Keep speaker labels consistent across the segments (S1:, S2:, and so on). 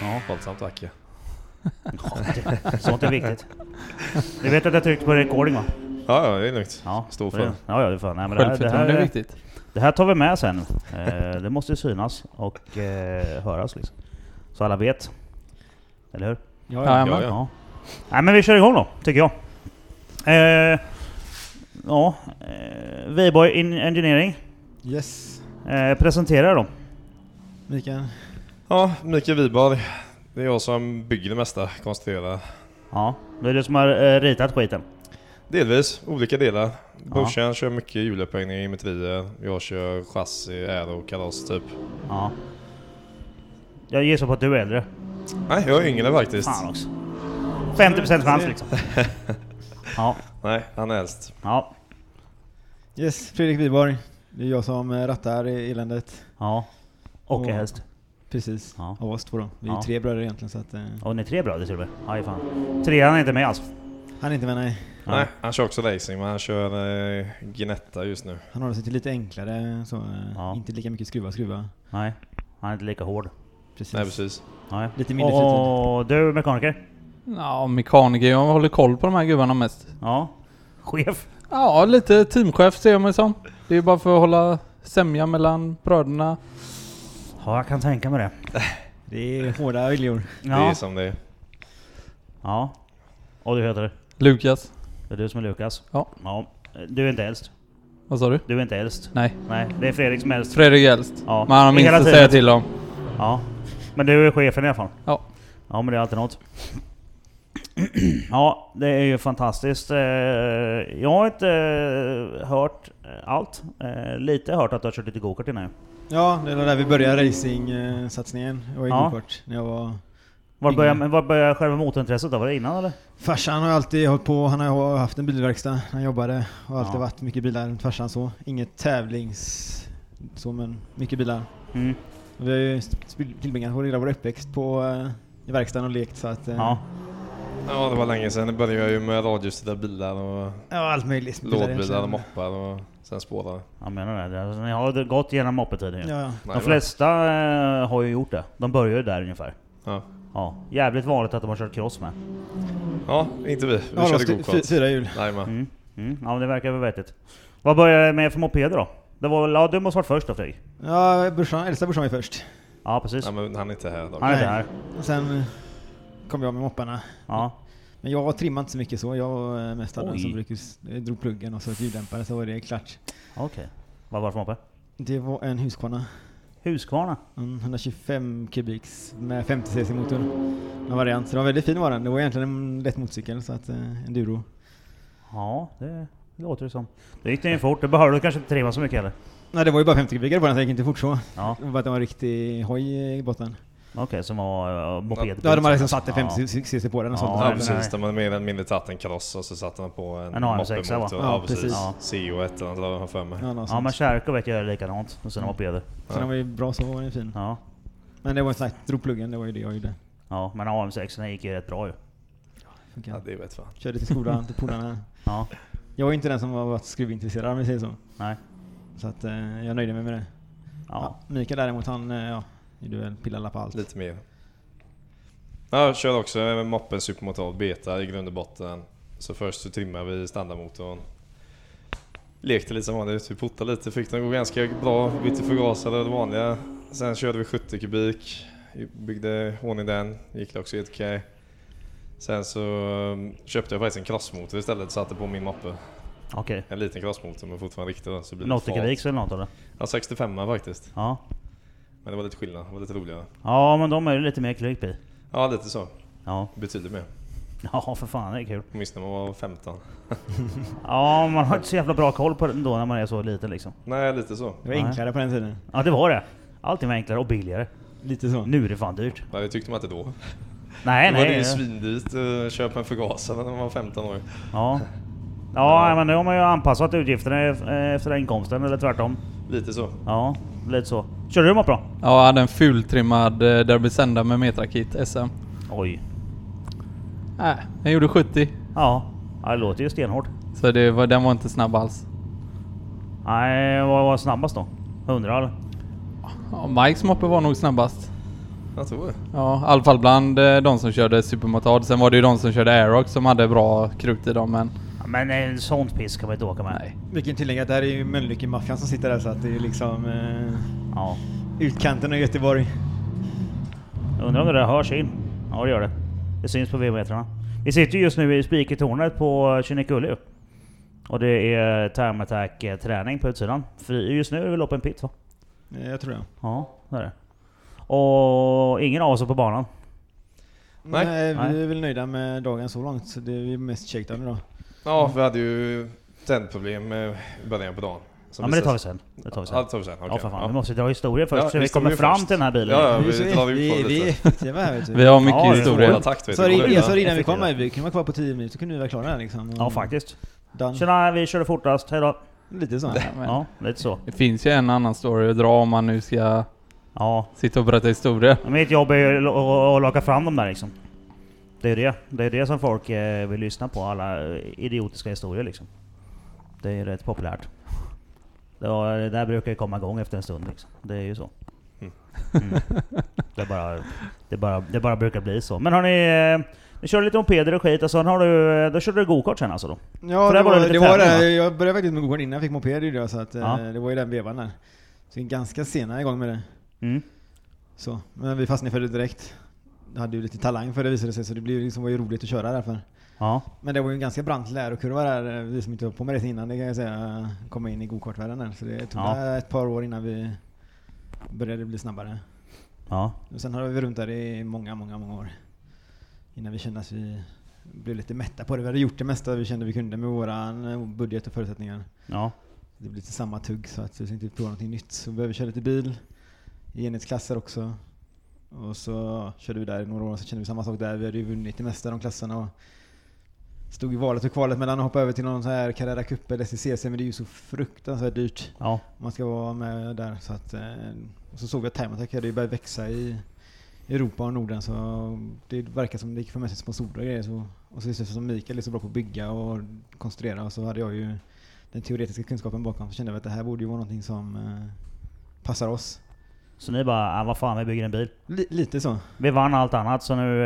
S1: Ja, våldsamt vacker.
S2: Sånt är viktigt. Du vet att jag tryckte på recording va?
S3: Ja, ja, det är lugnt.
S2: Ja,
S3: Stå för
S2: det.
S3: det.
S2: Ja, ja, det är fan. Nej, men det, här, det,
S4: Självförtroende är
S2: här,
S4: viktigt.
S2: det här tar vi med sen. Eh, det måste ju synas och eh, höras liksom. Så alla vet. Eller hur?
S4: Ja,
S3: ja,
S4: men.
S3: ja.
S2: Ja. Nej men vi kör igång då, tycker jag. Eh, ja, eh, Weiborg in Engineering
S4: Yes.
S2: eh, presenterar dem.
S4: Mikael.
S3: Ja, Mikael Wiberg. Det är jag som bygger det mesta, konstaterar jag.
S2: Ja, det är du som har eh, ritat skiten.
S3: Delvis, olika delar.
S2: Ja.
S3: Brorsan kör mycket hjulupphängningar, geometrier. Jag kör chassi, aero, kalas typ.
S2: Ja. Jag gissar på att du är äldre.
S3: Nej, jag är yngre faktiskt.
S2: Fan också. 50% chans liksom. Ja,
S3: Nej, han är äldst.
S2: ja,
S5: Yes, Fredrik Wiborg. Det är jag som eh, rattar i eländet.
S2: ja. Och är
S5: Ja.
S2: häst.
S5: Precis,
S2: Ja.
S5: av oss två då. Vi är ju
S2: Ja.
S5: tre bröder egentligen så att... eh,
S2: Och ni är tre bröder till och med. Aj fan. Trean är inte med alls.
S5: Han är inte med, nej.
S2: Ja.
S3: Nej, han kör också racing, men han kör eh, Gnetta just nu.
S5: Han håller sig till lite enklare så. eh,
S2: Ja.
S5: Inte lika mycket skruva, skruva.
S2: Nej, han är inte lika hård.
S5: Precis.
S3: Nej, precis.
S2: Nej.
S5: Lite mindre
S2: Och du mekaniker?
S4: Ja, mekaniker. Jag håller koll på de här gubbarna mest.
S2: Ja. Chef?
S4: Ja, lite teamchef ser jag mig som. Det är bara för att hålla sämja mellan bröderna.
S2: Ja, jag kan tänka mig det.
S5: Det är hårda viljor.
S2: Ja.
S3: Det är som det är.
S2: Ja. Och du heter?
S4: Lukas.
S2: Det är du som är Lukas?
S4: Ja.
S2: Du är inte äldst.
S4: Vad sa du?
S2: Du är inte äldst.
S4: Nej.
S2: Nej, det är Fredrik som är äldst.
S4: Fredrik är äldst.
S2: Ja.
S4: Men han har minst
S2: Hela
S4: att
S2: tiden.
S4: säga till om.
S2: Ja. Men du är chefen i alla fall?
S4: Ja.
S2: Ja, men det är alltid något. ja, det är ju fantastiskt. Eh, Jag har inte eh, hört eh, allt. Eh, Lite har jag hört att du har kört lite gokart innan ju.
S5: Ja, det var där vi började racing-satsningen. Jag var i
S2: Ja.
S5: gokart när jag var...
S2: Var
S5: Ingen.
S2: började, men var började själva motorintresset då? Var det innan eller?
S5: Farsan har alltid hållit på, han har ju haft en bilverkstad när han jobbade. Har alltid
S2: Ja.
S5: varit mycket bilar runt farsan så. Inget tävlings... Så men, mycket bilar.
S2: Mm.
S5: Och Vi har ju sp- tillbringat vår- hela vår uppväxt på, eh, i verkstaden och lekt så att... eh,
S2: Ja.
S3: Ja, det var länge sedan. Det började jag ju med radiostyrda bilar och
S5: Ja, allt möjligt. Bilar
S3: lådbilar
S5: egentligen.
S3: och moppar och sen spårar.
S2: Jag menar det. Alltså, Ni har gått igenom moppetiden ju.
S5: Ja, ja.
S3: Nej,
S2: De
S3: va?
S2: flesta eh, har ju gjort det. De börjar ju där ungefär.
S3: Ja.
S2: Ja, jävligt vanligt att de har kört cross med.
S3: ja, inte vi. Vi
S5: ja
S3: körde
S5: då, fy-
S3: gokart.
S5: fyra hjul.
S3: Nej, men.
S2: Mm. Mm. Ja, men det verkar väl vettigt. Vad började det med för mopeder då? Det var väl, ja du måste varit först då Fredrik?
S5: Ja, brorsan, äldsta brorsan var ju först.
S2: Ja precis.
S3: Nej, men han är inte här idag.
S2: Han är
S5: nej.
S2: inte här.
S5: Och sen eh, kom jag med mopparna.
S2: Ja.
S5: Men jag trimmade inte så mycket så. Jag var eh, mest den
S2: Oj.
S5: som brukade, s- eh, drog pluggen och så ett ljuddämpare så var det klart.
S2: Okej. Vad var det för moppe?
S5: Det var en Husqvarna.
S2: Huskvarna?
S5: En 125 kubiks med 50 cc motor. En variant. Så den var väldigt fin var den. Det var egentligen en lätt motorcykel så att eh, enduro.
S2: Ja, det låter det som. Det gick det ju fort. Det behövde du kanske inte trimma så mycket heller.
S5: Nej det var ju bara 50 kubikar på den så jag gick inte fort så.
S2: Ja,
S5: Det var bara att det var en riktig hoj i botten.
S2: okej. som var uh, moped.
S5: Då hade man liksom satt en
S2: Ja.
S5: 50 cc på den och
S2: Ja,
S5: sånt.
S3: Ja,
S2: men nej.
S3: precis. De hade mer eller mindre tagit en kaross och så satte man på en,
S2: En AM6, va?
S3: moppemotor.
S5: Ja,
S3: Ja, precis.
S5: precis.
S2: Ja.
S3: CO1 eller något vad jag har för mig.
S5: Ja, något
S2: Ja
S5: sånt.
S2: men Kärko vet jag gör likadant med sina mopeder.
S5: Så den var ju bra så, var den fin.
S2: Ja.
S5: Men det var ju sagt, drog pluggen, det var ju det jag gjorde.
S2: Ja, men AM6 den gick ju rätt bra ju.
S3: Ja,
S5: Funkar.
S3: det vet fan.
S5: Körde till skolan, till polarna.
S2: Ja.
S5: Jag var ju inte den som var varit skruvintresserad om vi säger så.
S2: Nej.
S5: Så att eh, jag nöjde mig med det.
S2: Ja.
S5: Mikael däremot han, eh, ja, gjorde väl pillade på allt.
S3: Lite mer. Ja, jag körde också med moppen supermotor, beta i grund och botten. Så först så trimmade vi standardmotorn. Lekte lite som vanligt, vi puttade lite, fick den att gå ganska bra. Bytte förgasare, det vanliga. Sen körde vi 70 kubik, byggde ordning den, gick också helt okej. Sen så um, köpte jag faktiskt en crossmotor istället, satte på min moppe.
S2: Okej.
S3: En liten crossmotor men fortfarande riktig då, så blir
S2: Okay.
S3: det
S2: 80
S3: fart.
S2: kubiks eller något eller?
S3: Ja, 65 faktiskt.
S2: Ja.
S3: Men det var lite skillnad, det var lite roligare.
S2: Ja men de är ju lite mer kryp i.
S3: Ja, lite så.
S2: Ja.
S3: Betydligt mer.
S2: Ja för fan det är kul.
S3: Åtminstone när man var 15.
S2: Ja man har inte så jävla bra koll på det då när man är så liten liksom.
S3: Nej, lite så.
S5: Det var
S2: Nej.
S5: enklare på den tiden.
S2: Ja det var det. Allting var enklare och billigare.
S5: Lite så.
S2: Nu är det fan dyrt.
S3: Nej, det tyckte man inte då.
S2: Nej,
S3: Då var det
S2: nej.
S3: ju svindyrt att köpa en förgasare när man var 15 år.
S2: Ja. Ja, men nu har man ju anpassat utgifterna eh, efter inkomsten, eller tvärtom.
S3: Lite så.
S2: Ja, lite så. Körde du Mopra?
S4: Ja, jag hade en fultrimmad eh, Derby Senda med Metrakit SM.
S2: Oj.
S4: Äh, den gjorde 70.
S2: Ja. ja, det låter ju stenhårt.
S4: Så det var, den var inte snabb alls.
S2: Nej, vad var snabbast då? 100 eller?
S4: Ja, Mikes moppe var nog snabbast.
S3: Jag tror det.
S4: Ja, i alla fall bland eh, de som körde Supermotard. Sen var det ju de som körde Aerox som hade bra krut i dem, men...
S2: Ja, men en sån piss kan man inte åka med.
S4: Nej.
S5: Vi kan tillägga att det här är ju Mölnlycke-maffian som sitter där så att det är liksom eh,
S2: Ja.
S5: utkanten av Göteborg.
S2: Jag undrar om det där hörs in? Ja, det gör det. Det syns på V-metrarna. Vi sitter ju just nu i Spikertornet på Kinnekulle ju. Och det är Time Attack eh, träning på utsidan. För just nu är det väl Open Pit va?
S5: Eh, jag tror det.
S2: Ja, det är det. Och ingen av oss är på banan.
S3: Nej.
S5: Nej,
S2: Nej.
S5: eh, vi är väl nöjda med dagen så långt. Så det är vi mest shakedown idag.
S3: Ja, vi hade ju tändproblem eh, i början på dagen. Som
S2: ja men det tar vi
S3: visade
S2: sen. Det tar vi sen.
S3: sig- Ja, det tar vi sen.
S2: Ja
S3: okej.
S2: för fan,
S3: Ja.
S2: vi måste dra historia först
S3: Ja,
S2: så vi
S3: visst,
S2: kommer
S3: vi
S2: fram
S3: först.
S2: till den här bilen.
S3: Ja, ja, vi
S5: Vi,
S3: drar ut på
S5: vi,
S3: det
S5: vi är
S3: lite.
S5: effektiva här vet du.
S4: Vi har mycket
S2: Ja, det är
S4: historia.
S3: Våra takt vet
S5: Så
S3: du.
S5: ri- så innan vi
S2: Effektiva.
S5: kom här, vi kunde vara kvar på 10 minuter, kunde vi vara klara här liksom.
S2: Ja, faktiskt.
S5: Done.
S2: Tjena, vi körde fortast. Hejdå.
S5: Lite så.
S4: Ja, men
S2: Ja, lite så.
S4: Det finns ju en annan story att dra om man nu ska
S2: Ja,
S4: sitta och berätta historier.
S2: men mitt jobb är ju att- att- att locka fram dem där liksom. Det är ju det. Det är det som folk eh, vill lyssna på. Alla eh, idiotiska historier liksom. Det är ju rätt populärt. Det, var, det där brukar ju komma igång efter en stund liksom. Det är ju så.
S3: Mm.
S2: Mm. Det, bara, det, bara, det bara brukar bli så. Men har ni... eh, Ni körde lite mopeder och skit och sen har du... eh, Då körde du gokart sen alltså då?
S5: Ja,
S2: För
S5: det
S2: där var
S5: var
S2: det lite
S5: det. Var
S2: tävling,
S5: det.
S2: va?
S5: Jag började faktiskt med Google innan jag fick moped. i det, Så att, eh,
S2: Ja.
S5: Det var ju den vevan där. Så jag är ganska sena igång med det.
S2: Mm.
S5: Så. Men vi fastnade för det direkt. Jag hade ju lite talang för det visade sig, så det blev liksom, var ju roligt att köra därför.
S2: Ja.
S5: Men det var ju en ganska brant lärokurva där, eh, vi som inte höll på med det innan, det kan jag säga, eh, komma in i gokartvärlden där. Så det tog
S2: Ja.
S5: där ett par år innan vi började bli snabbare.
S2: Ja.
S5: Och sen har vi runt där i många, många, många år. Innan vi kände att vi blev lite mätta på det. Vi hade gjort det mesta vi kände vi kunde med våran eh, budget och förutsättningar.
S2: Ja.
S5: Det blir lite samma tugg så att vi tänkte prova någonting nytt. Så vi behöver köra lite bil i enhetsklasser också. Och så körde vi där i några år så kände vi samma sak där. Vi hade ju vunnit det mesta av de klasserna och stod i valet och kvalet mellan att hoppa över till någon så här Carrera Cup eller SCCC men det är ju så fruktansvärt dyrt
S2: Ja.
S5: om man ska vara med där. Så, att, eh, och så såg vi att Time Attack hade ju börjat växa i Europa och Norden så det verkar som det gick för med sig sponsorer och grejer. Så, och så visade det sig som Mikael är så bra på att bygga och konstruera och så hade jag ju den teoretiska kunskapen bakom så kände vi att det här borde ju vara någonting som eh, passar oss.
S2: Så ni bara, ah, vad fan vi bygger en bil.
S5: Li- lite så.
S2: Vi vann allt annat så nu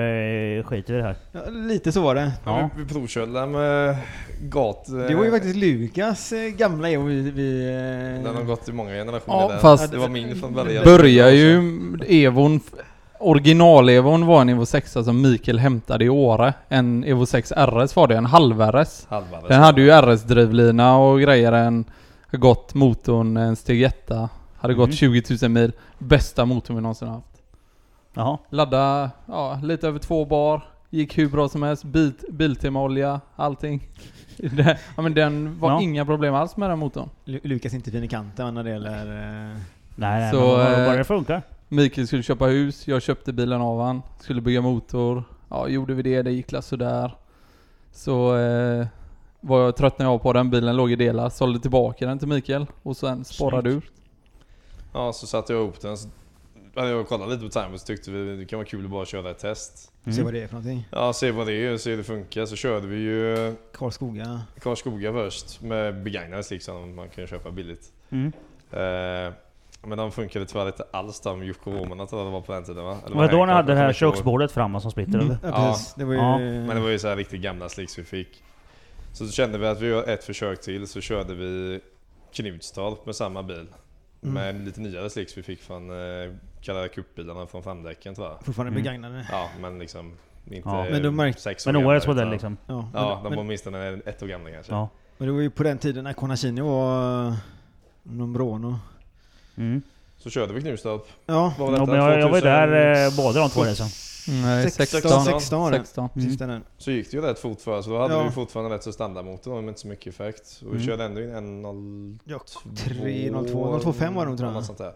S2: eh, skiter vi i det här.
S5: Ja, lite så var det.
S3: Ja, vi, vi provkörde den med gat... eh,
S5: Det var ju faktiskt Lukas eh, gamla jag och vi... vi eh,
S3: Den har gått i många generationer.
S4: Ja,
S3: den.
S4: fast-
S3: det var min från början.
S4: Börjar ju Evon... Original-Evon var en Evo 6 som Mikael hämtade i Åre. En Evo 6 RS var det, en halv RS.
S3: Halva
S4: Den hade ju RS-drivlina och grejer. En har gått motorn, en Stegetta. Hade
S2: Mhm.
S4: gått 20 000 mil. Bästa motorn vi någonsin haft.
S2: Jaha.
S4: Ladda, ja, lite över två bar. Gick hur bra som helst. Bit, Biltema-olja, allting. Det, ja, men den var
S2: Ja.
S4: inga problem alls med den motorn.
S5: Lu- Lukas är inte fin i kanten när det gäller... Eh,
S2: Nej, nej
S4: Så,
S2: men vad-
S4: eh,
S2: vad det funkar.
S4: Mikael skulle köpa hus, jag köpte bilen av han. Skulle bygga motor. Ja, gjorde vi det, det gick la sådär. Så eh, var jag trött när jag var på den, bilen låg i delar. Sålde tillbaka den till Mikael och sen sporrade ur.
S3: Ja, så satte jag ihop den. Så hade jag kollat lite på timern så tyckte vi det kan vara kul att bara köra ett test.
S5: Se
S2: Mm.
S5: vad det är för någonting.
S3: Ja, se vad det är och se hur det funkar. Så körde vi ju
S5: Karlskoga.
S3: Karlskoga först med begagnade slicks som man kan köpa billigt.
S2: Mm.
S3: Eh, men de funkade tyvärr inte alls de Yokohomorna tror jag det var på den tiden va? Eller
S2: Var det då ni
S3: Hancock,
S2: hade det här
S3: jag kommer inte ihåg.
S2: köksbordet framme som
S4: Mm.
S2: splitter eller?
S5: Ja, precis. Det var ju...
S2: Ja.
S3: Men det var ju så här riktigt gamla slicks vi fick. Så kände vi att vi gör ett försök till så körde vi Knutstorp med samma bil.
S5: Mm.
S3: Med lite nyare slicks vi fick från eh, kallade cupbilarna från framdäcken tror jag.
S5: Fortfarande
S2: Mm.
S5: begagnade.
S3: Ja men liksom inte
S2: Ja.
S5: Men då märkte-
S3: sex år
S2: Men årets
S3: gamla,
S2: modell
S3: utan-
S2: liksom?
S5: Ja, men,
S3: Ja, de var
S5: men,
S3: åtminstone ett år gamla kanske.
S2: Ja.
S5: men det var ju på den tiden när Conachini var eh, Nombrono.
S2: Mm.
S3: Så körde vi Knutstorp.
S5: Ja,
S3: Vad
S2: Ja,
S3: detta?
S2: men jag, jag var ju
S3: 2000?
S2: där eh, båda de två resorna.
S4: Nej,
S5: 16,
S4: 16.
S5: 16, var det.
S4: 16.
S2: Mm.
S5: Precis den.
S3: Så gick det ju rätt fort för oss och då hade
S5: Ja.
S3: vi ju fortfarande rätt så standardmotor men inte så mycket effekt. Och vi
S2: Mm.
S3: körde ändå in 1.02.
S5: Ja, 3.02, 0.25 var det nog, tror jag.
S3: Något sånt där.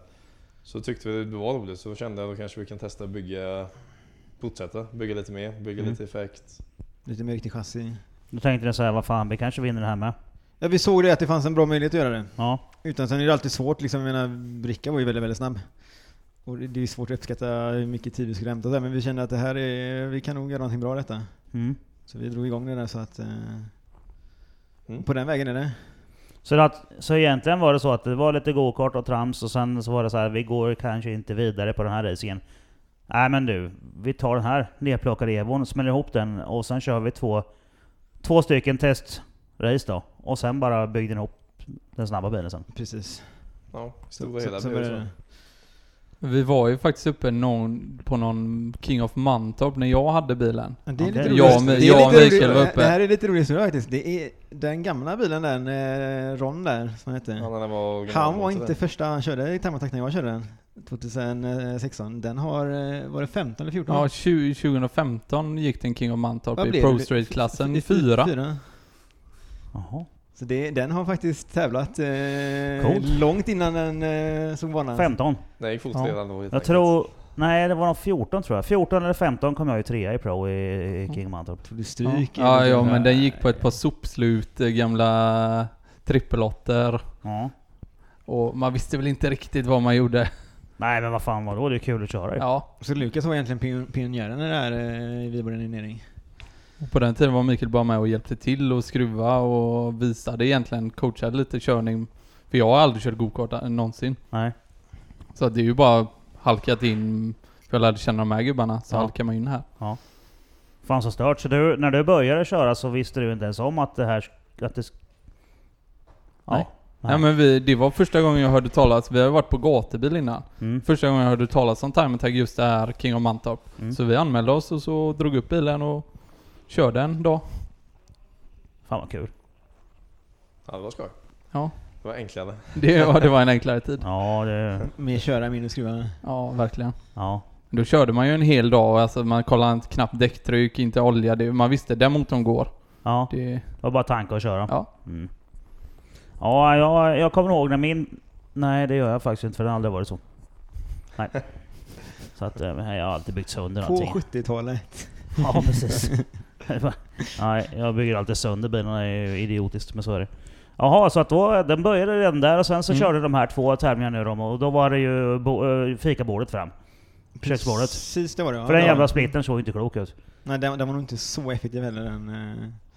S3: Så tyckte vi det var roligt så då kände jag då kanske vi kan testa att bygga fortsätta bygga lite mer, bygga
S2: Mm.
S3: lite effekt.
S5: Lite mer riktig chassi.
S2: Då tänkte jag så här, vad fan, vi kanske vinner det här med.
S5: Ja, vi såg det att det fanns en bra möjlighet att göra det.
S2: Ja,
S5: Utan sen är det alltid svårt, liksom, jag menar, Bricka var ju väldigt, väldigt snabb. Och det det är svårt att uppskatta hur mycket tid vi skulle hämta där, men vi kände att det här är, vi kan nog göra någonting bra av detta.
S2: mm.
S5: Så vi drog igång det där så att... Eh,
S3: Mm.
S5: På den vägen är det.
S2: Så, att, så egentligen var det så att det var lite gokart och trams och sen så var det så här, vi går kanske inte vidare på den här racingen. Nej men du, vi tar den här nedplockade Evon, smäller ihop den och sen kör vi två, två stycken testrace då. Och sen bara byggde den ihop den snabba bilen sen.
S5: Precis.
S3: Ja, i
S5: Så,
S3: stora
S5: så,
S3: hela
S5: så
S3: blir det
S5: började det.
S4: Vi var ju faktiskt uppe någon, på någon King of Mantorp när jag hade bilen.
S5: Ja, Det är lite
S2: Okej.
S5: rolig-
S4: Jag och Mi-
S5: det är
S4: jag och
S5: lite
S4: Mikael
S5: rolig-
S4: var uppe.
S5: Det här är lite rolig historia faktiskt. Det är den gamla bilen där, eh, Ron där, som han hette.
S3: Ja, när den var
S5: Han
S3: original-
S5: var inte första han körde i Thermotakt när jag körde den. 2016. Den har, eh, var det 15 eller 14?
S4: Ja, 20, 2015 gick den King of Mantorp
S5: Vad
S4: i
S5: blev det?
S4: Pro Street-klassen.
S5: Det är
S4: I fyra.
S5: fyra.
S2: Jaha.
S5: Så det, den har faktiskt tävlat eh,
S2: Coolt.
S5: långt innan den eh, såg banan.
S2: 15.
S3: Den gick fort
S4: Ja.
S3: redan då helt
S2: Jag
S3: enkelt.
S2: tror... Nej det var nog 14 tror jag. 14 eller 15 kom jag ju trea i Pro i, i
S4: Mm.
S2: King Mantorp.
S5: Tog du stryk?
S4: Ja,
S5: i-
S4: ja, men den gick på ett par sopslut, eh, gamla trippelotter.
S2: Ja.
S4: Och man visste väl inte riktigt vad man gjorde.
S2: Nej men vad fan var då? Det är kul att köra ju.
S4: Ja,
S5: Så Lukas var egentligen pion- pionjären i det här eh, i Viborg
S4: och på den tiden var Mikael bara med och hjälpte till och skruva och visade egentligen, coachade lite körning. För jag har aldrig kört gokart eh, någonsin.
S2: Nej.
S4: Så att det är ju bara halkat in, för jag lärde känna de här gubbarna, så
S2: Ja.
S4: halkar man in här.
S2: Fan så stört. Så du, när du började köra så visste du inte ens om att det här... Att det, sk- ja.
S4: Nej. Nej men vi, det var första gången jag hörde talas, vi har ju varit på gatubil innan.
S2: Mm.
S4: Första gången jag hörde talas om Time Attack just det här King of Mantorp.
S2: Mm.
S4: Så vi anmälde oss och så drog upp bilen och körde en dag.
S2: Fan vad kul.
S3: Ja, det var skoj.
S4: Ja.
S3: Det var enklare.
S4: Det var, det var en enklare tid.
S2: Ja, det...
S5: Mer köra, mindre skruva.
S4: Ja, verkligen.
S2: Ja.
S4: Då körde man ju en hel dag, alltså man kollade inte knappt däcktryck, inte olja. Det, man visste den motorn går.
S2: Ja, det
S4: Det,
S2: var bara tanke att köra.
S4: Ja.
S2: Mm. Ja, jag, jag kommer ihåg när min... Nej, det gör jag faktiskt inte för det har aldrig varit så. Nej. Så att eh, jag har alltid byggt sönder
S5: På
S2: någonting.
S5: 70-talet.
S2: Ja, precis. Det var- Nej, jag bygger alltid sönder bilarna. Det är ju idiotiskt, men så är det. Jaha, så att då, den började redan där och sen så
S4: Mm.
S2: körde de här två tävlingarna nu då, och då var det ju bo, eh, fikabordet fram. Köksbordet.
S5: Precis det var det ja.
S2: För den
S5: Ja.
S2: jävla splitten såg ju inte klok ut.
S5: Nej, den, den var nog inte så effektiv heller den.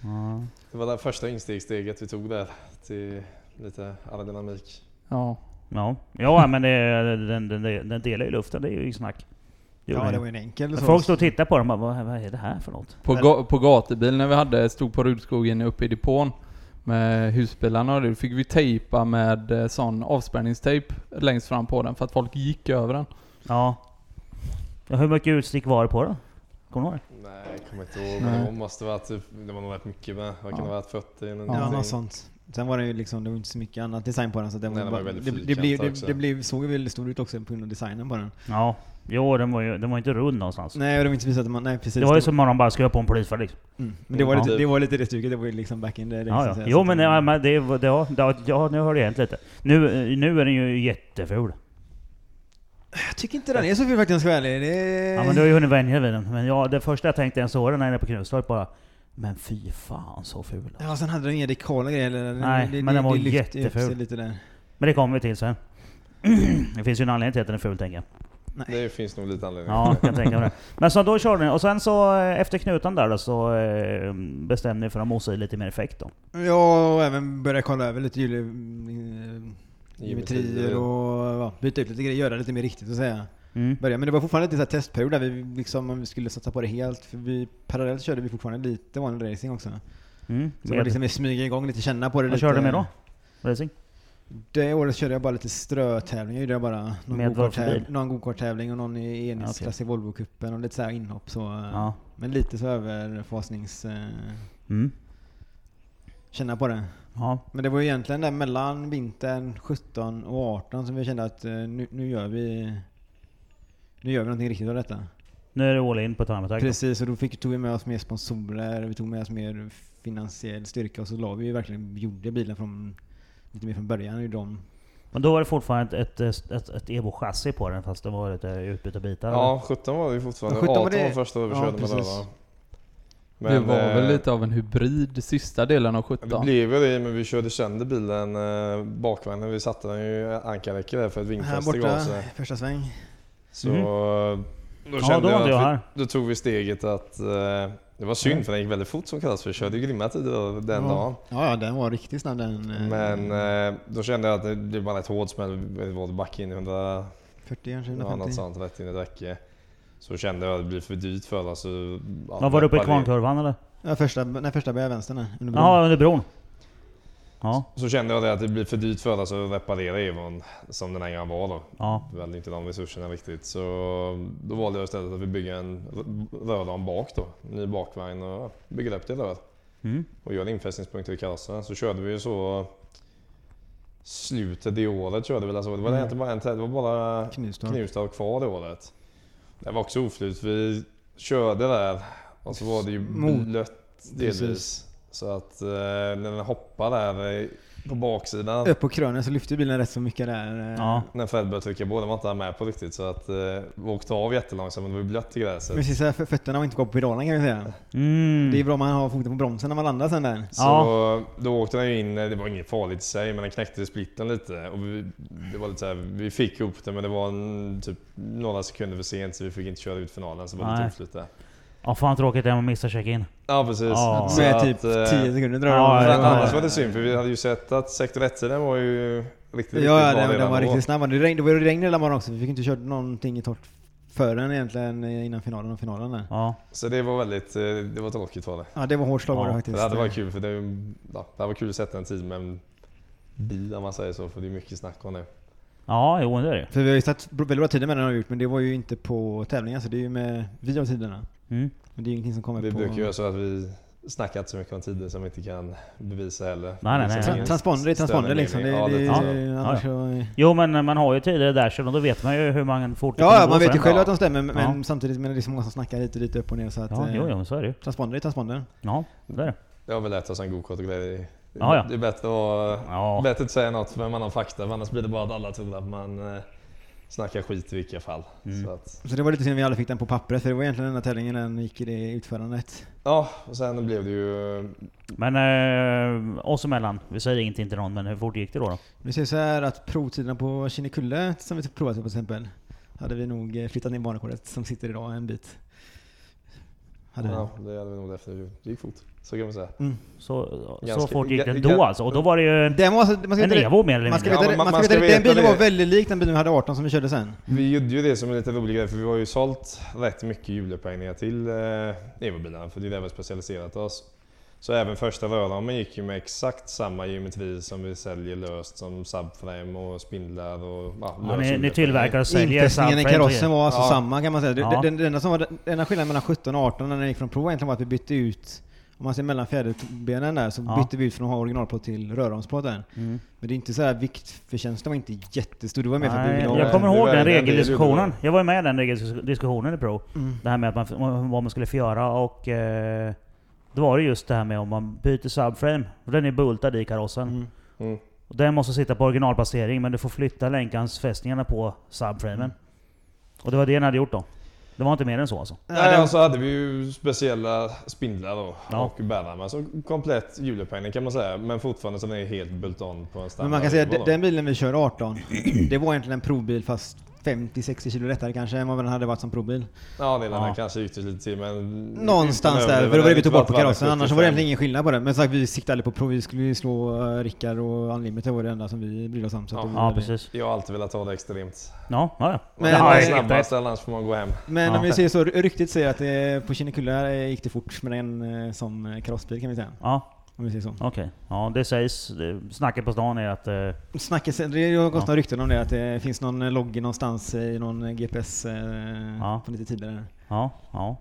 S5: eh.
S3: Det var det första instegssteget vi tog där till lite aerodynamik.
S4: ja.
S2: Ja, ja men det, den, den, den, den delar ju luften, det är ju inget snack. Det gjorde
S5: Ja, det
S2: den.
S5: var ju en enkel.
S2: Men
S5: så.
S2: Folk stod och tittade på dem och bara, vad, vad är det här för något?
S4: På, ga, på gatubil när vi hade, stod på Rudskogen uppe i depån med husbilarna och det, då fick vi tejpa med eh, sån avspärrningstejp längst fram på den för att folk gick över den.
S2: Ja. ja hur mycket utstick var det på den? Kommer du ihåg det?
S3: Nej, jag kommer inte ihåg. Men
S4: Nej.
S3: det måste vara typ, det var nog rätt mycket med. Vad kan
S4: Ja.
S3: det ha varit? 40 eller
S5: Ja,
S3: någonting?
S5: något sånt. Sen var det ju liksom, det var inte så mycket annat design på den så den
S3: Nej,
S5: var,
S3: den
S5: bara,
S3: var väldigt
S5: det, det,
S3: fyrkantig
S5: blev, det,
S3: också.
S5: det blev, såg ju väldigt stor ut också på grund av designen på den.
S2: Ja. Jo, den var ju den var inte rund någonstans.
S5: Nej, och det var inte precis att man, nej precis.
S2: det var ju som om de bara skrev på en polisfärg liksom.
S5: mm. Men det var,
S2: Ja.
S5: lite, det var lite det stuket, det var ju liksom back in the days,
S2: Ja,
S5: så
S2: ja.
S5: att säga.
S2: Jo
S5: Så
S2: men
S5: att-
S2: ja, men det, var- det, var- det, var- ja, nu har det hänt lite. Nu, eh, nu är den ju jätteful.
S5: Jag tycker inte den är så ful faktiskt om jag ska vara ärlig. Det...
S2: Ja men du har ju hunnit vänja dig vid den. Men ja, det första jag tänkte när jag såg den här inne på Knutstorp bara, men fy fan så ful.
S5: Ja, sen hade den inga dekala grejer. eller-
S2: Nej, men den var
S5: lyfte upp sig
S2: jätteful.
S5: Lite där.
S2: Men det kommer vi till sen. Det finns ju en anledning till att den är ful tänker jag.
S3: Det finns nog lite anledning
S2: Ja,
S3: till
S2: kan jag tänka mig det. Men så då körde ni, och sen så eh, efter knutan där då så eh, bestämde ni för att mosa i lite mer effekt då?
S5: Ja, och även börja kolla över lite jule...
S3: det.
S5: Geometrier och ja, byta ut lite grejer, göra lite mer riktigt så att säga.
S2: Mm.
S5: Börja. Men det var fortfarande lite så här testperiod där vi liksom om vi skulle satsa på det helt. För vi, parallellt körde vi fortfarande lite vanlig racing också. Så
S2: Mm.
S5: det var liksom vi smyga igång lite, känna på det
S2: Vad
S5: lite.
S2: körde du med då? Racing?
S5: Det året körde jag bara lite strötävlingar. gjorde Jag bara
S2: Med
S5: någon
S2: vad för bil?
S5: gokart-täv- någon gokarttävling och någon i enhetsklass i Volvo-cupen och lite så här inhopp så. eh,
S2: Ja.
S5: Men lite så överfasnings... Eh,
S2: Mm.
S5: känna på det.
S2: Ja.
S5: Men det var ju egentligen där mellan vintern 17 och 18 som vi kände att eh, nu, nu gör vi... Nu gör vi någonting riktigt av detta.
S2: Nu är det all in på Time Attack. då.
S5: Precis, och då fick, tog vi med oss mer sponsorer, vi tog med oss mer finansiell styrka och så la vi ju verkligen, gjorde bilen från, lite mer från början. Gjorde om,
S2: Men då var det fortfarande ett, ett, ett, ett Evo-chassi på den fast det var lite utbytta bitar.
S3: Ja, 17 var det ju fortfarande.
S5: Ja, 17 var
S3: 18 var
S5: det-
S3: första
S5: ja,
S3: överkörde man där
S5: precis.
S3: va?
S4: det var väl
S3: eh,
S4: lite av en hybrid sista delen av
S3: Det
S4: 17.
S3: blev ju det, men vi körde sönder bilen, eh, bakvagnen. Vi satte den ju i ankarräcke där för att
S5: Här
S3: vingfästet gav
S5: borta,
S3: sig.
S5: första sväng.
S3: Så
S2: Mhm.
S3: eh, då
S2: ja då
S3: kände
S2: var
S3: jag
S2: jag
S3: att
S2: här.
S3: vi, då tog vi steget att eh, det var synd
S2: Mm.
S3: för den gick väldigt fort som kallas för vi körde ju grymma tider den
S5: Ja.
S3: dagen.
S5: Ja, ja, den var riktigt snabb den. eh,
S3: Men eh, då kände jag att det, det var rätt hårt smäll. Det var back in i 100
S5: 40 kanske,
S3: Ja, något
S5: 150.
S3: sånt rätt in i ett räcke. Så kände jag att det blir för dyrt för alla så... ja,
S2: Ja, var du uppe i
S3: hoppade in.
S2: kvarnkurvan eller?
S5: Ja, första, nej, första började vänstern där, under bron.
S2: Jaha, under bron. Ja,
S3: Så kände jag det att det blir för dyrt för alla så reparera Evon som den här gången var då.
S2: ja.
S3: Vi hade inte de resurserna riktigt så då valde jag istället att vi bygger en r- rörram bak då. Ny bakvagn och bygger upp det rör.
S2: Mm.
S3: Och gör infästningspunkter i karossen. Så körde vi ju så... Slutet i året körde vi väl alltså. Det var
S2: Mm.
S3: inte bara en tävling, det var bara
S5: Knivstorp.
S3: Knivstorp kvar det året. Det var också oflyt. Vi körde där och så var det ju
S5: Mot-
S3: blött delvis.
S5: precis.
S3: Så att eh, när den hoppade där eh, på baksidan.
S5: Upp på krönen så lyfte bilen rätt så mycket där. eh,
S2: Ja.
S3: När Fred började trycka på, den var inte han med på riktigt. Så att eh, vi åkte av jättelångsamt men det var ju blött i gräset.
S5: Men sista f- fötterna var inte kvar på pedalen kan vi säga.
S2: Mm.
S5: Eh. Det är bra om man har foten på bromsen när man landar sen där.
S3: Så då åkte den ju in, eh, det var inget farligt i sig, men den knäckte splitten lite. Och vi, det var lite så här, vi fick ihop det men det var en, typ några sekunder för sent så vi fick inte köra ut finalen så det var
S2: Nej.
S3: lite oflyt där.
S2: Ja, fan tråkigt det är om man missar check-in.
S3: Ja precis.
S2: Ja.
S3: Så
S5: Med
S3: att,
S5: typ
S3: eh,
S5: 10 sekunder drar
S2: ja,
S5: de.
S3: Men
S2: ja, ja.
S3: annars var det synd för vi hade ju sett att sektor 1 den var ju riktigt,
S5: Ja, ja
S3: riktigt
S5: den,
S3: bra
S5: den var
S3: då.
S5: riktigt snabb. Det, regn, det var ju regn hela morgonen också. Vi fick inte kört någonting i torrt förrän egentligen eh, innan finalen och finalen där.
S2: Ja.
S3: Så det var väldigt, eh, det var tråkigt var det.
S5: Ja, det var hårt slag var det
S2: Ja,
S5: faktiskt.
S3: Det hade varit kul för det, ja, det hade varit kul att sätta en tid med en bil om man säger så för det är mycket snack om det.
S2: Ja, jo det är det
S5: För vi har ju satt br- väldigt bra tider med den har vi gjort, men det var ju inte på tävlingar så det är ju med vi av tiderna.
S2: mm.
S5: Men det är ju ingenting som kommer
S3: Vi
S5: på...
S3: brukar göra så att vi snackar inte så mycket om tider som vi inte kan bevisa heller.
S2: Nej, nej, nej.
S3: Liksom
S5: Tra-
S3: ingen
S5: Transponder är
S3: större
S5: transponder
S3: mening.
S5: liksom. Det,
S3: Ja,
S5: det,
S3: lite
S2: ja.
S3: så.
S5: annars så-
S2: Jo men man har ju tidigare där och då vet man ju hur man fort det kommer
S5: Ja, ja,
S2: gå
S5: man
S2: för
S5: vet ju
S2: den.
S5: själv
S3: Ja.
S5: att de stämmer, men
S2: Ja.
S5: samtidigt men det är så många som snackar hit och dit, upp och ner så att...
S2: Ja,
S5: eh,
S2: jo, jo, men så är det ju.
S5: Transponder är transponder.
S2: Ja, det är det.
S3: Det har vi lärt oss en god kort och grej.
S2: Ja, ja.
S3: Det är bättre att,
S2: Ja.
S3: bättre att säga något för man har fakta för annars blir det bara att alla tror att man eh, snackar skit i vilka fall.
S2: Mm.
S3: Så att,
S5: Så det var lite synd vi aldrig fick den på pappret, för det var egentligen den enda tävlingen den gick i det utförandet.
S3: ja, och sen blev det ju
S2: Men eh, oss emellan, vi säger ingenting till någon men hur fort gick det då? då?
S5: Vi ser så här att provtiderna på Kinnekulle, som vi provat på till exempel, hade vi nog eh, flyttat ner barnrekordet som sitter idag en bit. Hade vi.
S3: Ja, det hade vi nog definitivt. Det gick fort. Så kan man säga.
S5: Mm.
S2: Så, så
S3: Ganska-
S2: fort gick den
S3: ga- ga-
S2: då alltså? Och då var det ju en,
S5: Den var alltså, man ska
S2: en
S5: veta det-
S2: Evo mer eller
S5: man ska
S2: mindre?
S3: Ja,
S5: veta
S3: men
S5: det- man
S3: man
S5: ska
S3: ska
S5: veta det. Den
S3: veta
S5: bilen
S3: det.
S5: var väldigt lik den bilen vi hade 18 som vi körde sen.
S3: Vi gjorde ju det som en liten rolig grej för vi har ju sålt rätt mycket hjulupphängningar till eh, Evo-bilarna för det är där vi har specialiserat oss. Så även första rörramen gick ju med exakt samma geometri som vi säljer löst som subframe och spindlar och ja, lös
S2: Ja, ni, ni
S3: hjulupphängning.
S2: tillverkar och säljer
S5: Infästningen i
S2: subframe och-
S5: karossen var alltså
S3: Ja.
S5: samma kan man säga. Det-
S2: Ja.
S5: Den, den, enda som var, den enda skillnaden mellan 17 och 18 när den gick från prov egentligen var att vi bytte ut, om man ser mellan fjäderbenen där, så
S2: Ja.
S5: bytte vi ut från att ha originalplåt till rörramsplåt där.
S2: Mm.
S5: Men det är inte så här viktförtjänsten var inte jättestor. Det var mer för att vi
S2: Nej,
S5: ville ha...
S2: jag kommer
S3: Det
S2: ihåg
S3: var
S2: den
S3: den
S2: regeldiskussionen.
S3: regeln.
S2: Jag var ju med i den regeldiskussionen i Pro.
S5: Mm.
S2: Det här med att man, f- vad man skulle få göra och... Eh, då var det just det här med om man byter subframe. För den är bultad i karossen.
S5: Mm.
S3: Mm.
S2: Och den måste sitta på originalplacering men du får flytta länkansfästningarna på subframen.
S5: Mm.
S2: Och det var det den hade gjort då. Det var inte mer än så alltså.
S5: Ja, det
S3: Nej,
S5: var-
S3: och så hade vi ju speciella spindlar då,
S2: Ja.
S3: och bärarmar. Så komplett hjulupphängning kan man säga. Men fortfarande så den är helt bult-on på en standard.
S5: Men man kan säga att
S3: Evo
S5: de-
S3: då.
S5: den bilen vi körde 18, det var egentligen en provbil fast 50-60 kilo lättare kanske än vad den hade varit som provbil.
S3: Ja, det är den
S2: Ja.
S3: här kanske gick det lite till men...
S5: Någonstans
S3: utan
S5: där,
S3: överdriva,
S5: för det var det vi tog bort på
S3: bara
S5: karossen. Annars var
S3: 75.
S5: det egentligen ingen skillnad på det. Men som sagt, vi siktade aldrig på prov. Vi skulle ju slå eh, Rickard och Unlimited var det enda som vi brydde oss om. Så att
S3: Ja.
S5: det var
S2: Ja
S5: det.
S2: precis.
S3: Jag har alltid velat ha det extremt.
S2: Ja, ja,
S3: Men
S2: ja.
S5: Men-
S3: det är
S5: Nej,
S3: snabbast, annars får man gå hem.
S5: Men
S2: Ja.
S5: om vi säger så, ryktet säger att det, på Kinnekulle här, eh, gick det fort med en eh, som eh, karossbil kan vi säga.
S2: Ja,
S5: Om vi säger så.
S2: okej. Ja, det sägs. det- Snacket på stan är att... Eh,
S5: Snacket, det har gått några rykten om det, att det finns någon eh, logg någonstans eh, i någon eh, GPS eh,
S2: Ja.
S5: på lite tidigare.
S2: ja, ja.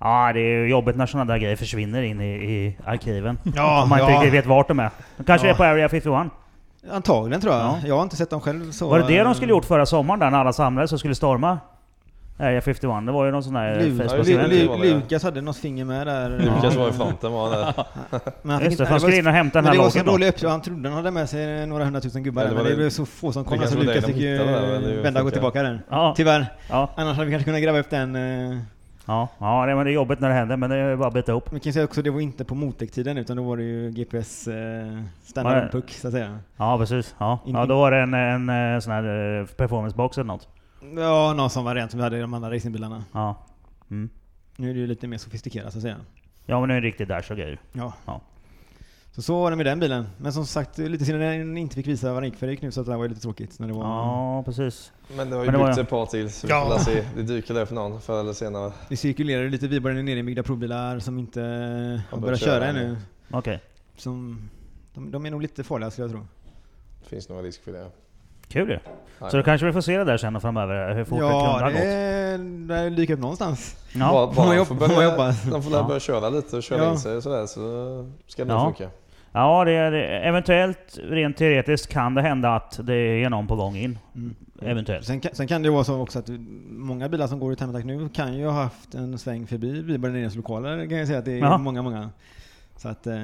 S2: Ja, det är ju jobbigt när sådana där grejer försvinner in i, i arkiven.
S5: Ja,
S2: Om man inte
S5: ja.
S2: riktigt vet vart de är. De kanske
S5: Ja.
S2: är på Area 51.
S5: Antagligen tror jag.
S2: Ja.
S5: Jag har inte sett dem själv så...
S2: Var det det de skulle
S5: eh,
S2: gjort förra sommaren där när alla samlades och skulle storma? Area 51, det var ju någon sån där
S5: Lu-
S3: president.
S5: Lu-
S2: Facebook-event.
S5: Lu- Lukas hade något finger med där.
S3: Lukas
S5: Ja.
S3: var i fronten var han där.
S5: Men han
S2: Just det,
S5: fick inte-
S2: för han skulle in och hämta den
S5: Men
S2: här
S5: det var så
S2: loggen då.
S5: dålig uppgift, han trodde han hade med sig några hundratusen gubbar
S3: Ja, det
S5: där,
S3: var
S5: men det
S3: det-
S5: blev så få som kom
S3: det
S5: så
S3: kanske var
S5: Lukas
S3: det
S5: fick
S3: de
S5: ju
S3: hittade där, eller hur
S5: vända och
S3: funkar?
S5: gå tillbaka den.
S2: Ja,
S5: Tyvärr.
S2: ja,
S5: Annars hade vi kanske kunnat gräva upp den. eh,
S2: ja, ja, det- men det är jobbigt när det händer men det är ju bara att bita ihop.
S5: Vi kan ju säga också att det var inte på motektiden utan då var det ju GPS eh,
S2: Nej.
S5: standard puck så att säga.
S2: Ja precis. Ja,
S5: In-
S2: ja då var det en, en, eh, sån här eh, performance-box eller något.
S5: Ja, någon som var rent som vi hade i de andra racingbilarna.
S2: Ja. Mm.
S5: Nu är det ju lite mer sofistikerat så att säga.
S2: Ja men det är en riktig dash och grejer.
S5: Ja.
S2: Ja.
S5: Så så var det med den bilen. Men som sagt, lite synd att den inte fick visa vad den gick för. Det gick nu så att det här var ju lite tråkigt. När det var,
S2: Ja precis.
S3: Men det har ju
S2: Men det var
S3: byggts
S2: jag.
S3: ett par till så vi
S5: Ja.
S3: får väl se. Det dyker där för någon förr eller senare.
S5: Det cirkulerade lite vidare ner i byggda provbilar som inte har börjat köra
S3: köra
S5: ännu.
S2: Okej.
S5: Som, de, de är nog lite farliga skulle jag tro.
S3: Det finns nog en risk för det.
S2: Kul ju.
S3: Nej.
S2: Så då kanske vi får se det där sen och framöver hur fort
S5: ja,
S2: det kunde ha gått.
S5: det, det dyker upp någonstans.
S2: Ja.
S3: bara,
S5: får man
S3: bara de
S5: jobb-
S3: får
S5: får man
S3: börja,
S5: jobba.
S3: de får lära
S2: Ja.
S3: börja köra lite och köra
S5: Ja.
S3: in sig och sådär så ska det
S2: Ja.
S3: nog funka.
S2: Ja, det, det, eventuellt rent teoretiskt kan det hända att det är någon på gång in.
S5: Mm.
S2: Eventuellt.
S5: Sen, kan- sen kan det ju vara så också att många bilar som går i Time Attack nu kan ju ha haft en sväng förbi Viberg deras lokaler kan jag säga att det är
S2: Jaha.
S5: många, många. Så att eh,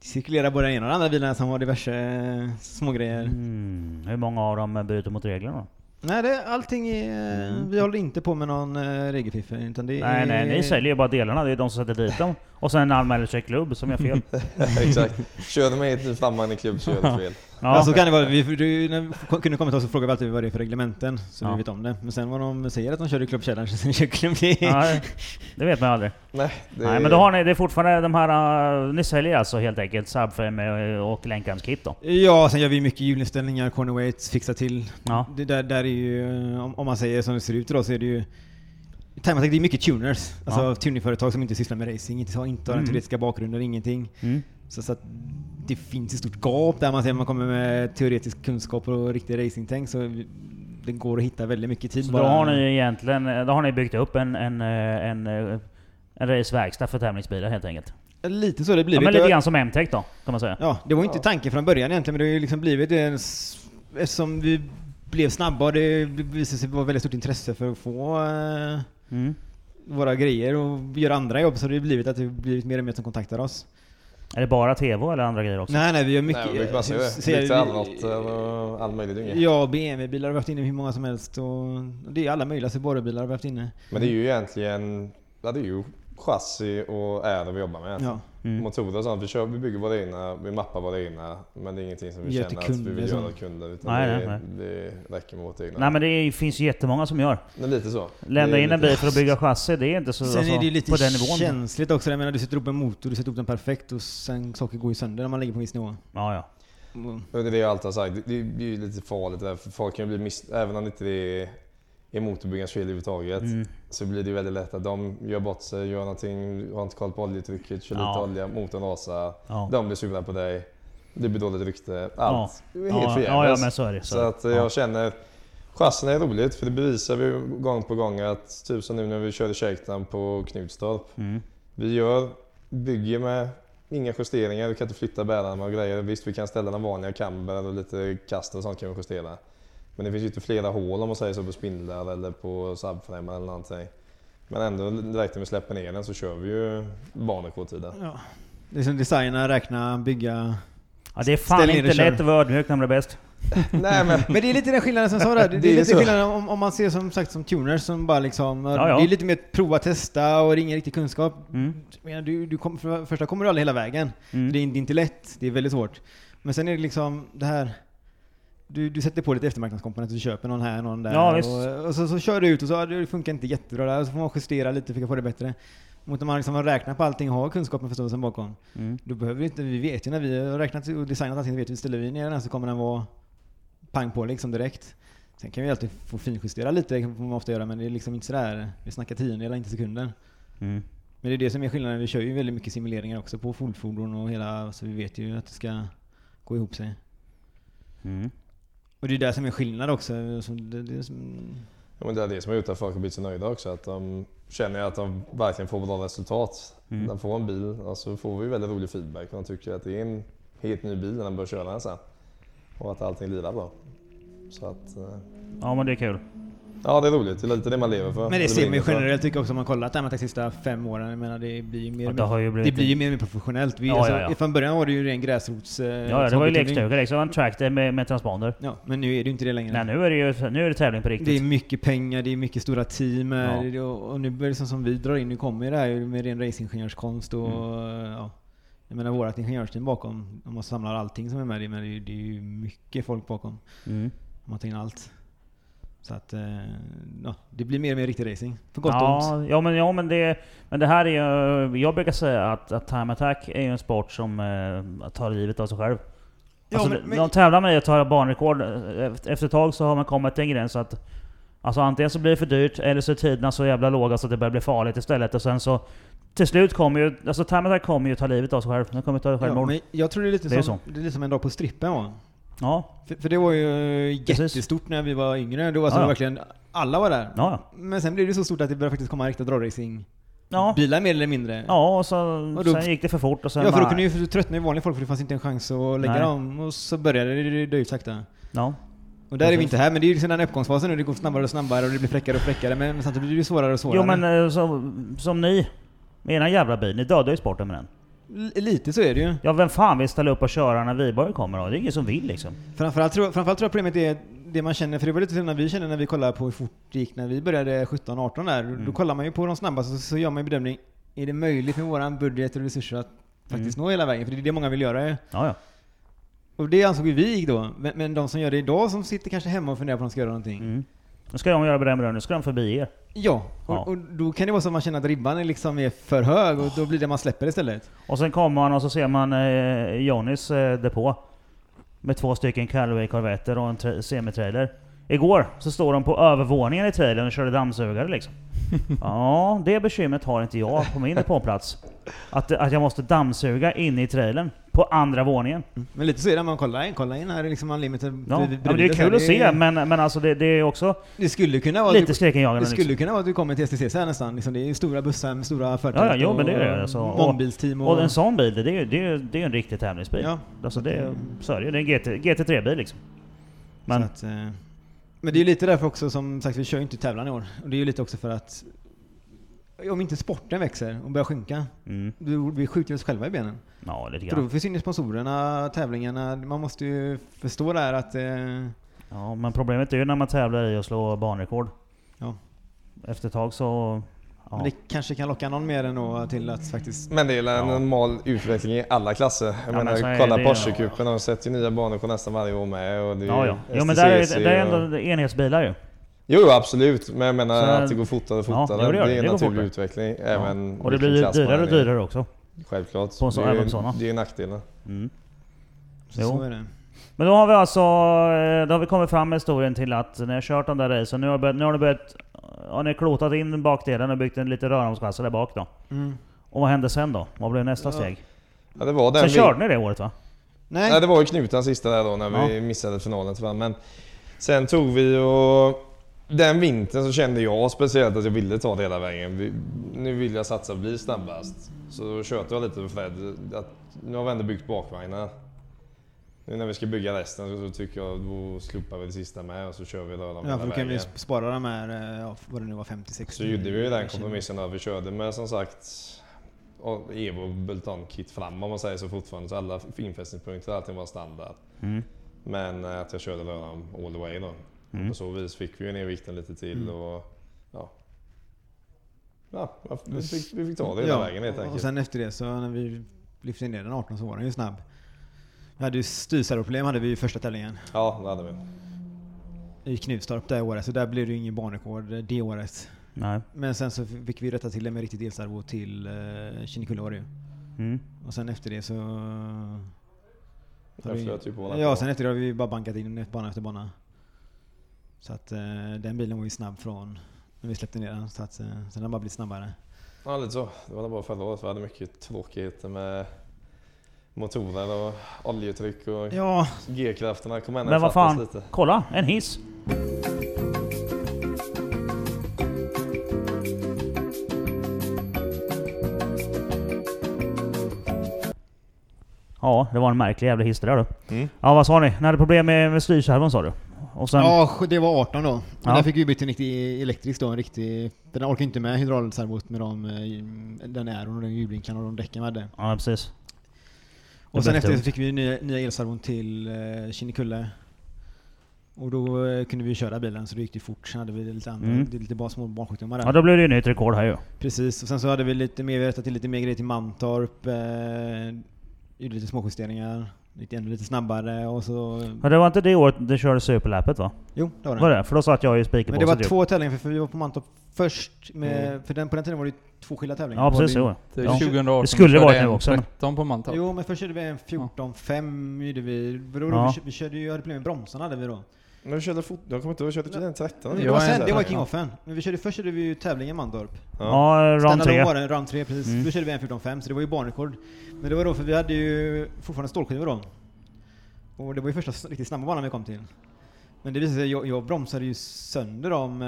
S5: det cirkulerar både den ena och den andra bilen som har diverse eh, smågrejer.
S2: Mm. Hur många av dem bryter mot reglerna?
S5: Nej, det, allting är,
S2: Mm.
S5: vi håller inte på med någon eh, regelfiffel utan det
S2: Nej,
S5: är...
S2: nej, ni säljer ju bara delarna. Det är de som sätter dit dem. Och sen anmäler sig klubb som gör fel.
S3: Exakt. Kör de hit nu flamman i klubb så gör de fel.
S2: Ja,
S5: Ja. Alltså kan det vara, vi, du, när vi kom- kunde komma till oss så frågade vi alltid vad det är för reglementen, så
S2: Ja.
S5: vi vet om det. Men sen vad de säger att de kör i Club Challenge, sen kör Club det-
S2: nej, det vet man aldrig.
S3: Nej, det
S2: Nej, men då har ni, det är fortfarande de här... eh, Ni säljer alltså helt enkelt Subframe och länkarmskit då?
S5: Ja, sen gör vi mycket hjulinställningar, corner weights, fixar till.
S2: Ja.
S5: Det där, där är ju, eh, om, om man säger som det ser ut idag så är det ju i Time Attack, det är mycket tuners. Alltså
S2: Ja.
S5: tuningföretag som inte sysslar med racing, inte har, inte har
S2: Mm.
S5: den teoretiska bakgrunden, ingenting.
S2: Mm.
S5: Så, så att det finns ett stort gap där man säger att man kommer med teoretisk kunskap och riktig racingtänk så vi- det går att hitta väldigt mycket tid
S2: Så då har ni egentligen eh, då har ni byggt upp en, en, eh, en, eh, en raceverkstad för tävlingsbilar helt enkelt?
S5: Lite så det blir.
S2: Ja, men
S5: det.
S2: lite grann som MTech då, kan man säga.
S5: Ja, det var ju inte
S3: Ja.
S5: tanken från början egentligen, men det har ju liksom blivit en... s- Eftersom vi blev snabba och det visade sig vara väldigt stort intresse för att få eh,
S2: Mm.
S5: våra grejer och göra andra jobb, så har det blivit att det har blivit mer och mer som kontaktar oss.
S2: Är det bara TV eller andra grejer också?
S5: Nej, nej, vi gör mycket...
S3: Nej, vi brukar bara
S5: eh,
S3: säga
S5: ser-
S3: det. Lite eh, allmänt och all möjlig dynga.
S5: Ja, BMW-bilar har vi haft inne hur många som helst och och det är alla möjliga Subaru-bilar har vi haft inne.
S3: Men det är ju egentligen, ja det är ju chassi och äro vi jobbar med.
S5: Ja.
S2: Mm.
S3: Motorer och sånt. Vi, kör, vi bygger våra egna, vi mappar våra egna. Men det är ingenting som vi
S5: Gör till
S3: känner att
S5: kunder
S3: vi vill göra
S5: och
S3: åt kunder. Utan
S2: Nej,
S3: det,
S2: nej,
S3: det räcker med vårt egna.
S2: Nej men det är, finns ju jättemånga som gör.
S3: Det är lite så.
S2: Lämna
S3: Det är
S2: in en
S3: lite-
S2: bil för att bygga chassi, det är inte så
S5: Sen
S2: alltså,
S5: är det ju
S2: på
S5: lite
S2: den nivån.
S5: känsligt också. Jag menar, du sätter upp en motor, du sätter upp den perfekt och sen saker går ju sönder när man ligger på en viss nivå.
S2: Ja, ja.
S5: Och-
S3: Och det är det jag alltid har sagt. Det, det är ju lite farligt det där. För folk kan ju bli miss... Även om det inte är, är motorbyggarens fel överhuvudtaget.
S2: Mm.
S3: Så blir det ju väldigt lätt att de gör bort sig, gör någonting, har inte koll på oljetrycket, kör
S2: Ja.
S3: lite olja, motorn rasar.
S2: ja.
S3: De blir sura på dig. Det blir dåligt rykte.
S2: Ja.
S3: Allt. Helt
S2: Ja,
S3: förgäves.
S2: ja, ja, men så är det.
S3: Så
S2: är
S3: att eh,
S2: det.
S3: jag
S2: ja.
S3: känner, chassen är roligt för det bevisar vi gång på gång att typ som nu när vi körde shakedown på Knutstorp.
S2: Mm.
S3: Vi gör, bygger med inga justeringar, vi kan inte flytta bärarna och grejer. Visst vi kan ställa den vanliga camber och lite kast och sånt kan vi justera. Men det finns ju inte flera hål om man säger så på spindlar eller på subframar eller någonting. Men ändå direkt när vi släpper ner den så kör vi ju banrekordtiden.
S5: Ja. Det är som designa, räkna, bygga.
S2: Ja, det är fan
S5: Ställ in
S2: inte
S5: och kör.
S2: lätt att vara ödmjuk när man är bäst.
S3: Nej men
S5: Men det är lite den skillnaden som jag sa där. Det,
S3: Det
S5: är
S3: är
S5: lite
S3: så.
S5: skillnaden om, om man ser som sagt som tuners som bara liksom...
S2: Ja, ja.
S5: Det är lite mer att prova, testa och det är ingen riktig kunskap.
S2: Mm.
S5: Jag menar, Du, du kom, för det första kommer du aldrig hela vägen.
S2: Mm.
S5: Det, är, det är inte lätt, det är väldigt svårt. Men sen är det liksom det här... Du, du sätter på lite eftermarknadskomponenter, du köper någon här, någon där.
S2: Ja, visst.
S5: och och så, så kör du ut och så ja, det funkar inte jättebra där. Så får man justera lite, försöka få det bättre. Mot när man liksom har räknat på allting och har kunskapen och förståelsen bakom.
S2: Mm.
S5: Då behöver vi inte, vi vet ju när vi har räknat och designat allting, vi vet vi ställer vi ner den här så kommer den vara pang på liksom direkt. Sen kan vi alltid få finjustera lite, det får man ofta göra, men det är liksom inte sådär, vi snackar tiondelar, inte sekunder.
S2: Mm.
S5: Men det är det som är skillnaden, vi kör ju väldigt mycket simuleringar också på fullfordon och hela, så vi vet ju att det ska gå ihop sig.
S2: Mm.
S5: Och det är där som är skillnad också. Som det, det är som,
S3: Ja, men det är det som har gjort att folk har blivit så nöjda också. Att de känner att de verkligen får bra resultat.
S2: Mm.
S3: De får en bil och så får vi väldigt rolig feedback. De tycker att det är en helt ny bil när de börjar köra den sen. Och att allting lirar bra. Så att, eh,
S2: Ja men det är kul.
S3: Ja, det är roligt. Det är lite det man lever för.
S5: Men det
S3: blir
S5: ser man ju
S3: inget för.
S5: generellt tycker jag också om man kollar Thermatec de sista fem åren. Jag menar, det blir ju mer
S2: Och
S5: och
S2: det
S5: mer,
S2: har ju
S5: det
S2: blivit...
S5: blir ju mer, och mer professionellt. Vi,
S2: Ja,
S5: alltså,
S2: ja, ja.
S5: Från början var det ju ren gräsrots... eh,
S2: ja, ja, det var ju
S5: hobbytävling.
S2: lekstuga liksom. En tractor med, med transponder.
S5: Ja, men nu är det ju inte det längre.
S2: Nej, nu är det ju nu är det tävling på
S5: Det är
S2: riktigt.
S5: mycket pengar, det är mycket stora team här,
S2: Ja.
S5: det- och och nu börjar det som, som vi drar in, nu kommer ju det här ju med ren racingingenjörskonst och
S2: Mm.
S5: ja. Jag menar vårt ingenjörsteam bakom, om man samlar allting som är med det, men det är ju, det är ju mycket folk bakom.
S2: Mm.
S5: Om man tar in allt. Så att, eh, ja, det blir mer och mer riktig racing. För gott och ont.
S2: Ja, alltså, ja, men, ja men, det, men det här är ju... Jag brukar säga att, att time attack är ju en sport som eh, tar livet av sig själv.
S5: Ja,
S2: alltså,
S5: men- men-
S2: De tävlar med dig och tar banrekord. eh, Efter efter ett tag så har man kommit till en gräns så att... Alltså antingen så blir det för dyrt, eller så är tiderna så jävla låga så att det börjar bli farligt istället. Och sen så... Till slut kommer ju... Alltså time attack kommer ju ta livet av sig själv. Den kommer ta
S5: Ja,
S2: självmord.
S5: men jag tror det är lite
S2: Det är
S5: som, det är lite som en dag på strippen var.
S2: Ja,
S5: För, för det var ju
S2: Precis.
S5: jättestort när vi var yngre. Då alltså
S2: Ja, ja.
S5: verkligen alla var där.
S2: ja.
S5: Men sen blev det så stort att det började faktiskt komma riktiga dragracing
S2: Ja,
S5: bilar mer eller mindre.
S2: ja och, så,
S5: Och då-
S2: sen gick det för fort och sen...
S5: Ja, för då
S2: bara-
S5: kunde ju tröttna ju vanliga folk för det fanns inte en chans att lägga
S2: Nej.
S5: dem. Och så började det dö ut sakta.
S2: Ja.
S5: Och där är vi
S2: Precis.
S5: inte här, men det är ju liksom den här uppgångsfasen nu. Det går snabbare och snabbare och det blir fräckare och fräckare. Men, men samtidigt blir det ju svårare och svårare.
S2: Jo men eh, så, som ni, med era jävla bil, ni dödar ju sporten med den.
S5: L- lite så är det ju.
S2: Ja vem fan vill ställa upp och köra när Viborg kommer då? Det är ingen som vill liksom.
S5: Framförallt tror, framförallt tror jag problemet är det man känner, för det var lite så när vi kände när vi kollade på hur fort det gick när vi började 17-18 där.
S2: Mm.
S5: Då kollar man ju på de snabbaste så, så gör man ju bedömning, är det möjligt med våran budget och resurser att faktiskt
S2: Mm.
S5: nå hela vägen? För det är det många vill göra ju.
S2: Ja, ja.
S5: Och det ansåg ju vi gick då. Men, men de som gör det idag som sitter kanske hemma och funderar på om de ska göra någonting.
S2: Mm. Nu ska de göra den nu ska de förbi er.
S5: Ja, och,
S2: Ja.
S5: och då kan det vara så att man känner att ribban är liksom är för hög och då blir det man släpper istället.
S2: Och sen kommer man och så ser man eh, Johnnys eh, depå. Med två stycken Callaway korvetter och en tra- semitrailer. Igår så står de på övervåningen i trailern och körde dammsugare liksom. Ja, det bekymret har inte jag på min depåplats. Att, att jag måste dammsuga inne i trailern. På andra våningen.
S5: Men lite så är det när man kollar in, kollar in här är liksom unlimited
S2: Ja.
S5: bredvid-
S2: ja men det är
S5: bredvid
S2: kul att
S5: oss här.
S2: se
S5: Det-
S2: men, men alltså det, det är också
S5: Det skulle kunna vara... typ
S2: lite skräckinjagande
S5: Det skulle
S2: liksom.
S5: kunna vara att du kommer till STCC här nästan. Liksom, det är ju stora bussar med stora förtält
S2: Ja, ja, jo, men det är det, alltså.
S5: och mångbilsteam och...
S2: Och en sån bil, det är ju det är, ju- det är ju en riktig tävlingsbil.
S5: Ja. Mm.
S2: Alltså det, är- så är det ju. Det är en GT, GT3-bil liksom. Men
S5: Så att, eh, men det är ju lite därför också som sagt, vi kör ju inte tävlan i år. Och det är ju lite också för att om inte sporten växer och börjar sjunka,
S2: Mm.
S5: då vi skjuter oss själva i benen.
S2: Ja, lite
S5: För då
S2: grann.
S5: försvinner sponsorerna, tävlingarna. Man måste ju förstå det här att... Eh,
S2: Ja, men problemet är ju när man tävlar i att slå banrekord.
S5: Ja.
S2: Efter ett tag så... Ja.
S5: Men det kanske kan locka någon mer ändå till att faktiskt...
S3: Men det är en
S2: Ja.
S3: normal utveckling i alla klasser. Jag
S2: men så är
S3: menar, kolla
S2: det.
S3: Porsche-cupen, de sätter ju nya banor på nästan varje år med. Och det är
S2: ja,
S3: ju
S2: ja. Jo, men där är,
S3: STCC
S2: där är
S3: och-
S2: ändå enhetsbilar ju.
S3: Jo, jo, absolut. Men jag menar
S2: Så-
S3: att det går fortare och
S2: Ja,
S3: fortare.
S2: jo, det
S3: det,
S2: gör det.
S3: är en
S2: Det går
S3: naturlig
S2: fortare.
S3: utveckling.
S2: ja.
S3: Även
S2: Och det
S3: vilken
S2: blir ju
S3: klass man
S2: dyrare
S3: är
S2: och
S3: i.
S2: dyrare också.
S3: Självklart.
S2: På så-
S3: det, är
S2: även
S3: ju,
S2: på sådana.
S3: det är ju nackdelen.
S2: Mm.
S5: Så,
S2: Jo.
S5: så är det.
S2: Men då har vi alltså... eh, Då har vi kommit fram med historien till att ni har kört den där racen. Nu har, börjat, nu har ni börjat... Har ni klotat in bakdelen och byggt en liten röromskassa där bak då?
S5: Mm.
S2: Och vad hände sen då? Vad blev nästa
S5: Ja.
S2: steg?
S3: Ja, det var den
S2: Sen
S3: vi-
S2: körde ni det året va?
S5: Nej,
S3: Nej, det var ju knuten sista där då när vi missade finalen tyvärr. Men sen tog vi och... Den vintern så kände jag speciellt att jag ville ta det hela vägen. Vi, nu vill jag satsa och bli snabbast. Så då tjötade jag lite med Fred. Att nu har vi ändå byggt bakvagnar. Nu när vi ska bygga resten så, så tycker jag då slopar vi det sista med och så kör vi röran
S5: ja,
S3: hela
S5: för då kan vi
S3: vägen.
S5: sp- spara de här, eh, ja, vad det nu var, 50-60.
S3: Så gjorde vi ju
S5: Mm.
S3: den kompromissen där vi körde med som sagt och Evo och Bultan kit fram om man säger så fortfarande. Så alla infästningspunkter allting var standard.
S2: Mm.
S3: Men eh, att jag körde lördagen all the way då.
S2: Mm.
S3: På så vis fick vi ju ner vikten lite till och ja. Ja, vi fick, vi fick ta det hela vägen helt
S5: Och
S3: enkelt.
S5: sen efter det så när vi lyfte ner den 18 så var den ju snabb. Vi hade ju styrsärproblem hade vi i första tävlingen
S3: Ja, det hade vi.
S5: i Knivstorp det året, så där blev det ju ingen banrekord eh, det året.
S2: Nej.
S5: Men sen så fick vi rätta till det med riktigt elservo till eh, Kinnekulle var det ju.
S2: Mm.
S5: Och sen efter det så...
S3: Jag flöt ju typ på våran
S5: Ja,
S3: plan.
S5: sen efter det har vi bara bankat in bana efter bana. Så att eh, den bilen var ju snabb från när vi släppte ner den. Så att, eh, sen har den bara blivit snabbare.
S3: Ja, lite så. Det var bara förra året. Vi hade mycket tråkigheter med motorer och oljetryck och
S5: Ja,
S3: G-krafterna kom ändå
S2: Men vad
S3: fattas
S2: fan,
S3: lite.
S2: kolla! En hiss! Ja, det var en märklig jävla hiss det där du.
S3: Mm.
S5: Mm.
S2: Ja, vad sa ni? Ni hade problem med, med styrkärvan sa du? Och sen,
S5: Ja, sj- det var 18 då. Men
S2: Ja.
S5: Den fick vi bytt till en riktig elektrisk då, en riktig... Den orkar inte med hydraulservot med de, eh, den aeron och den ljudblinkan och de däcken vi hade.
S2: ja precis.
S5: Och
S2: Det
S5: sen
S2: blev
S5: efter det
S2: tungt.
S5: så fick vi nya, nya elservon till eh, Kinnekulle. Och då eh, kunde vi köra bilen så då gick det fort. Sen hade vi lite andra,
S2: Mm.
S5: det är lite bara små barnsjukdomar där.
S2: Ja, då blir det ju nytt rekord här ju.
S5: Precis, och sen så hade vi lite mer, vi rättat till lite mer grejer till Mantorp. Eh, gjorde lite småjusteringar. Gick ännu lite snabbare och så...
S2: Men det var inte det året du körde superlappet va?
S5: Jo, det var det.
S2: Var det? För då satt jag ju spiken
S5: Men
S2: på
S5: det var
S2: så typ.
S5: två tävlingar, för- för vi var på Mantorp först. Med, För den, på den tiden var det ju två skilda tävlingar.
S2: Mm. Ja precis,
S4: Var
S2: jo.
S4: Det,
S2: Ja.
S4: 2018
S2: Det skulle
S4: körde
S2: varit
S4: jag
S2: nu
S4: en
S2: också, men-
S4: 13 på Mantorp.
S5: Jo, men först körde vi en 14-5. gjorde Vi, för då,
S2: Ja.
S5: vi, kö- vi körde ju, hade problem med bromsarna hade vi då.
S3: Men vi körde fot... Jag kommer inte ihåg, vi körde 13?
S5: Det
S4: jag
S5: var,
S4: är
S5: sen,
S4: inte-
S5: det var king-offen. Men vi körde, först körde vi ju tävlingen Mantorp.
S2: Ja, round
S5: Standalone
S2: 3.
S5: var det, round 3 precis.
S2: Mm.
S5: Då körde vi en 14-5, så det var ju banrekord. Men det var då, för vi hade ju fortfarande stålskivor då. Och det var ju första s- riktigt snabba banan vi kom till. Men det visade sig, jag, jag bromsade ju sönder dem. Eh,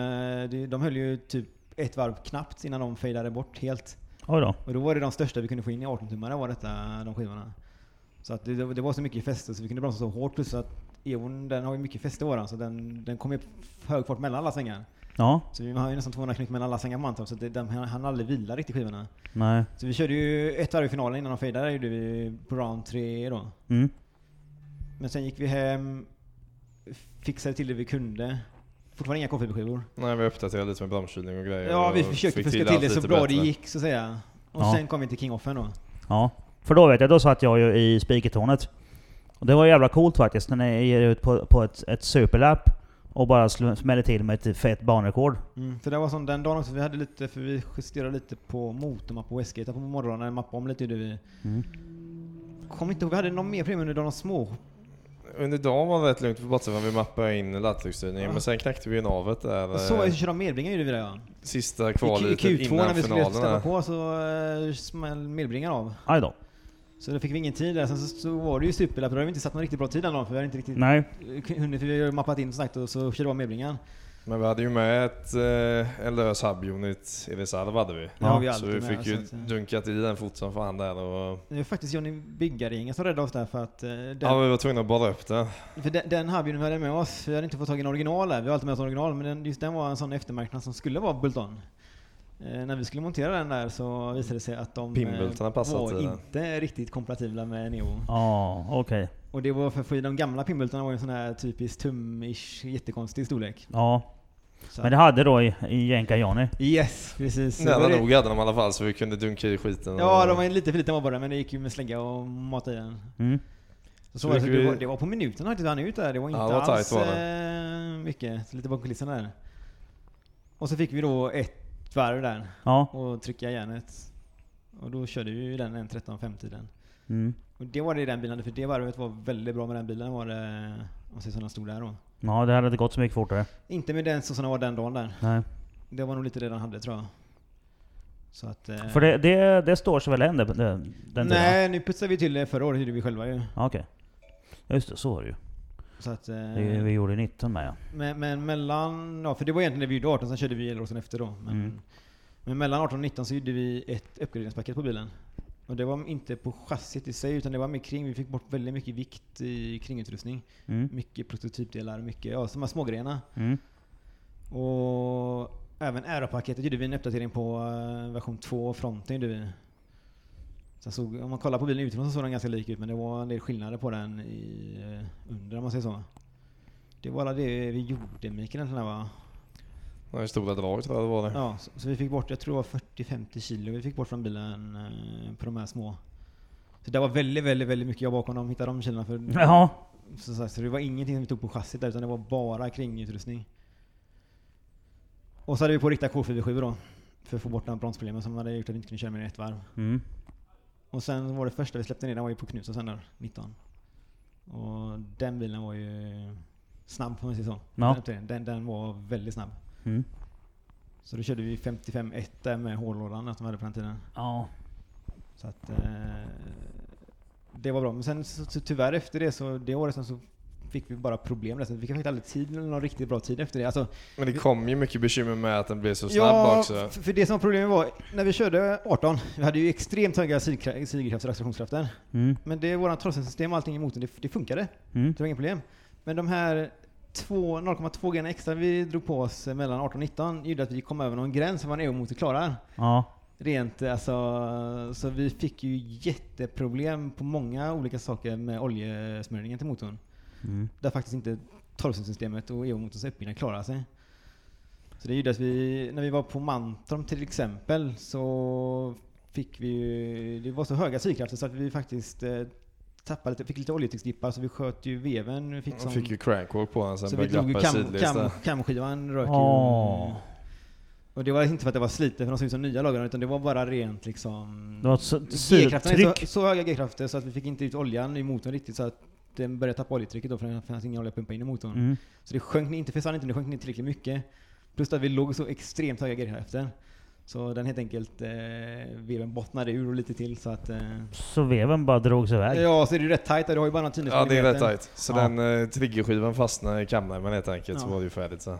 S5: det- De höll ju typ ett varv knappt innan de fejdade bort helt.
S2: Oj då.
S5: Och då var det de största vi kunde få in i 18-tummare var detta, de skivorna. Så att det, det var- det var så mycket fäste så vi kunde bromsa så hårt plus att Eon den har ju mycket fäste våran så den, den kom ju hög fart mellan alla svängar.
S2: Ja,
S5: Så vi har ju nästan 200 knyck mellan alla svängar på Mantorp så att det, den, han hann aldrig vila riktigt skivorna.
S2: nej.
S5: Så vi körde ju ett varv i finalen innan de fejdade gjorde vi på round 3 då.
S2: Mm.
S5: Men sen gick vi hem, fixade till det vi kunde. Fortfarande inga K-fiberskivor.
S3: Nej, vi uppdaterade lite med bromskylning och grejer.
S5: Ja, vi
S3: och
S5: försökte
S3: Eh, fick
S5: fuska till
S3: allt
S5: det så
S3: lite
S5: bra
S3: bättre.
S5: det gick så att säga. Och
S2: Ja.
S5: sen kom vi till King-offen då.
S2: Ja. För då vet jag, då satt jag ju i spikertornet. Och det var jävla coolt faktiskt när ni ger ut på, på ett, ett superlapp och bara sl- smäller till med ett fett banrekord.
S5: Mm. För det var som den dagen också, vi hade lite, för vi justerade lite på motormapp på Westgate på morgonen, mappade om lite gjorde vi.
S2: Mm.
S5: Kom inte ihåg, vi hade någon mer problem under de små.
S3: Under dagen var det rätt lugnt på platsen för vi mappade in laddtrycksstyrningen.
S5: Ja.
S3: Men sen knäckte vi ju navet där.
S5: Och så var
S3: eh,
S5: vi körde medbringar gjorde vi det ja.
S3: Sista
S5: I
S3: kvalet
S5: Q- i Q2 när
S3: innan
S5: vi skulle
S3: finalen.
S5: ställa
S3: där.
S5: på så uh, smäll medbringar av.
S2: Aj då.
S5: Så då fick vi ingen tid där. Sen så, så var det ju superlapp, då hade vi inte satt någon riktigt bra tid den dagen för vi hade inte riktigt
S2: Nej.
S5: hunnit, för vi hade mappat in som sagt och så körde vi av medbringaren.
S3: Men vi hade ju med ett, eh, en lös hub-unit i reserv hade vi.
S5: Det har vi ju
S3: så
S5: alltid
S3: vi
S5: med,
S3: fick ju
S5: så att, eh.
S3: dunkat i den fort som fan där och...
S5: Det var faktiskt Johnny Byggaringen som räddade oss där för att eh, den,
S3: Ja, vi var tvungna att borra upp den.
S5: För den, den här vi hade med oss, vi hade inte fått tag i en original där. Vi har alltid med oss original, men den, just den var en sån eftermarknad som skulle vara Bulton. Eh, när vi skulle montera den där så visade det sig att de eh,
S3: Pinnbultarna passade
S5: var
S3: till den.
S5: inte riktigt kompatibla med Neo.
S2: Ja, okej.
S5: Och det var för, för de gamla pinnbultarna var ju en sån här typisk tum-ish, jättekonstig storlek.
S2: Ja.
S5: Så
S2: Men det hade då i, i Jenka Johnny.
S5: Yes, precis. Så
S3: Nära
S5: var det-
S3: nog hade de i alla fall så vi kunde dunka i skiten.
S5: Ja,
S3: och-
S5: de var ju lite för liten var bara, men det gick ju med slägga och mata i den.
S2: Mm.
S5: Så,
S3: Så
S5: var det,
S3: gick
S5: så det,
S3: vi-
S5: var, det var på minuten faktiskt han ut där. Det var inte
S3: Ja, det var tajt
S5: alls
S3: var
S5: eh, mycket. Så lite bakom kulisserna där. Och så fick vi då ett varv där
S2: Ja.
S5: och trycka järnet. Och då körde vi ju den en 13.5 tiden.
S2: Mm.
S5: Och det var det i den bilen, för det varvet var väldigt bra med den bilen var det. Om man säger som den stod där då.
S2: Ja, det hade inte gått så mycket fortare.
S5: Inte med den så som den var den dagen där.
S2: Nej.
S5: Det var nog lite det den hade tror jag. Så att... eh,
S2: För det, det, det står sig väl än det- det- den tiden?
S5: Nej, nu putsade vi till det förra året, gjorde vi själva ju.
S2: Ja, okej. Ja, just det, så var det ju.
S5: Så att... eh,
S2: Det, vi gjorde 19 med ja.
S5: Men, men mellan, ja för det var egentligen när vi gjorde 18, sen körde vi elrosen efter då. Men,
S2: Mm.
S5: men mellan 18 och 19 så gjorde vi ett uppgraderingspaket på bilen. Och det var inte på chassit i sig, utan det var mer kring. Vi fick bort väldigt mycket vikt i kringutrustning.
S2: Mm.
S5: Mycket prototypdelar, mycket, ja, de här smågrejerna.
S2: Mm.
S5: Och även aeropaketet gjorde vi en uppdatering på eh, version 2, fronten gjorde vi. Sen såg, om man kollar på bilen utifrån så såg den ganska lik ut, men det var en del skillnader på den i, eh, under om man säger så. Det var alla det vi gjorde Mikael egentligen va?
S3: Ja, I stora drag tror jag det var det.
S5: Ja, så, så vi fick bort, jag tror det var 40-50 kilo vi fick bort från bilen eh, på de här små. Så det var väldigt, väldigt, väldigt mycket jobb bakom dem, hitta de kilona. För,
S2: Ja.
S5: så, så, så det var ingenting som vi tog på chassit där, utan det var bara kringutrustning. Och så hade vi på riktiga K47 då. För att få bort de här bromsproblemen som hade gjort att vi inte kunde köra mer än ett varv.
S2: Mm.
S5: Och sen var det första vi släppte ner, den var ju på Knutsson sen där, 19. Och den bilen var ju snabb får man säga så.
S2: Ja.
S5: Den, den, den var väldigt snabb.
S2: Mm.
S5: Så då körde vi 55-1 där med hållådan som vi hade på den tiden.
S2: Ja.
S5: Så att, eh, det var bra. Men sen så, så tyvärr efter det, så det året sen så fick vi bara problem. där. Så Vi fick faktiskt aldrig tid, någon riktigt bra tid efter det. Alltså,
S3: Men det kom ju mycket bekymmer med att den blev så snabb
S5: ja,
S3: också.
S5: f- för det som var problemet var, när vi körde 18, vi hade ju extremt höga sidkra- sidkrafter och accelerationskrafter.
S2: Mm.
S5: Men det, våran trosselsystem och allting i motorn, det, det funkade.
S2: Mm.
S5: Det var inga problem. Men de här två- 0,2 gram extra vi drog på oss mellan 18 och 19 gjorde att vi kom över någon gräns som vår EU-motor klarar.
S2: Ja.
S5: Rent eh, alltså, så vi fick ju jätteproblem på många olika saker med oljesmörjningen till motorn.
S2: Mm.
S5: Där faktiskt inte torrsystemet och EU-motorns uppbyggnad klarar sig. Så det gjorde att vi, när vi var på Mantorp till exempel, så fick vi ju, det var så höga syrkrafter så att vi faktiskt eh, tappade lite, fick lite oljetrycksdippar så vi sköt ju veven. Vi fick
S3: Han
S5: som,
S3: fick ju crankwalk på den sen
S5: så vi
S3: började
S5: drog ju
S3: glappa i
S5: kam,
S3: sidledes
S5: kam,
S3: där.
S5: kamskivan rök
S2: Åh.
S5: ju. Och det var inte för att det var slitet för de såg ut som nya lagrar utan det var bara rent liksom...
S2: Det var ett sy-
S5: G-krafterna är så,
S2: syrtryck.
S5: så höga G-krafter så att vi fick inte ut oljan i motorn riktigt så att den började tappa oljetrycket då för det fanns ingen olja att pumpa in i motorn.
S2: Mm.
S5: Så det sjönk ner- inte, försvann inte, men det sjönk ner tillräckligt mycket. Plus att vi låg så extremt höga G-krafter. Så den helt enkelt, eh, veven bottnade ur och lite till så att... Eh,
S2: Så veven bara drogs iväg.
S5: ja, så är det ju rätt tajt där. Du har ju bara någon
S3: Ja det är rätt tight. Så
S2: Ja.
S3: den eh, triggerskivan fastnade i kammen helt enkelt så
S5: Ja.
S3: var det ju färdigt sen.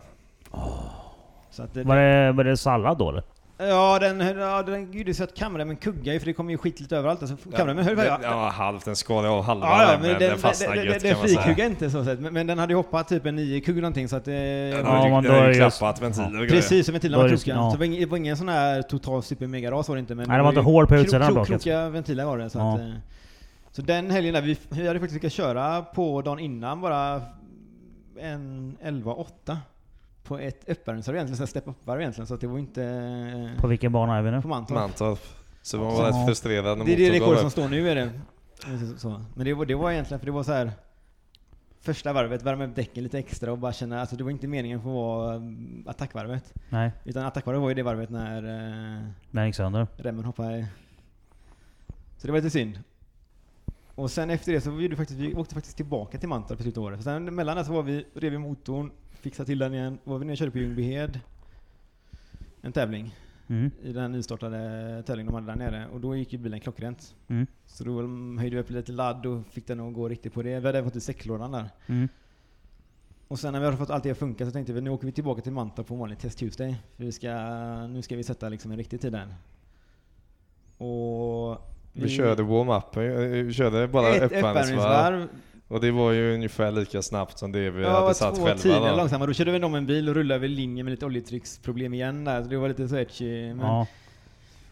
S5: Så att, eh,
S2: Var det, var det sallad då eller?
S5: ja, den, ja, den gjorde så att kameramen kuggade ju för det kom ju skit lite överallt. Alltså, kameramen höll väl...
S3: Den- Ja halvt, den skalade av halva
S5: Ja, ja,
S3: den, eh,
S5: men den,
S3: den
S5: den,
S3: fastnade
S5: den, den,
S3: gött
S5: den
S3: kan man säga.
S5: frikuggade inte så sett, men, men den hade ju hoppat typ en 9 kugg eller någonting så att eh,
S3: Den
S2: Ja,
S3: har ju-
S2: men
S3: den
S2: då
S3: har ju
S2: är det-
S3: klappat ventiler och grejer.
S5: Precis, som ventilerna
S2: Då
S5: var
S2: är det-
S5: krokiga.
S2: ja.
S5: Så det var ingen, det var ingen sån här total super-mega-ras var det inte. Men
S2: Nej, det var inte
S5: ju
S2: hål på
S5: kro-
S2: utsidan
S5: kro-
S2: bak,
S5: Krokiga ventiler var det. Så,
S2: Ja.
S5: att, eh, så den helgen där, vi, vi hade faktiskt lyckats köra på dagen innan bara en 11-8 på ett uppvärmningsvarv egentligen, ett step-up-varv egentligen. Så att det var inte eh,
S2: På vilken bana är vi nu?
S5: på Mantorp.
S3: Mantorp. Så man var
S2: Ja.
S3: rätt frustrerad när
S5: Det är det
S3: motorn gav
S5: rekord som
S3: upp.
S5: står nu är det. Så. Men det var, det var egentligen för det var så här Första varvet, värma upp däcken lite extra och bara känna, alltså det var inte meningen för att vara mm, attackvarvet.
S2: Nej,
S5: Utan attackvarvet var ju det varvet när eh,
S2: den gick sönder.
S5: remmen hoppade. i. Så det var lite synd. Och sen efter det så vi, faktiskt, vi åkte faktiskt tillbaka till Mantorp i slutet av året. För sen mellan det så var vi, rev vi motorn, fixade till den igen, var vi nere och körde på Ljungbyhed. En tävling.
S2: Mm.
S5: I den nystartade tävlingen de hade där nere. Och då gick ju bilen klockrent.
S2: Mm.
S5: Så då höjde vi upp lite ladd och fick den att gå riktigt på det. Vi hade även fått i säcklådan där.
S2: Mm.
S5: Och sen när vi hade fått allt det att funka så tänkte vi nu åker vi tillbaka till Mantorp på en vanlig Test Tuesday. För vi ska, nu ska vi sätta liksom en riktig tid där. Och...
S3: Vi körde warm-upen, eh, vi körde bara
S5: ett
S3: uppvärmningsvarv.
S5: uppvärmningsvarv.
S3: Och det var ju ungefär lika snabbt som det vi
S5: Ja,
S3: hade
S5: det
S3: satt
S5: var två tider
S3: själva. Då.
S5: långsammare. Då körde vi om en bil och rullade över linjen med lite oljetrycksproblem igen där. Så det var lite så etchy. Men
S2: Ja.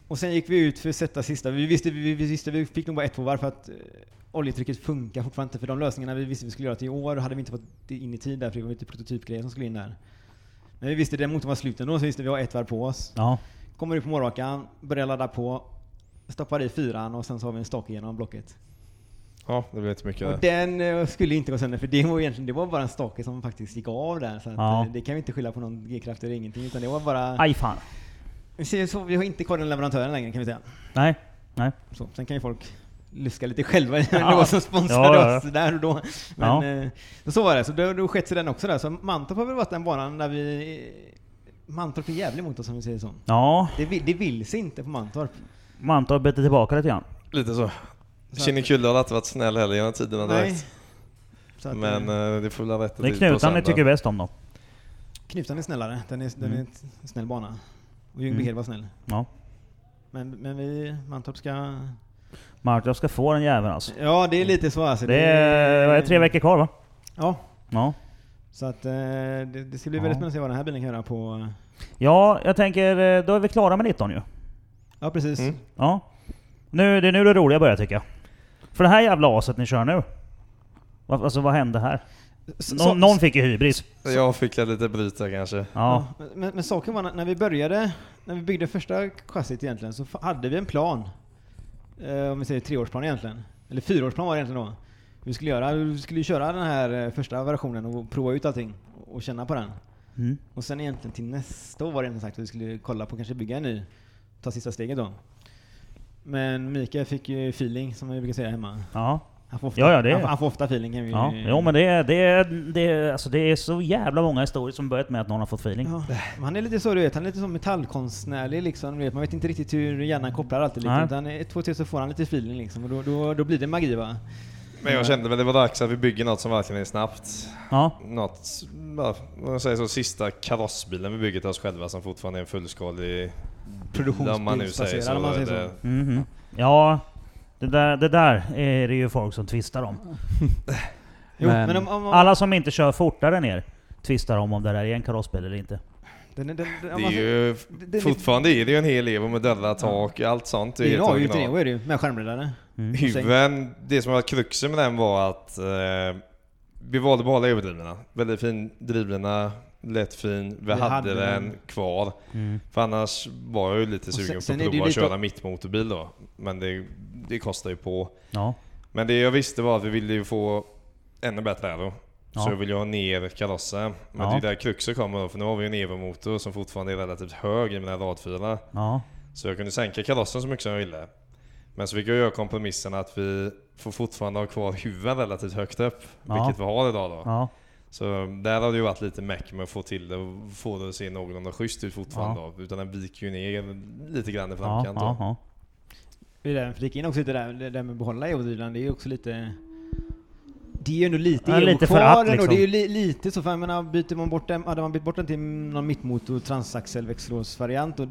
S5: Och sen gick vi ut för att sätta sista. Vi visste vi, vi, visste, vi fick nog bara ett på varv för att eh, oljetrycket funkar fortfarande inte. För de lösningarna vi visste vi skulle göra till i år hade vi inte fått det in i tid där för det var lite prototypgrejer som skulle in där. Men vi visste den motorn var slut ändå så visste vi har ett varv på oss.
S2: Ja.
S5: Kommer ut på morgonrakan, börjar ladda på, stoppar i fyran och sen så har vi en stake genom blocket.
S3: Ja, det blev inte mycket
S5: Och
S3: där.
S5: den eh, skulle inte gå sönder för det var egentligen det var bara en stake som faktiskt gick av där. Så att,
S2: Ja.
S5: eh, det kan vi inte skylla på någon G-kraft eller ingenting utan det var bara...
S2: Aj fan.
S5: Vi ser Så, vi har inte kvar den leverantören längre kan vi säga.
S2: Nej. Nej.
S5: Så, sen kan ju folk luska lite själva i vem
S2: Ja.
S5: det var som sponsrade
S2: Ja, ja, ja.
S5: oss där och då. Men eh, så var det. Så då, då skett sig den också där. Så Mantorp har väl varit den banan där vi... Mantorp är jävlig mot oss om vi säger så.
S2: Ja,
S5: Det, vi- det vill sig inte på Mantorp.
S2: Mantorp bete tillbaka lite grann.
S3: Lite så.
S5: Så att-
S3: Kinnekulle har alltid varit snäll heller genom tiderna direkt.
S5: Så att,
S3: Men
S5: eh,
S3: eh, det får väl ha rätt
S2: Det är knutan ni tycker bäst om då.
S5: Knutan är snällare. Den är, den är
S2: Mm.
S5: en snäll bana. Och Ljungbyhed
S2: Mm.
S5: var snäll.
S2: Ja.
S5: Men, men vi, Mantorp ska...
S2: Mantorp ska få den jäveln alltså.
S5: Ja, det är lite så alltså.
S2: Det är, vad är det, tre veckor kvar va?
S5: Ja.
S2: Ja.
S5: Så att eh, det, det ska bli
S2: Ja.
S5: väldigt spännande att se vad den här bilen kan göra på...
S2: Ja, jag tänker, eh, då är vi klara med 19 ju.
S5: Ja, precis.
S3: Mm.
S2: Ja. Nu, det är nu det roliga börjar tycker jag. För det här jävla aset ni kör nu. Va- Alltså vad hände här?
S5: S-
S2: Nå,
S5: så-
S2: någon fick ju hybris.
S3: Jag fick lite bryt där kanske.
S2: Ja.
S5: Ja, men, men saken var när- när vi började, när vi byggde första chassit egentligen, så fa- hade vi en plan. Eh, om vi säger treårsplan egentligen. Eller fyraårsplan var det egentligen då. Hur Vi skulle göra, vi skulle ju köra den här eh, första versionen och prova ut allting och känna på den.
S2: Mm.
S5: Och sen egentligen till nästa år var det egentligen sagt att vi skulle kolla på kanske bygga en ny. Ta sista steget då. Men Mikael fick ju feeling som vi brukar säga hemma.
S2: ja.
S5: Han får ofta,
S2: Ja, ja, det-
S5: han, får- han får ofta feeling kan vi
S2: Ja, jo men det är, det, är, det, är, alltså det är så jävla många historier som börjat med att någon har fått feeling.
S5: Ja, men han är lite så du vet, han är lite som metallkonstnärlig liksom. du Vet. Man vet inte riktigt hur hjärnan kopplar alltid. Liksom.
S2: Nej.
S5: Utan ett, två, tre så får han lite feeling liksom. Och då, då, då blir det magi va?
S3: Men jag kände väl det var dags att vi bygger något som verkligen är snabbt.
S2: Ja.
S3: Något, ja, vad jag säger så, sista karossbilen vi bygger till oss själva som fortfarande är en fullskalig... Om man nu säger så.
S5: Produktionsbaserad om man säger så.
S3: Det-
S2: Mhm. Ja, det där, det där är det ju folk som tvistar om.
S5: Jo,
S4: Men-
S5: men, om, om, om,
S2: Alla som inte kör fortare än er tvistar om om det där är en karossbil eller inte.
S5: den, den, den, om
S3: Det
S5: man-
S3: är ju,
S5: den är-
S3: fortfarande är det ju en hel lever med dörrar, tak och allt sånt.
S5: det är en
S3: helt
S5: avgift i
S3: original.
S5: Neo är det ju, med skärmbreddare.
S3: Huven, det som var kruxen med den var att eh, vi valde bara leverdrivorna. Väldigt fin drivlina, lätt fin. Vi, hade, den kvar.
S2: Mm.
S3: För annars var jag ju lite
S5: sen-
S3: sugen
S5: sen
S3: på
S5: är
S3: att
S5: det ju
S3: prova att
S5: lite-
S3: köra mittmotorbil då. Men det, det kostar ju på.
S2: Ja.
S3: Men det jag visste var att vi ville ju få ännu bättre aero.
S2: Ja.
S3: Så jag ville ju ha ner karossen. Men
S2: Ja.
S3: det är där kruxet kommer då, för nu har vi ju en Evo-motor som fortfarande är relativt hög i mina radfiler.
S2: Ja.
S3: Så jag kunde sänka karossen så mycket som jag ville. Men så fick jag göra kompromissen att vi får fortfarande ha kvar huven relativt högt upp.
S2: Ja.
S3: Vilket vi har idag då.
S2: Ja.
S3: Så där har det ju varit lite meck med att få till det och få det att se någorlunda schysst ut fortfarande. Då, utan den viker ju ner lite grann i
S2: Ja.
S3: framkant.
S2: Ja.
S3: då.
S2: ja.
S5: Det är därför jag flika in också lite där, det där med att behålla eodrilan, det är ju också lite... Det är ju ändå lite
S2: Ja,
S5: ja,
S2: lite
S5: lite
S2: förakt,
S5: kvar ändå.
S2: liksom.
S5: Det är ju li, lite så, för jag menar, byter man bort den, hade man bytt bort den till någon mittmotor transaxel växellåsvariant och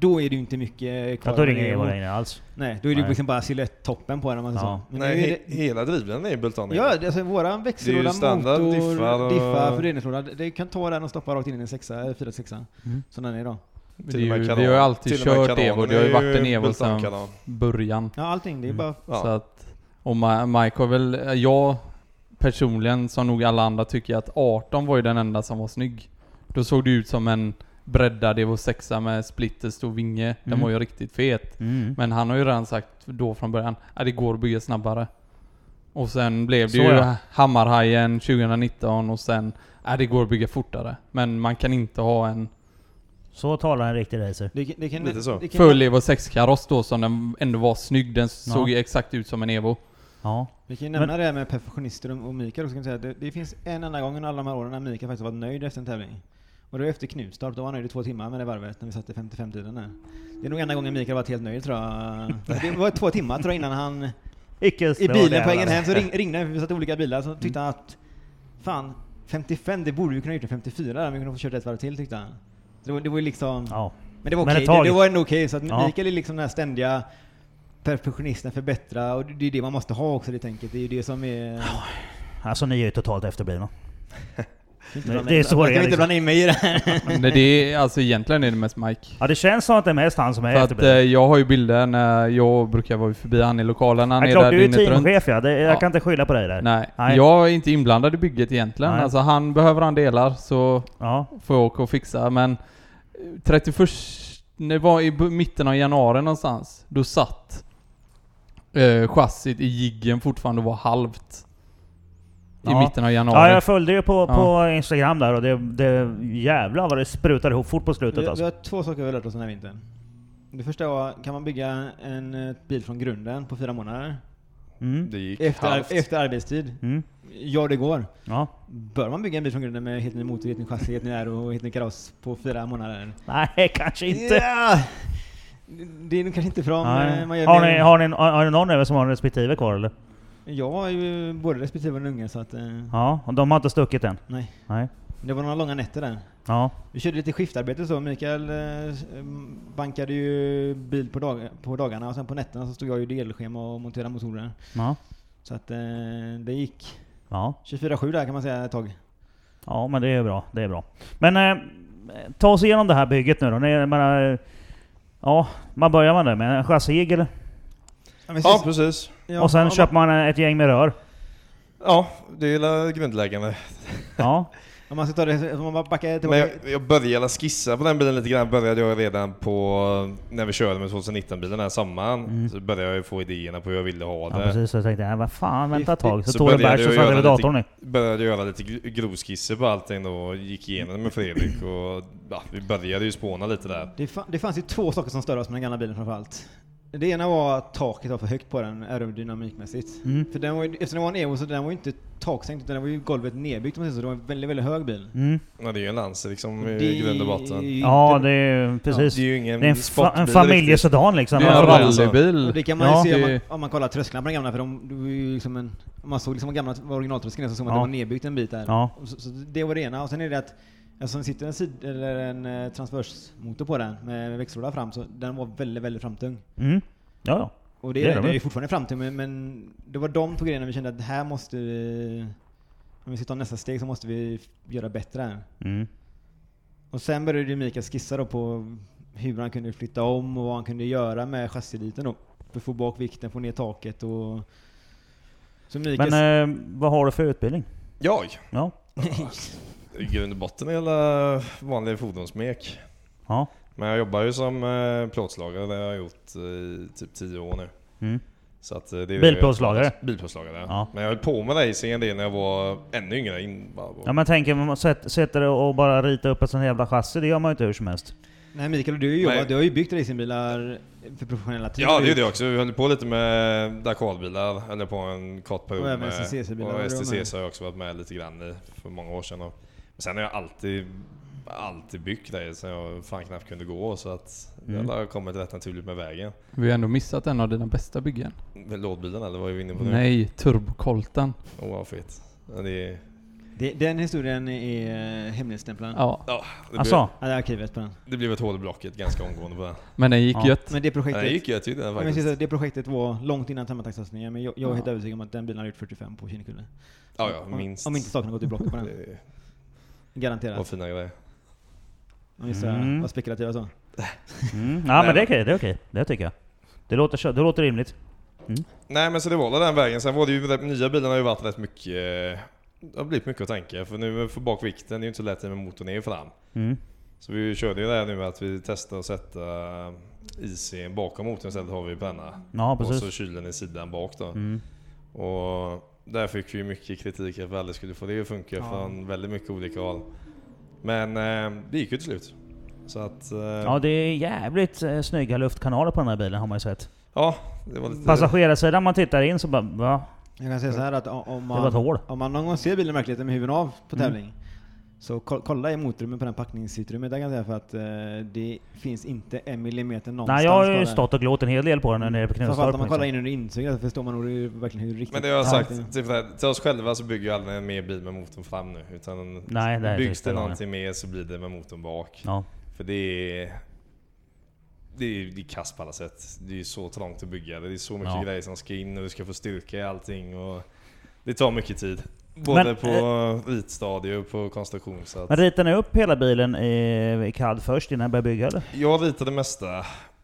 S5: då är det ju inte mycket kvar.
S2: Ja, då ringer det
S5: av
S2: vad
S5: det.
S2: det är alls.
S5: Nej, då är det
S2: Nej.
S5: ju liksom bara silhuett-toppen på den om man säger
S2: Ja.
S5: så. Men
S3: Nej,
S5: nu är
S3: he- hela drivlinan är ju bultan.
S5: Ja, det- alltså
S3: Det
S5: våran
S3: är
S5: växellåda,
S3: ju standard,
S5: motor,
S3: diffar
S5: diffar,
S3: och-
S5: föreningslåda. Det det kan ta den och stoppa rakt in i en sexa, eh, fyra sexa.
S2: Mm.
S5: Som den är idag.
S4: Det är ju, vi har ju alltid kört Evo, det har ju varit en Evo sedan
S3: sedan...
S4: början.
S5: Ja, allting. Det
S2: Mm.
S5: är bara...
S3: Ja.
S4: Så att, och Ma- Mike har väl, jag personligen som nog alla andra tycker att 18 var ju den enda som var snygg. Då såg det ut som en breddad Evo 6 med splitter stor vinge. Den
S2: Mm.
S4: var ju riktigt fet.
S2: Mm.
S4: Men han har ju redan sagt då från början att det går att bygga snabbare. Och sen blev det
S2: Så
S4: ju
S2: ja.
S4: Hammarhajen 2019 och sen att det går att bygga fortare. Men man kan inte ha en
S2: Så talar en riktig racer.
S5: Det, kan- det kan,
S3: Lite så.
S5: Det kan,
S4: full Evo 6-kaross då som den ändå var snygg. Den såg ju exakt ut som en Evo.
S2: Ja.
S5: Vi kan ju nämna det här med perfektionister och och Mikael också. Kan jag säga. Det, det finns en enda gång under alla de här åren när Mikael faktiskt har varit nöjd efter en tävling. Och det var efter Knutstorp. Då var han nöjd i två timmar med det varvet när vi satte 55-tiden där. Det är nog enda gången Mikael varit helt nöjd tror jag. Det var två timmar tror jag innan han...
S2: Icke
S5: I bilen på vägen hem så ring, ringde han, för vi satt i olika bilar, så
S2: Mm.
S5: tyckte han att Fan, 55, det borde vi kunna ha gjort en 54 där, men vi kunde ha fått kört ett varv till tyckte han. Så det, var, det var ju liksom...
S2: Ja.
S5: Men det var
S2: Men
S5: okej,
S2: det taget.
S5: det, det var ändå okej. Så att
S2: Ja.
S5: Mikael är liksom den här ständiga perfektionisten, förbättra, och det det är det man måste ha också det tänket. Det är ju det som är...
S2: Alltså ni är ju totalt efterblivna.
S5: Inte
S2: det-
S5: blanda
S2: det är
S5: in-
S2: så
S5: jag
S2: det är
S5: kan inte
S2: liksom.
S5: blanda in mig i det här.
S4: Nej, det är, alltså egentligen är det mest Mike.
S2: Ja det känns som att det är mest han som är
S4: För att eh,
S2: efterbliven.
S4: jag har ju bilder när jag brukar vara förbi han i lokalen. Han
S2: Ja,
S4: är
S2: klart,
S4: där
S2: du är
S4: dygnet runt.
S2: teamchef ja. Det, jag
S4: Ja.
S2: kan inte skylla på dig där.
S4: Nej.
S2: Nej.
S4: jag är inte inblandad i bygget egentligen.
S2: Nej.
S4: Alltså han behöver han delar så
S2: Ja.
S4: får jag åka och fixa. Men eh, 31, det var i b- mitten av januari någonstans. Då satt eh, chassit i jiggen fortfarande och var halvt. I
S2: Ja.
S4: mitten av januari.
S2: ja, jag följde ju på,
S4: Ja.
S2: på Instagram där och det, det jävlar vad det sprutar ihop fort på
S5: Vi,
S2: slutet
S5: vi
S2: alltså.
S5: har två saker vi har lärt oss den här vintern. Det första var, kan man bygga en eh, bil från grunden på fyra månader?
S2: Mm.
S3: Det gick
S5: Efter, ar-
S3: halvt.
S5: efter arbetstid?
S2: Mm.
S5: Ja, det går.
S2: Ja.
S5: Bör man bygga en bil från grunden med helt ny motor, helt ny chassi, helt ny aero och helt ny kaross på fyra månader?
S2: Nej, kanske inte.
S5: Ja! Det är nog kanske inte bra om
S2: Nej.
S5: eh, man gör
S2: Har,
S5: mer-
S2: ni, har, ni, en- har ni någon över som har en respektive kvar eller?
S5: Jag har ju både respektive och en unge så att... Eh,
S2: Ja, och de har inte stuckit än?
S5: Nej.
S2: Nej.
S5: Det var några långa nätter där.
S2: Ja.
S5: Vi körde lite skiftarbete så. Mikael eh, s- m- bankade ju bil på, dag, på dagarna och sen på nätterna så stod jag ju delschema och monterade motorer.
S2: Ja.
S5: Så att eh, det gick
S2: Ja.
S5: 24-7 där kan man säga ett tag.
S2: Ja, men det är bra. Det är bra. Men eh, ta oss igenom det här bygget nu då. Ni, jag menar, eh, ja, man börjar man där med en chassig eller?
S3: Ja, precis.
S5: Ja,
S2: och sen
S5: ja,
S2: köper man eh, ett gäng med rör.
S3: Ja, det är väl grundläggande.
S2: Ja.
S5: Om man ska ta det, om man bara backar
S3: Men
S5: tillbaka.
S3: jag, jag började skissa på den bilen lite grann. Började jag redan på när vi körde med 2019-bilen den här sommaren. Så började jag ju få idéerna på hur jag ville ha
S2: Mm. Ja
S3: det.
S2: precis, så jag tänkte jag vad fan vänta ett tag. Så,
S3: Så
S2: tog jag en
S3: började
S2: bärs och
S3: jag
S2: satte
S3: göra
S2: vid datorn nu.
S3: Började göra lite gro- grovskisser på allting då och gick igenom det med Fredrik och ja, vi började ju spåna lite där.
S5: Det, fa- det fanns ju två saker som störde oss med den gamla bilen framförallt. Det ena var att taket var för högt på den aerodynamikmässigt.
S2: Mm.
S5: För den var ju, eftersom det var en Evo så den var ju inte taksänkt utan den var ju golvet nedbyggt om man säger så. Det var en väldigt, väldigt hög bil.
S2: Mm.
S3: Ja, det är ju en Lancer liksom
S5: Det
S3: i grund och
S5: är
S3: botten.
S5: ju
S2: Ja
S5: inte-
S2: det är precis.
S3: Det är ju ingen
S2: det är en, fa-
S3: sportbil
S2: en
S3: riktigt.
S2: familjesedan liksom.
S4: det är en
S3: Ja, det är så.
S5: och
S4: rallybil.
S5: det kan man
S2: Ja,
S5: ju se om
S4: det-
S5: man, om man kollar trösklarna på den gamla för de, det var ju liksom en, om man såg liksom vad gamla vad originaltröskeln är så såg man
S2: Ja.
S5: att det var nedbyggt en bit där.
S2: Ja.
S5: Och Så, så det var det ena. Och sen är det att eftersom det sitter en, sid, eller en eh, transversmotor på den med växellåda fram så den var väldigt, väldigt framtung.
S2: Mm. Ja, ja.
S5: Och det,
S2: Det är
S5: är
S2: de
S5: det, är
S2: ju.
S5: ju fortfarande framtid, men, men det var de två grejerna vi kände att här måste vi... Om vi ska ta nästa steg så måste vi f- göra bättre här.
S2: Mm.
S5: Och sen började ju Mikael skissa då på hur han kunde flytta om och vad han kunde göra med chassieliten då. För att få bak vikten, få ner taket och... Så Mikael...
S2: Men eh, vad har du för utbildning?
S3: Jag?
S2: Ja.
S3: I grund och botten är hela vanlig fordonsmek.
S2: Ja.
S3: Men jag jobbar ju som eh, plåtslagare, det har jag gjort i typ 10 år nu.
S2: Mm.
S3: Så att eh, det är det jag-
S2: Bilplåtslagare?
S3: Bilplåtslagare,
S2: Ja.
S3: ja. Men jag höll på med racing en del när jag var ännu yngre. In, bara,
S2: Ja men tänk om man sätt- sätter det och bara rita upp ett sånt jävla chassi, det gör man ju inte hur som helst.
S5: Nej Mikael, du, har ju jobbat,
S3: Nej.
S5: du har ju byggt racingbilar för professionella typ. team.
S3: Ja, det gjorde jag också. Vi höll på lite med Dakarbilar, höll på en kort period
S5: Och även
S3: med...
S5: STCC-bilar var
S3: Och
S5: du med.
S3: STCC har jag också varit med lite grann i för många år sedan. Och, men sen har jag alltid, alltid byggt det sen jag fan knappt kunde gå. Så att
S2: Mm.
S3: det har kommit rätt naturligt med vägen.
S4: Vi har ändå missat en av dina bästa byggen.
S3: Lådbilen eller vad är vi inne på nu?
S4: Nej, turbokolten.
S3: Åh vad fett. Ja, Det är...
S5: Det, den historien är hemligstämplad. Ja.
S4: Ja,
S3: Ja, det,
S2: Alltså,
S5: det är arkivet på den.
S3: blev, det blev ett hål i blocket ganska omgående på den.
S4: men den gick
S2: Ja.
S4: gött.
S5: Men det
S3: Ja,
S5: projektet...
S3: det gick ju, jag tyckte den
S5: Men jag ska
S3: faktiskt.
S5: säga, det projektet var långt innan temataxsatsningen, men jag, jag är helt
S4: Ja.
S5: övertygad om att den bilen har gjort 45 på Kinnekulle.
S3: Ja, ja,
S5: Om-
S3: minst.
S5: Om inte saken har gått i block på den.
S3: Det var
S5: Garanterat.
S3: fina grejer.
S5: Om vi ska
S2: Mm.
S5: vara spekulativa så.
S2: mm, ja men det är okej, det är okej. Det tycker jag. Det låter, kö- det låter rimligt.
S3: Nej men så det var väl den vägen. Sen var det ju, de nya bilarna har ju varit rätt mycket, eh, det har blivit mycket att tänka. För nu får bak vikten, det är ju inte så lätt med motorn ner och fram.
S2: Mm.
S3: Så vi körde ju det här nu att vi testade att sätta IC'n bakom motorn istället har vi penna.
S2: Ja
S3: Och så
S2: precis.
S3: kylen i sidan bak då.
S2: Mm.
S3: Och där fick vi ju mycket kritik att vi aldrig skulle få det att funka
S5: Ja.
S3: från väldigt mycket olika håll. Men eh, det gick ju till slut. Så att... Eh,
S2: Ja
S3: ja.
S2: det är jävligt eh, snygga luftkanaler på den här bilen har man ju sett.
S3: det var lite...
S2: Passagerarsidan man tittar in så bara va?
S5: Jag kan säga så här att o- om
S2: Det var ett
S5: man,
S2: hål.
S5: om man någon gång ser bilen i verkligheten med huvuden av på
S2: Mm.
S5: tävling, så ko- kolla i motrummet på den packningsutrymmet, där kan jag säga för att eh, det finns inte en millimeter någonstans
S2: Nej jag har
S5: kvar
S2: ju
S5: där.
S2: stått och glott en hel del på den när nere på
S5: Framförallt om
S2: Knutstorp.
S5: man kollar
S2: Liksom.
S5: in under insuget så förstår man nog hur- verkligen hur riktigt...
S3: Men det har jag
S5: Ja.
S3: sagt till, till oss själva så bygger ju aldrig en mer bil med motorn fram nu. Utan
S2: Nej, det här är
S3: byggs
S2: sista
S3: det
S2: gången.
S3: någonting mer så blir det med motorn bak.
S2: Ja.
S3: För det är... Det är, det är kast på alla sätt. Det är ju så trångt att bygga. Det är så mycket
S2: Ja.
S3: grejer som ska in och du ska få styrka i allting. Och det tar mycket tid. Både
S2: Men, eh,
S3: på ritstadie och på konstruktion. Så att
S2: Men ritar ni upp hela bilen i, i CAD först innan ni börjar bygga eller?
S3: jag ritar det mesta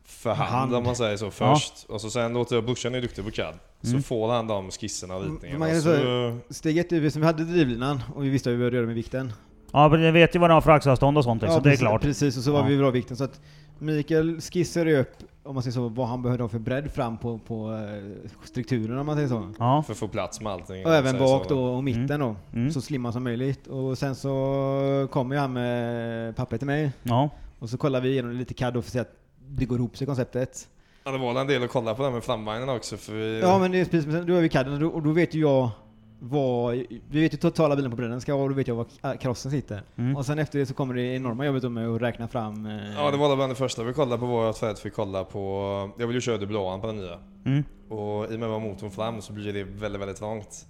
S3: för hand,
S5: Hand.
S3: om man säger så först. Och så sen låter jag, brorsan är duktig på CAD.
S2: Mm.
S3: Så får han de skisserna och ritningarna.
S5: Man kan ju
S3: så,
S5: Steg ett är som vi hade drivlinan och vi visste vad vi behövde göra med vikten.
S2: Ja men ni vet ju vad ni har för axelavstånd och sånt liksom, det är
S5: precis,
S2: klart.
S5: Precis, och så var
S2: Ja.
S5: vi bra vikten. Så att Mikael skissade ju upp, om man säger så, vad han behövde ha för bredd fram på, på eh, strukturen om man säger så.
S2: Ja.
S3: för att få plats med allting.
S5: Och även
S3: Så-
S5: bak
S3: så-
S5: då och mitten då,
S2: Mm.
S5: så slimma som möjligt. Och sen så kom ju han med pappret till mig
S2: Ja.
S5: och så kollade vi igenom det lite CAD och för att se att det går ihop sig konceptet.
S3: Ja, det var en del att kolla på den med framvagnen också för vi,
S5: Ja men det är precis, men då är vi CAD och då, och då vet ju jag vad, vi vet ju totala bilen på bredden ska vara och då vet jag var k- äh, karossen sitter.
S2: Mm.
S5: Och sen efter det så kommer det enorma jobbet då med att räkna fram... eh,
S3: ja, det var bland det första vi kollade på var att Fred fick kolla på... Jag vill ju köra dubblan på den nya.
S2: Mm.
S3: Och i och med vad motorn fram så blir det väldigt, väldigt trångt.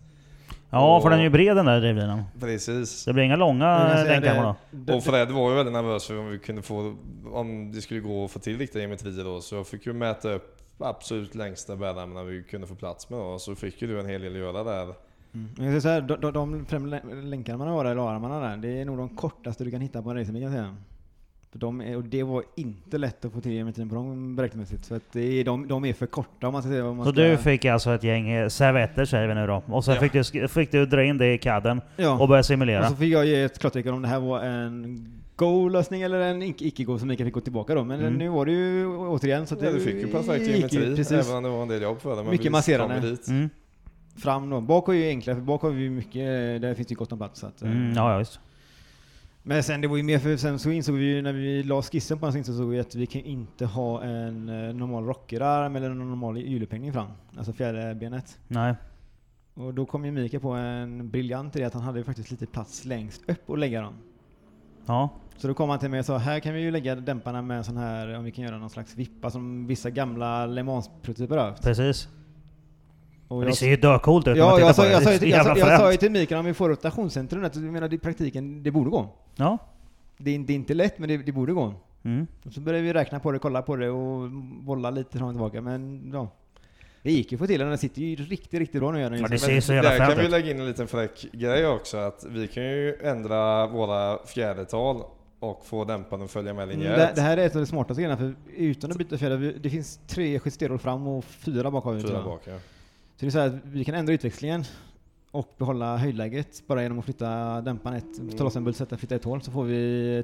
S2: Ja, för
S3: Och-
S2: den är ju bred den där drivlinan.
S3: Precis.
S2: Det blir inga långa
S5: Men jag säger
S2: länkar
S5: det-
S2: då.
S5: det-
S3: Och Fred var ju väldigt nervös för om vi kunde få... Om det skulle gå att få till riktiga geometrier då. Så jag fick ju mäta upp absolut längsta bärarmarna vi kunde få plats med då. Så fick ju du en hel del att göra där.
S5: Mm. Men Jag säger så här, de, de, de främre län- länkarna man har där, eller armarna där, det är nog de kortaste du kan hitta på en racingbil kan jag säga. För de är, och det var inte lätt att få till geometrin på dem beräkningsmässigt. För att det är, de, de är för korta om man ska säga vad man
S2: Så
S5: ska...
S2: du fick alltså ett gäng eh, servetter säger vi nu då. Och sen
S3: Ja.
S2: fick, du, sk- fick du dra in det i cadden
S5: ja.
S2: och
S5: och,
S2: börja simulera.
S5: så fick jag ge ett klartecken om det här var en go-lösning eller en ic- icke-go som Mikael fick gå tillbaka då. Men
S2: Mm.
S5: nu var det ju å- återigen så att
S3: Ja, du fick ju perfekt
S5: gick ju
S3: geometri.
S5: Precis.
S3: Även om det var en del jobb för det. men
S5: Mycket
S3: vi
S5: masserande.
S3: kom ju dit.
S2: Mm.
S5: Fram då. Bak är ju enklare, för bak har vi ju mycket, där finns det ju gott om plats. Så att, eh,
S2: Mm, ja, ja, visst.
S5: Men sen det var ju mer för sen så insåg vi ju när vi la skissen på hans insåg vi att vi kan inte ha en eh, normal rockerarm eller en normal hjulupphängning fram. Alltså fjärde benet.
S2: Nej.
S5: Och då kom ju Mika på en briljant idé att han hade ju faktiskt lite plats längst upp och lägga dem.
S2: Ja.
S5: Så då kom han till mig och sa här kan vi ju lägga dämparna med en sån här, om vi kan göra någon slags vippa som vissa gamla Le Mans-prototyper har haft.
S2: Precis.
S5: Och
S2: Det
S5: jag-
S2: ser ju döcoolt ut när man
S5: Ja,
S2: tittar
S5: jag
S2: på
S5: sa,
S2: det.
S5: jag,
S2: Det
S5: sa,
S2: är
S5: ju
S2: så
S5: till- jag, sa,
S2: jävla
S5: jag sa ju
S2: fränt.
S5: till Mika om vi får rotationscentrum att jag menar i praktiken, det borde gå.
S2: Ja.
S5: Det är, det är inte lätt men det, det borde gå.
S2: Mm.
S5: Och så började vi räkna på det, kolla på det och bolla lite fram och tillbaka. Men ja, Det gick ju att få till den, den sitter ju riktigt, riktigt bra nu gör den
S2: Ja,
S5: ju.
S2: det
S5: så.
S2: ser ju så jävla
S3: Där kan
S2: fränt
S3: vi
S2: ut.
S3: lägga in en liten fräck grej också att vi kan ju ändra våra fjädertal och få dämparen att följa med
S5: Mm, Det,
S3: linjärt.
S5: det här är ett av de smartaste grejerna, för utan att byta fjädrar, vi- det finns tre justeror fram och fyra bak har vi, tror
S3: Fyra
S5: jag.
S3: bak ja.
S5: Så det är så här att vi kan ändra utväxlingen och behålla höjdläget bara genom att flytta dämparen
S3: Mm.
S5: ett, ta loss en bult, sätta, flytta ett hål, så får vi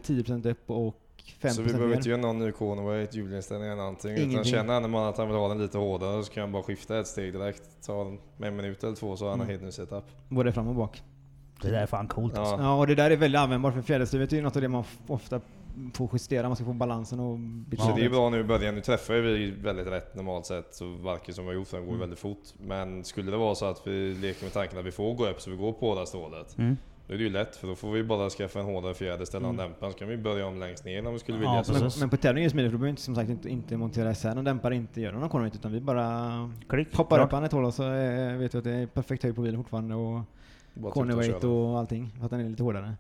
S5: 10% upp och 5%
S3: Så vi behöver inte
S5: ner.
S3: göra någon ny Conway, ett hjulinställning eller någonting. Utan
S5: Ingenting.
S3: känner han man att han vill ha den lite hårdare så kan han bara skifta ett steg direkt. Ta en- med en minut eller två så har han en
S5: Mm.
S3: helt ny setup.
S5: Både fram och bak.
S2: Det där är fan coolt alltså.
S5: Ja.
S3: Ja.
S5: och det där är väldigt användbart för fjäderstyret är ju något av det man f- ofta får justera, man ska få balansen och byta
S3: Så det är ju
S5: ut.
S3: bra nu i början. Nu träffar ju vi väldigt rätt normalt sett. Så varken som vi har gjort,
S5: Mm.
S3: den går ju väldigt fort. Men skulle det vara så att vi leker med tanken att vi får gå upp så vi går på det här stålet.
S2: Mm.
S3: Då är det ju lätt för då får vi bara skaffa en hårdare fjäder, ställa mm. en dämpare. Så kan vi börja om längst ner om vi skulle
S2: Ja,
S3: vilja.
S2: precis.
S5: Men, men på tävling är det smidigt för då behöver vi inte, som sagt inte, inte montera isär någon dämpare, inte göra någon kornvitt utan vi bara
S2: Klick.
S5: hoppar
S2: Klart.
S5: upp han ett hål och så eh, vet vi att det är perfekt höjd på bilen fortfarande och
S3: Bara tuta och
S5: cornerweight
S3: köra.
S5: och allting, för att den är lite hårdare.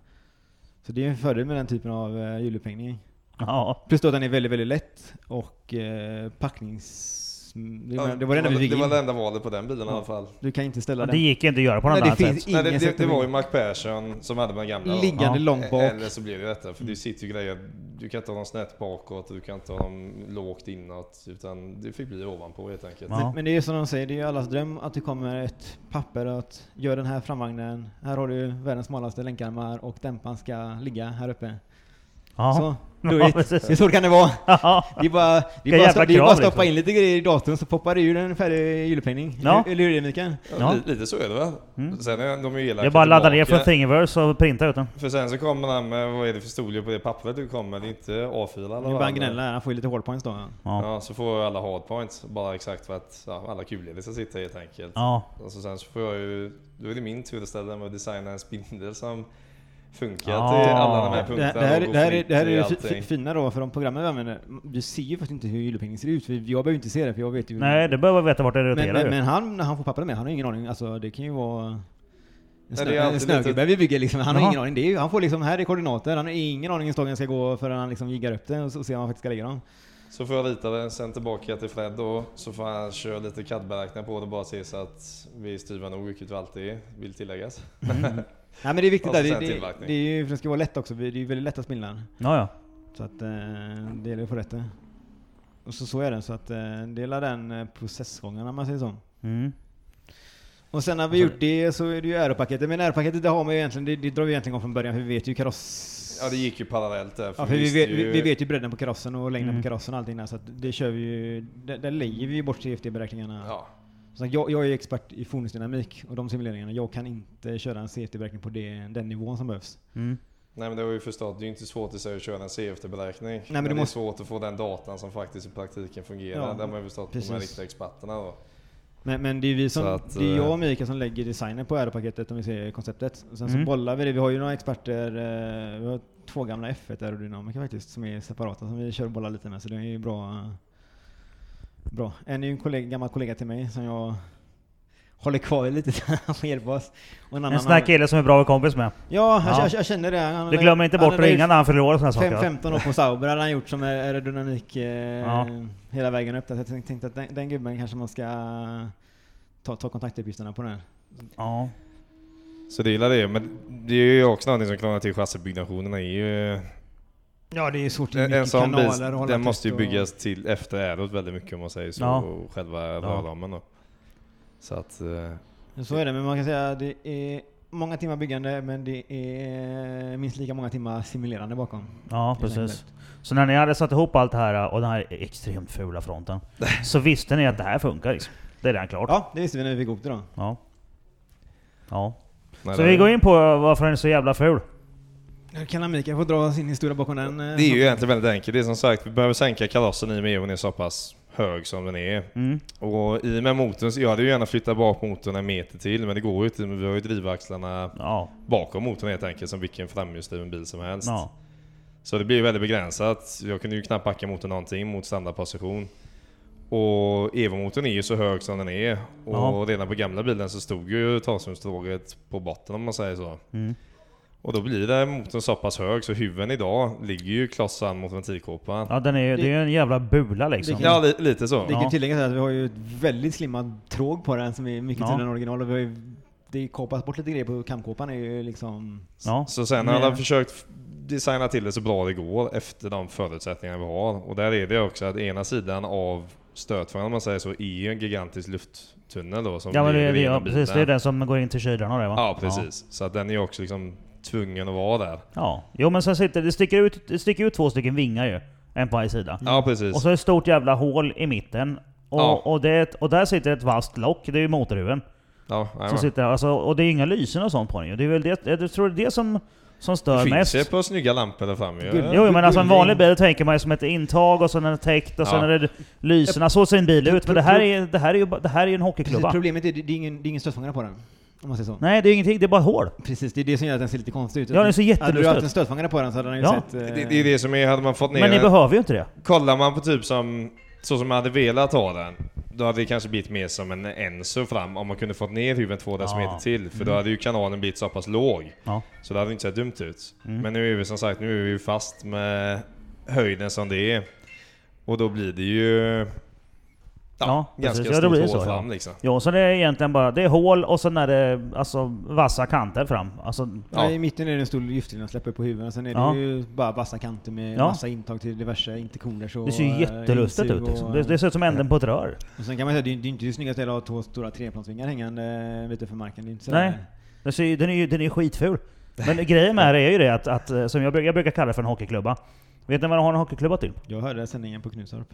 S5: Så det är en fördel med den typen av eh, hjulupphängning.
S2: Ja.
S5: Plus då att den är väldigt, väldigt lätt och eh, packnings... mm, Det var
S3: Ja,
S5: det, var det enda vi fick
S3: det var
S5: in.
S3: det enda valet på den bilen i alla fall.
S5: Du kan inte ställa
S2: Men Det
S5: den.
S2: gick ju inte att göra på något
S5: Nej, det
S2: annat
S5: finns
S2: sätt.
S5: ingen
S3: Nej, det, det,
S5: sätt
S3: det
S5: att-
S3: var ju Mac Persson som hade med den gamla. då.
S5: Liggande
S2: Ja.
S5: långt bak. Mm.
S3: Eller så blir det detta, för det sitter ju grejer. Du kan inte ha dem snett bakåt, du kan inte ha dem lågt inåt. Utan det fick bli ovanpå helt enkelt.
S2: Ja.
S5: Men det är ju som de säger, det är ju allas dröm att det kommer ett papper att gör den här framvagnen, här har du världens smalaste länkarmar och dämparen ska ligga här uppe.
S2: Ja.
S5: Så, du vet,
S2: precis.
S5: det är så det kan det vara.
S2: Ja.
S5: Det är bara, det
S2: Vilka
S5: är bara,
S2: jävla
S5: att- det är bara
S2: krav,
S5: att stoppa
S2: liksom.
S5: in lite grejer i datorn så poppar det ur en färdig hjulupphängning.
S2: Ja.
S5: Eller hur är det Mikael?
S3: Ja,
S2: Ja.
S3: li- Lite så är det väl?
S2: Mm.
S3: Sen är de ju elaka
S2: Det är bara att ladda ner
S3: tillbaka.
S2: från Thingiverse och printa ut den.
S3: För sen så kommer han med, vad är det för storlek på det pappret du kommer? Det är inte A4 eller
S5: Det är bara att gnälla, han får ju lite hårdpoints då. Ja.
S2: Ja.
S3: Ja, så får jag alla hardpoints. Bara exakt för att ja, alla kulor ska sitta helt enkelt.
S2: Ja.
S3: Alltså sen så får jag ju, då är det min tur att ställa mig och designa en spindel som funkar
S2: Ja.
S3: till alla de här
S5: Det,
S3: punkterna.
S5: här- det, här,
S3: och går
S5: det, här, är-
S3: fritt
S5: det här är
S3: i
S5: det fi- fi-
S3: allting.
S5: fina då, för de programmen vi använder, du ser ju faktiskt inte hur hjulupphängningen ser ut, för jag behöver ju inte se det, för jag vet ju
S2: Nej, det behöver veta vart det
S5: men,
S2: roterar
S5: men,
S2: ju.
S5: men han, när han får papperna med, han har ingen aning. Alltså det kan ju vara... En,
S3: Ja,
S5: snö,
S3: det är
S5: en
S3: alltid
S5: snögubbe
S3: lite-
S5: vi bygger liksom, han
S2: Jaha.
S5: har ingen aning. Det är, ju- han får liksom, här är koordinater, han har ingen aning hur stången ska gå förrän han liksom jiggar upp den och så ser han faktiskt ska lägga dem.
S3: Så får jag rita den, sen tillbaka till Fred då. Så får han köra lite CAD-beräkningar på det och bara se så att vi styvar nog, vilket vi alltid vill tilläggas.
S5: Mm. Nej men det är viktigt
S3: Och så
S5: där, det,
S3: sen
S5: det,
S3: tillverkning.
S5: det är ju, för det ska vara lätt också, det är ju väldigt lätta spindlar.
S2: Ja, ja.
S5: Så att eh, det gäller att få rätt det. Och så, så är den, så att eh, dela den eh, processgången om man säger så.
S2: Mm.
S5: Och sen när vi
S2: Alltså-
S5: gjort det så är det ju aeropaketet, men aeropaketet det har man ju egentligen, det, det drar vi egentligen igång från början för vi vet ju kaross...
S3: Ja, det gick ju parallellt där.
S5: Ja, för vi,
S3: visste
S5: vet,
S3: ju-
S5: vi, vi vet ju bredden på karossen och längden
S2: Mm.
S5: på karossen och allting där, så att det kör vi ju, där, där lägger vi ju bort CFD-beräkningarna.
S3: Ja,
S5: Så jag, jag är ju expert i fordonsdynamik och de simuleringarna, jag kan inte köra en CFD-beräkning på det, den nivån som behövs.
S2: Mm.
S3: Nej men det har jag ju förstått, det är ju inte svårt i sig att köra en CFD-beräkning. men,
S5: men du
S3: det
S5: måste-
S3: är svårt att få den datan som faktiskt i praktiken fungerar.
S5: Ja,
S3: det har man ju förstått på de här
S5: precis.
S3: riktiga experterna då.
S5: Men, men det är vi som,
S3: Så att,
S5: det är jag
S3: eh,
S5: och Mikael som lägger designen på aeropaketet om vi ser konceptet. Och sen
S2: Mm.
S5: så bollar vi det, vi har ju några experter, eh, vi har två gamla F1 aerodynamiker faktiskt som är separata som vi kör och bollar lite med så det är ju bra. eh, Bra. En är ju en kollega, gammal kollega till mig som jag håller kvar lite så han får hjälpa oss. Och
S2: En sån här kille som är bra kompis med.
S5: Ja, jag,
S2: Ja.
S5: jag, jag känner det. Han,
S2: Du glömmer inte bort att ringa när han fyller år och såna
S5: Fem,
S2: saker.
S5: 15 år på Sauber hade han gjort som aerodynamik eh,
S2: Ja.
S5: hela vägen upp där. Så jag tänkte, tänkte att den, den gubben kanske man ska eh, ta, ta kontaktuppgifterna på nu.
S2: Ja.
S3: Så det gillar det men det är ju också någonting som krånglar till chassibyggnationen är ju...
S5: Ja, det är svårt.
S3: En, en sån bil, den måste ju byggas till efter aerot väldigt mycket om man säger så,
S2: Ja.
S3: och själva rörramen då. Så att... eh,
S5: Så är det, men man kan säga att det är många timmar byggande, men det är minst lika många timmar simulerande bakom.
S2: Ja,
S5: Helt
S2: precis.
S5: enkelt.
S2: Så när ni hade satt ihop allt det här och den här extremt fula fronten, så visste ni att det här funkar liksom. Det är redan klart.
S5: Ja, det visste vi när vi fick ihop det då.
S2: Ja. Ja.
S3: nej,
S2: Så
S3: det-
S2: vi går in på eh, varför den är så jävla ful.
S5: Nu kan Mikael få dra sin historia bakom den. eh,
S3: Det är ju egentligen väldigt enkelt. Det är som sagt, vi behöver sänka karossen i och med att den är så pass hög som den är.
S2: Mm.
S3: Och i och med motorn, så jag hade ju gärna flyttat bak motorn en meter till, men det går ju inte. Men vi har ju drivaxlarna
S2: Ja.
S3: bakom motorn helt enkelt, som vilken framhjulsdriven bil som helst.
S2: ja.
S3: Så det blir ju väldigt begränsat. Jag kunde ju knappt backa motorn någonting mot standardposition. Och Evo-motorn är ju så hög som den är. Och
S2: Ja.
S3: redan på gamla bilen så stod ju talsumstråget på botten om man säger så.
S2: Mm.
S3: Och då blir det motorn så pass hög så huven idag ligger ju klossan mot ventilkåpan.
S2: Ja, den är, ju- det är ju en jävla bula liksom.
S3: Ja, li- lite så.
S5: Det
S2: Ja.
S5: kan tilläggas att vi har ju ett väldigt slimmat tråg på den som är mycket
S2: Ja.
S5: tunnare än original. Och vi har ju, det kapas bort lite grejer på kamkåpan är ju liksom...
S2: Ja.
S3: Så sen har alla
S5: Nej.
S3: försökt f- designa till det så bra det går efter de förutsättningar vi har. Och där är det också att ena sidan av stötfångaren om man säger så är ju en gigantisk lufttunnel då som
S2: Ja, men det,
S3: leder
S2: det, ja,
S3: genom
S2: precis. Det
S3: bilen.
S2: är den som går in till kylarna och det va?
S3: Ja precis. Så att den är ju också liksom tvungen att vara där.
S2: Ja. ja. Jo men sen sitter, det sticker ut, det sticker ut två stycken vingar ju. En på varje sida.
S3: Ja precis.
S2: Och så är det ett stort jävla hål i mitten. Och,
S3: Ja.
S2: och, det, är ett- och där sitter ett vasst lock, det är ju motorhuven.
S3: ja,
S2: Som
S3: jajamän.
S2: sitter, alltså, och det är inga lysen och sånt på den ju. Det är väl det, jag tror det är det som, som stör
S3: finns
S2: mest.
S3: ju på snygga lampor där framme ju.
S5: Guld-
S2: Jo men alltså en vanlig bil tänker man ju som ett intag och sen är det täckt och sen
S3: Ja.
S2: är det lyserna. Så ser en bil ut. Men det här är, det här är ju bara- det här är ju en
S5: Precis,
S2: hockeyklubba.
S5: problemet är det det är ingen, det är ingen stötfångare på den. Om man säger så.
S2: Nej det är ingenting, det är bara hål.
S5: Precis, det är det som gör att den ser lite konstig ut.
S2: Ja, den ser
S5: Hade
S2: jättelustig
S5: du haft
S2: ut.
S5: en stötfångare på den så hade den ju
S2: Ja.
S5: sett... eh,
S3: Det, det är det som är, hade man fått ner
S2: Men ni
S3: den-
S2: behöver ju inte det.
S3: Kollar man på typ som, så som man hade velat ha den, då hade det kanske blivit mer som en Enzo fram om man kunde fått ner huven två decimeter
S2: Ja. Mm.
S3: till. För då hade ju kanalen blivit så pass låg.
S2: Ja.
S3: Så det hade inte sett dumt ut.
S2: Mm.
S3: Men nu är vi som sagt nu är vi ju fast med höjden som det är. Och då blir det ju... Ja,
S2: Ja,
S3: ganska
S2: precis. Ja,
S3: stort
S2: då blir det
S3: hål
S2: så, ja.
S3: fram liksom.
S2: Ja, så det är egentligen bara det är hål och sen är det alltså, vassa kanter fram. Alltså,
S5: Ja.
S3: Ja.
S5: I mitten är det en stor giftlina släpper på huvudet, och sen är det
S2: Ja.
S5: ju bara vassa kanter med
S2: Ja.
S5: massa intag till diverse intercoolers och...
S2: det ser ju
S5: eh,
S2: jättelustigt
S5: insug
S2: ut liksom.
S5: och,
S2: det, det ser ut som änden på ett rör.
S5: och sen kan man säga, det är ju- det är inte det snyggaste att ha två stora treplansvingar hängande ute för marken. Det är inte så
S2: Nej. Det ser, ju- den, är ju, den är ju skitful. Men grejen med det är ju det att, att eh, som jag, brukar- jag brukar kalla det för en hockeyklubba. Vet ni vad de har en hockeyklubba till?
S5: Jag hörde sändningen på Knutstorp.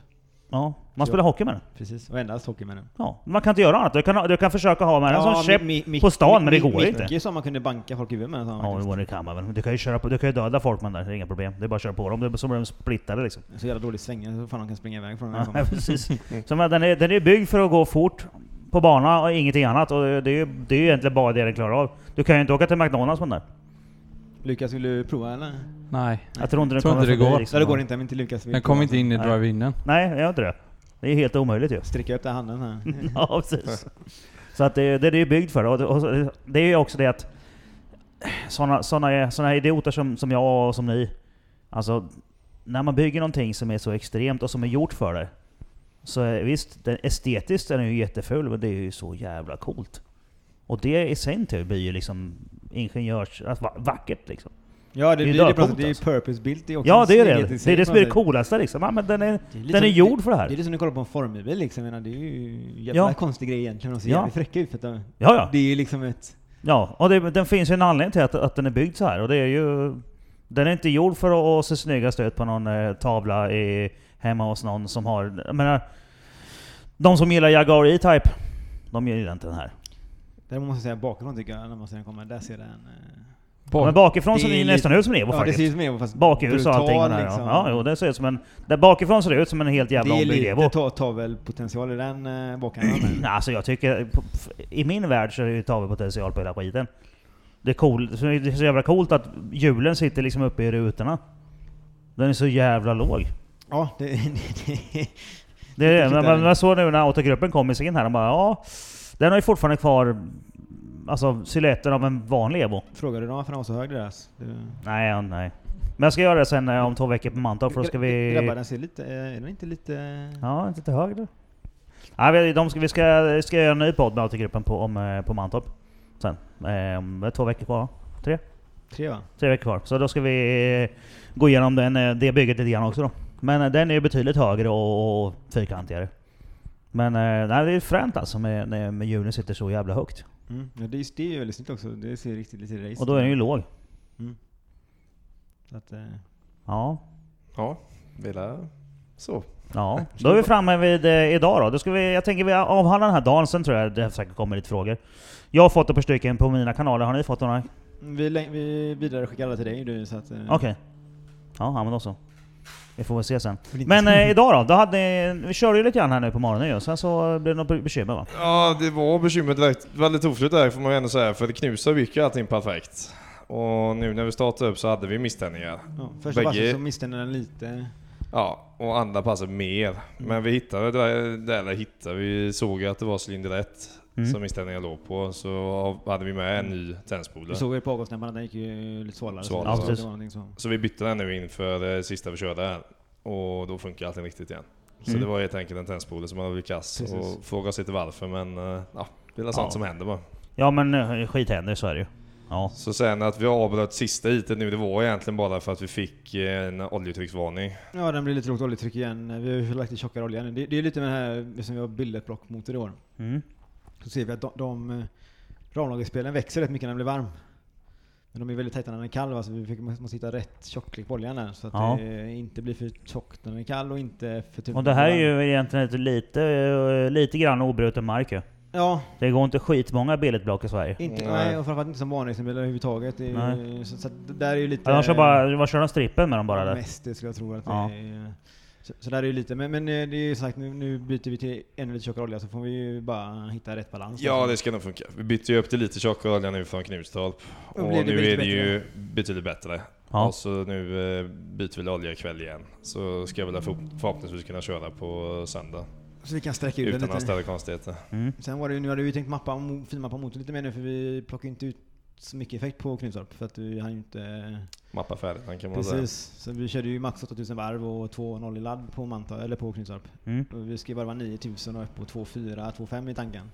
S2: Ja, man
S5: Ja.
S2: spelar hockey med den.
S5: Precis, och endast hockey med den.
S2: Ja, man kan inte göra annat. Du kan, ha- du kan försöka ha med den som käpp
S5: Mi- Mi-
S2: på stan, men det
S5: Mi-
S2: går inte.
S5: Micke sa man kunde banka folk i huvudet med den. sa han
S2: Ja,
S5: faktiskt.
S2: jo, det kan man väl. Du kan ju, köra på, du kan ju döda folk med den där, det är inga problem. Det är bara att köra på dem, det är så blir de splittade liksom.
S5: Så jävla dålig svänga, så fan de kan springa iväg från den. liksom.
S2: Ja,
S5: här
S2: precis. Så men den, är, den är byggd för att gå fort på bana och ingenting annat. Och det är ju det är ju egentligen bara det den klarar av. Du kan ju inte åka till McDonalds med den där.
S5: Lukas, vill du prova eller?
S4: Nej.
S2: Jag tror inte den
S4: Tror
S2: kommer
S4: inte det
S2: förbi,
S4: går.
S5: Så det går inte, men inte Lukas vill
S4: Den
S5: prova,
S4: kommer inte
S5: så
S4: in i
S2: Nej.
S4: drive-inen.
S2: Nej, jag gör inte det. Det är helt omöjligt ju.
S5: Sträcker upp den handen här.
S2: Ja, precis. Så att det, det är det ju byggd för. Och det, och så- det är ju också det att sådana såna, såna idioter som, som jag och som ni, alltså när man bygger någonting som är så extremt och som är gjort för det. Så är- visst, den, estetiskt är den ju jätteful, men det är ju så jävla coolt. Och det i sin tur blir ju liksom ingenjörs... Alltså, va- vackert liksom.
S5: Ja, det,
S2: Det är
S5: blir det på
S2: dörrcoolt
S5: något sätt. Det är ju
S2: alltså.
S5: purpose built. Det är också
S2: Ja, det är
S5: snyggt
S2: det.
S5: i sig
S2: Det är det
S5: på
S2: som är det
S5: något
S2: coolaste liksom. Ja, men den är,
S5: sätt. Det
S2: den är
S5: som-
S2: gjord för det här.
S5: Det
S2: Ja,
S5: är lite som när du kollar på en formelbil liksom. Jag menar, det är ju en jävla
S2: Ja.
S5: konstig grej egentligen. De ser
S2: Ja.
S5: jävligt fräcka ut. För att de,
S2: ja.
S5: Det är ju liksom ett...
S2: Ja, och det, den finns ju en anledning till att, att den är byggd så här. Och det är ju... Den är inte gjord för att, att se snyggast ut på någon eh, tavla i, hemma hos någon som har... Jag menar, de som gillar Jaguar E-Type, de gillar inte den här.
S5: Däremot måste jag säga bakifrån tycker jag, när man ser den komma. Där ser den... eh,
S2: Men
S4: Bak.
S2: bakifrån
S5: det
S2: ser
S5: är
S2: det ju
S5: lite-
S2: nästan ut som en Evo
S5: Ja, det
S2: faktiskt.
S5: ser ut som Evo fast
S2: Bakhus och allting. och den här,
S5: liksom.
S2: ja. ja, jo, det ser ut som en... Där bakifrån ser det ut som en helt jävla
S5: det är
S2: ombyggd Evo.
S5: lite ta, tavelpotential i den eh, bakhanden. men-
S2: Nej, alltså jag tycker... på- f- I min värld så är det ju tavelpotential på hela skiten. Det är, cool, så det är så jävla coolt att hjulen sitter liksom uppe i rutorna. Den är så jävla låg.
S5: Ja, det, det, det,
S2: Det är det.
S5: Vilket
S2: Men,
S5: är
S2: men
S5: det?
S2: jag såg nu när autogruppen kom i sin här, de bara ja... Den har ju fortfarande kvar alltså silhuetten av en vanlig Evo.
S5: Frågade du dem varför den var så hög deras? Det-
S2: Nej, ja, nej. Men jag ska göra det sen eh, om två veckor på Mantorp för då ska vi...
S5: Grabbar, den ser lite... eh, Är den inte lite...
S2: Ja, inte till höger. Nej, vi, de ska, vi ska, ska göra en ny podd med autogruppen på, om, eh, på Mantorp. Sen. Eh, om det är två veckor kvar. va?
S5: Tre va?
S2: Tre veckor kvar. Så då ska vi eh, gå igenom den, eh, det bygget lite grann också då. Men eh, den är ju betydligt högre och, och fyrkantigare. Men eh, nej, det är fränt alltså med, med, med hjulen sitter så jävla högt.
S5: Mm. Ja, det, är, det är ju väldigt snyggt också. Det ser riktigt lite race
S2: Och då är den ju låg.
S5: Så att, eh,
S2: Ja.
S3: Ja, vi lär så.
S2: Ja, då är vi framme vid eh, idag då. då ska vi, jag tänker vi avhandlar den här dagen, sen tror jag det säkert kommer lite frågor. Jag har fått ett par stycken på mina kanaler, har ni fått några?
S5: vi, lä- vi vidareskickar alla till dig du så att... eh,
S2: Okej. Ja, ja, men då så. Vi får väl se sen.
S5: för det är inte-
S2: Men eh, idag då? då hade ni, vi körde ju lite grann här nu på morgonen ju, sen så blev det något bekymmer va?
S3: Ja, det var bekymmer direkt. Väldigt oflyt där får man ju ändå säga, för det knusade gick ju allting perfekt. Och nu när vi startade upp så hade vi misständningar.
S5: Ja, första
S3: Bägge-
S5: passet så misstände den lite.
S3: Ja, och andra passet mer. Men vi hittade, där, där hittade vi såg ju att det var cylinder 1
S2: Mm.
S3: som inställningen låg på. Så hade vi med en ny
S5: Du
S3: tändspolare.
S5: såg ju på avgasdämparna, den gick ju lite svalare. så
S3: Svalare,
S2: ja,
S5: det- det
S2: precis.
S5: var någonting som-
S3: Så vi bytte den nu inför eh, sista vi körde här. Och då funkar allting riktigt igen. Så
S2: Mm.
S3: det var helt enkelt en tändspolare som hade blivit kass.
S5: Precis.
S3: Och fråga sig inte varför men eh, ja, det är väl sånt
S2: Ja.
S3: som händer bara.
S2: Ja men eh, skit händer, så är det ju. Ja.
S3: Så sen att vi avbröt sista heatet nu, det var egentligen bara för att vi fick eh, en oljetrycksvarning.
S5: Ja, den blir lite lågt oljetryck igen. Vi har ju lagt i tjockare olja nu. Det, det är lite med den här, som vi har billetblockmotor i år.
S2: Mm.
S5: Så ser vi att de, de eh, ramlagerspelen växer rätt mycket när den blir varm. Men de är väldigt tajta när den är kall va? så vi fick, måste måste hitta rätt tjocklek på oljan där. Så att
S2: Ja.
S5: det eh, inte blir för tjockt när den är kall och inte för typ tunt
S2: Och det här är
S5: när den
S2: ju egentligen ett lite, eh, lite grann obruten mark ju.
S5: varm. Ja,
S2: Det går inte skitmånga billetblock i Sverige.
S5: inte,
S3: Nej.
S5: nej. och framförallt inte som vanracingbilar överhuvudtaget. Det är ju, så, så att det där är ju lite...
S2: Ja, de kör bara, vad kör de strippen med dem bara där?
S5: Mest det skulle jag tro att
S2: Ja.
S5: det är. eh, Så, så där är ju lite, men, men eh, det är ju sagt nu, nu byter vi till ännu lite tjockare olja så får vi ju bara hitta rätt balans.
S3: Ja, det ska nog funka. Vi bytte ju upp till lite tjockare olja nu från Knutstorp.
S5: Och
S3: Och,
S5: blir det
S3: nu
S5: betydligt
S3: är det ju betydligt bättre.
S2: Ja.
S3: Och så nu eh, byter vi olja ikväll igen. Så ska jag väl förhopp- förhoppningsvis kunna köra på söndag.
S5: Så vi kan sträcka ut den
S3: Utan några
S5: lite.
S3: större konstigheter.
S2: Mm.
S5: Sen var det ju, nu hade vi ju tänkt mappa, mo- finmappa motorn lite mer nu för vi plockade inte ut så mycket effekt på Knutstorp för att vi hann ju inte...
S3: Mappa färdigt den kan man säga.
S5: Precis. Så vi körde ju max 8000 varv och 2.0 i ladd på Manta, eller på Knutstorp.
S2: Mm.
S5: Och vi ska ju varva 9000 och upp på 2.4, 2.5 i tanken.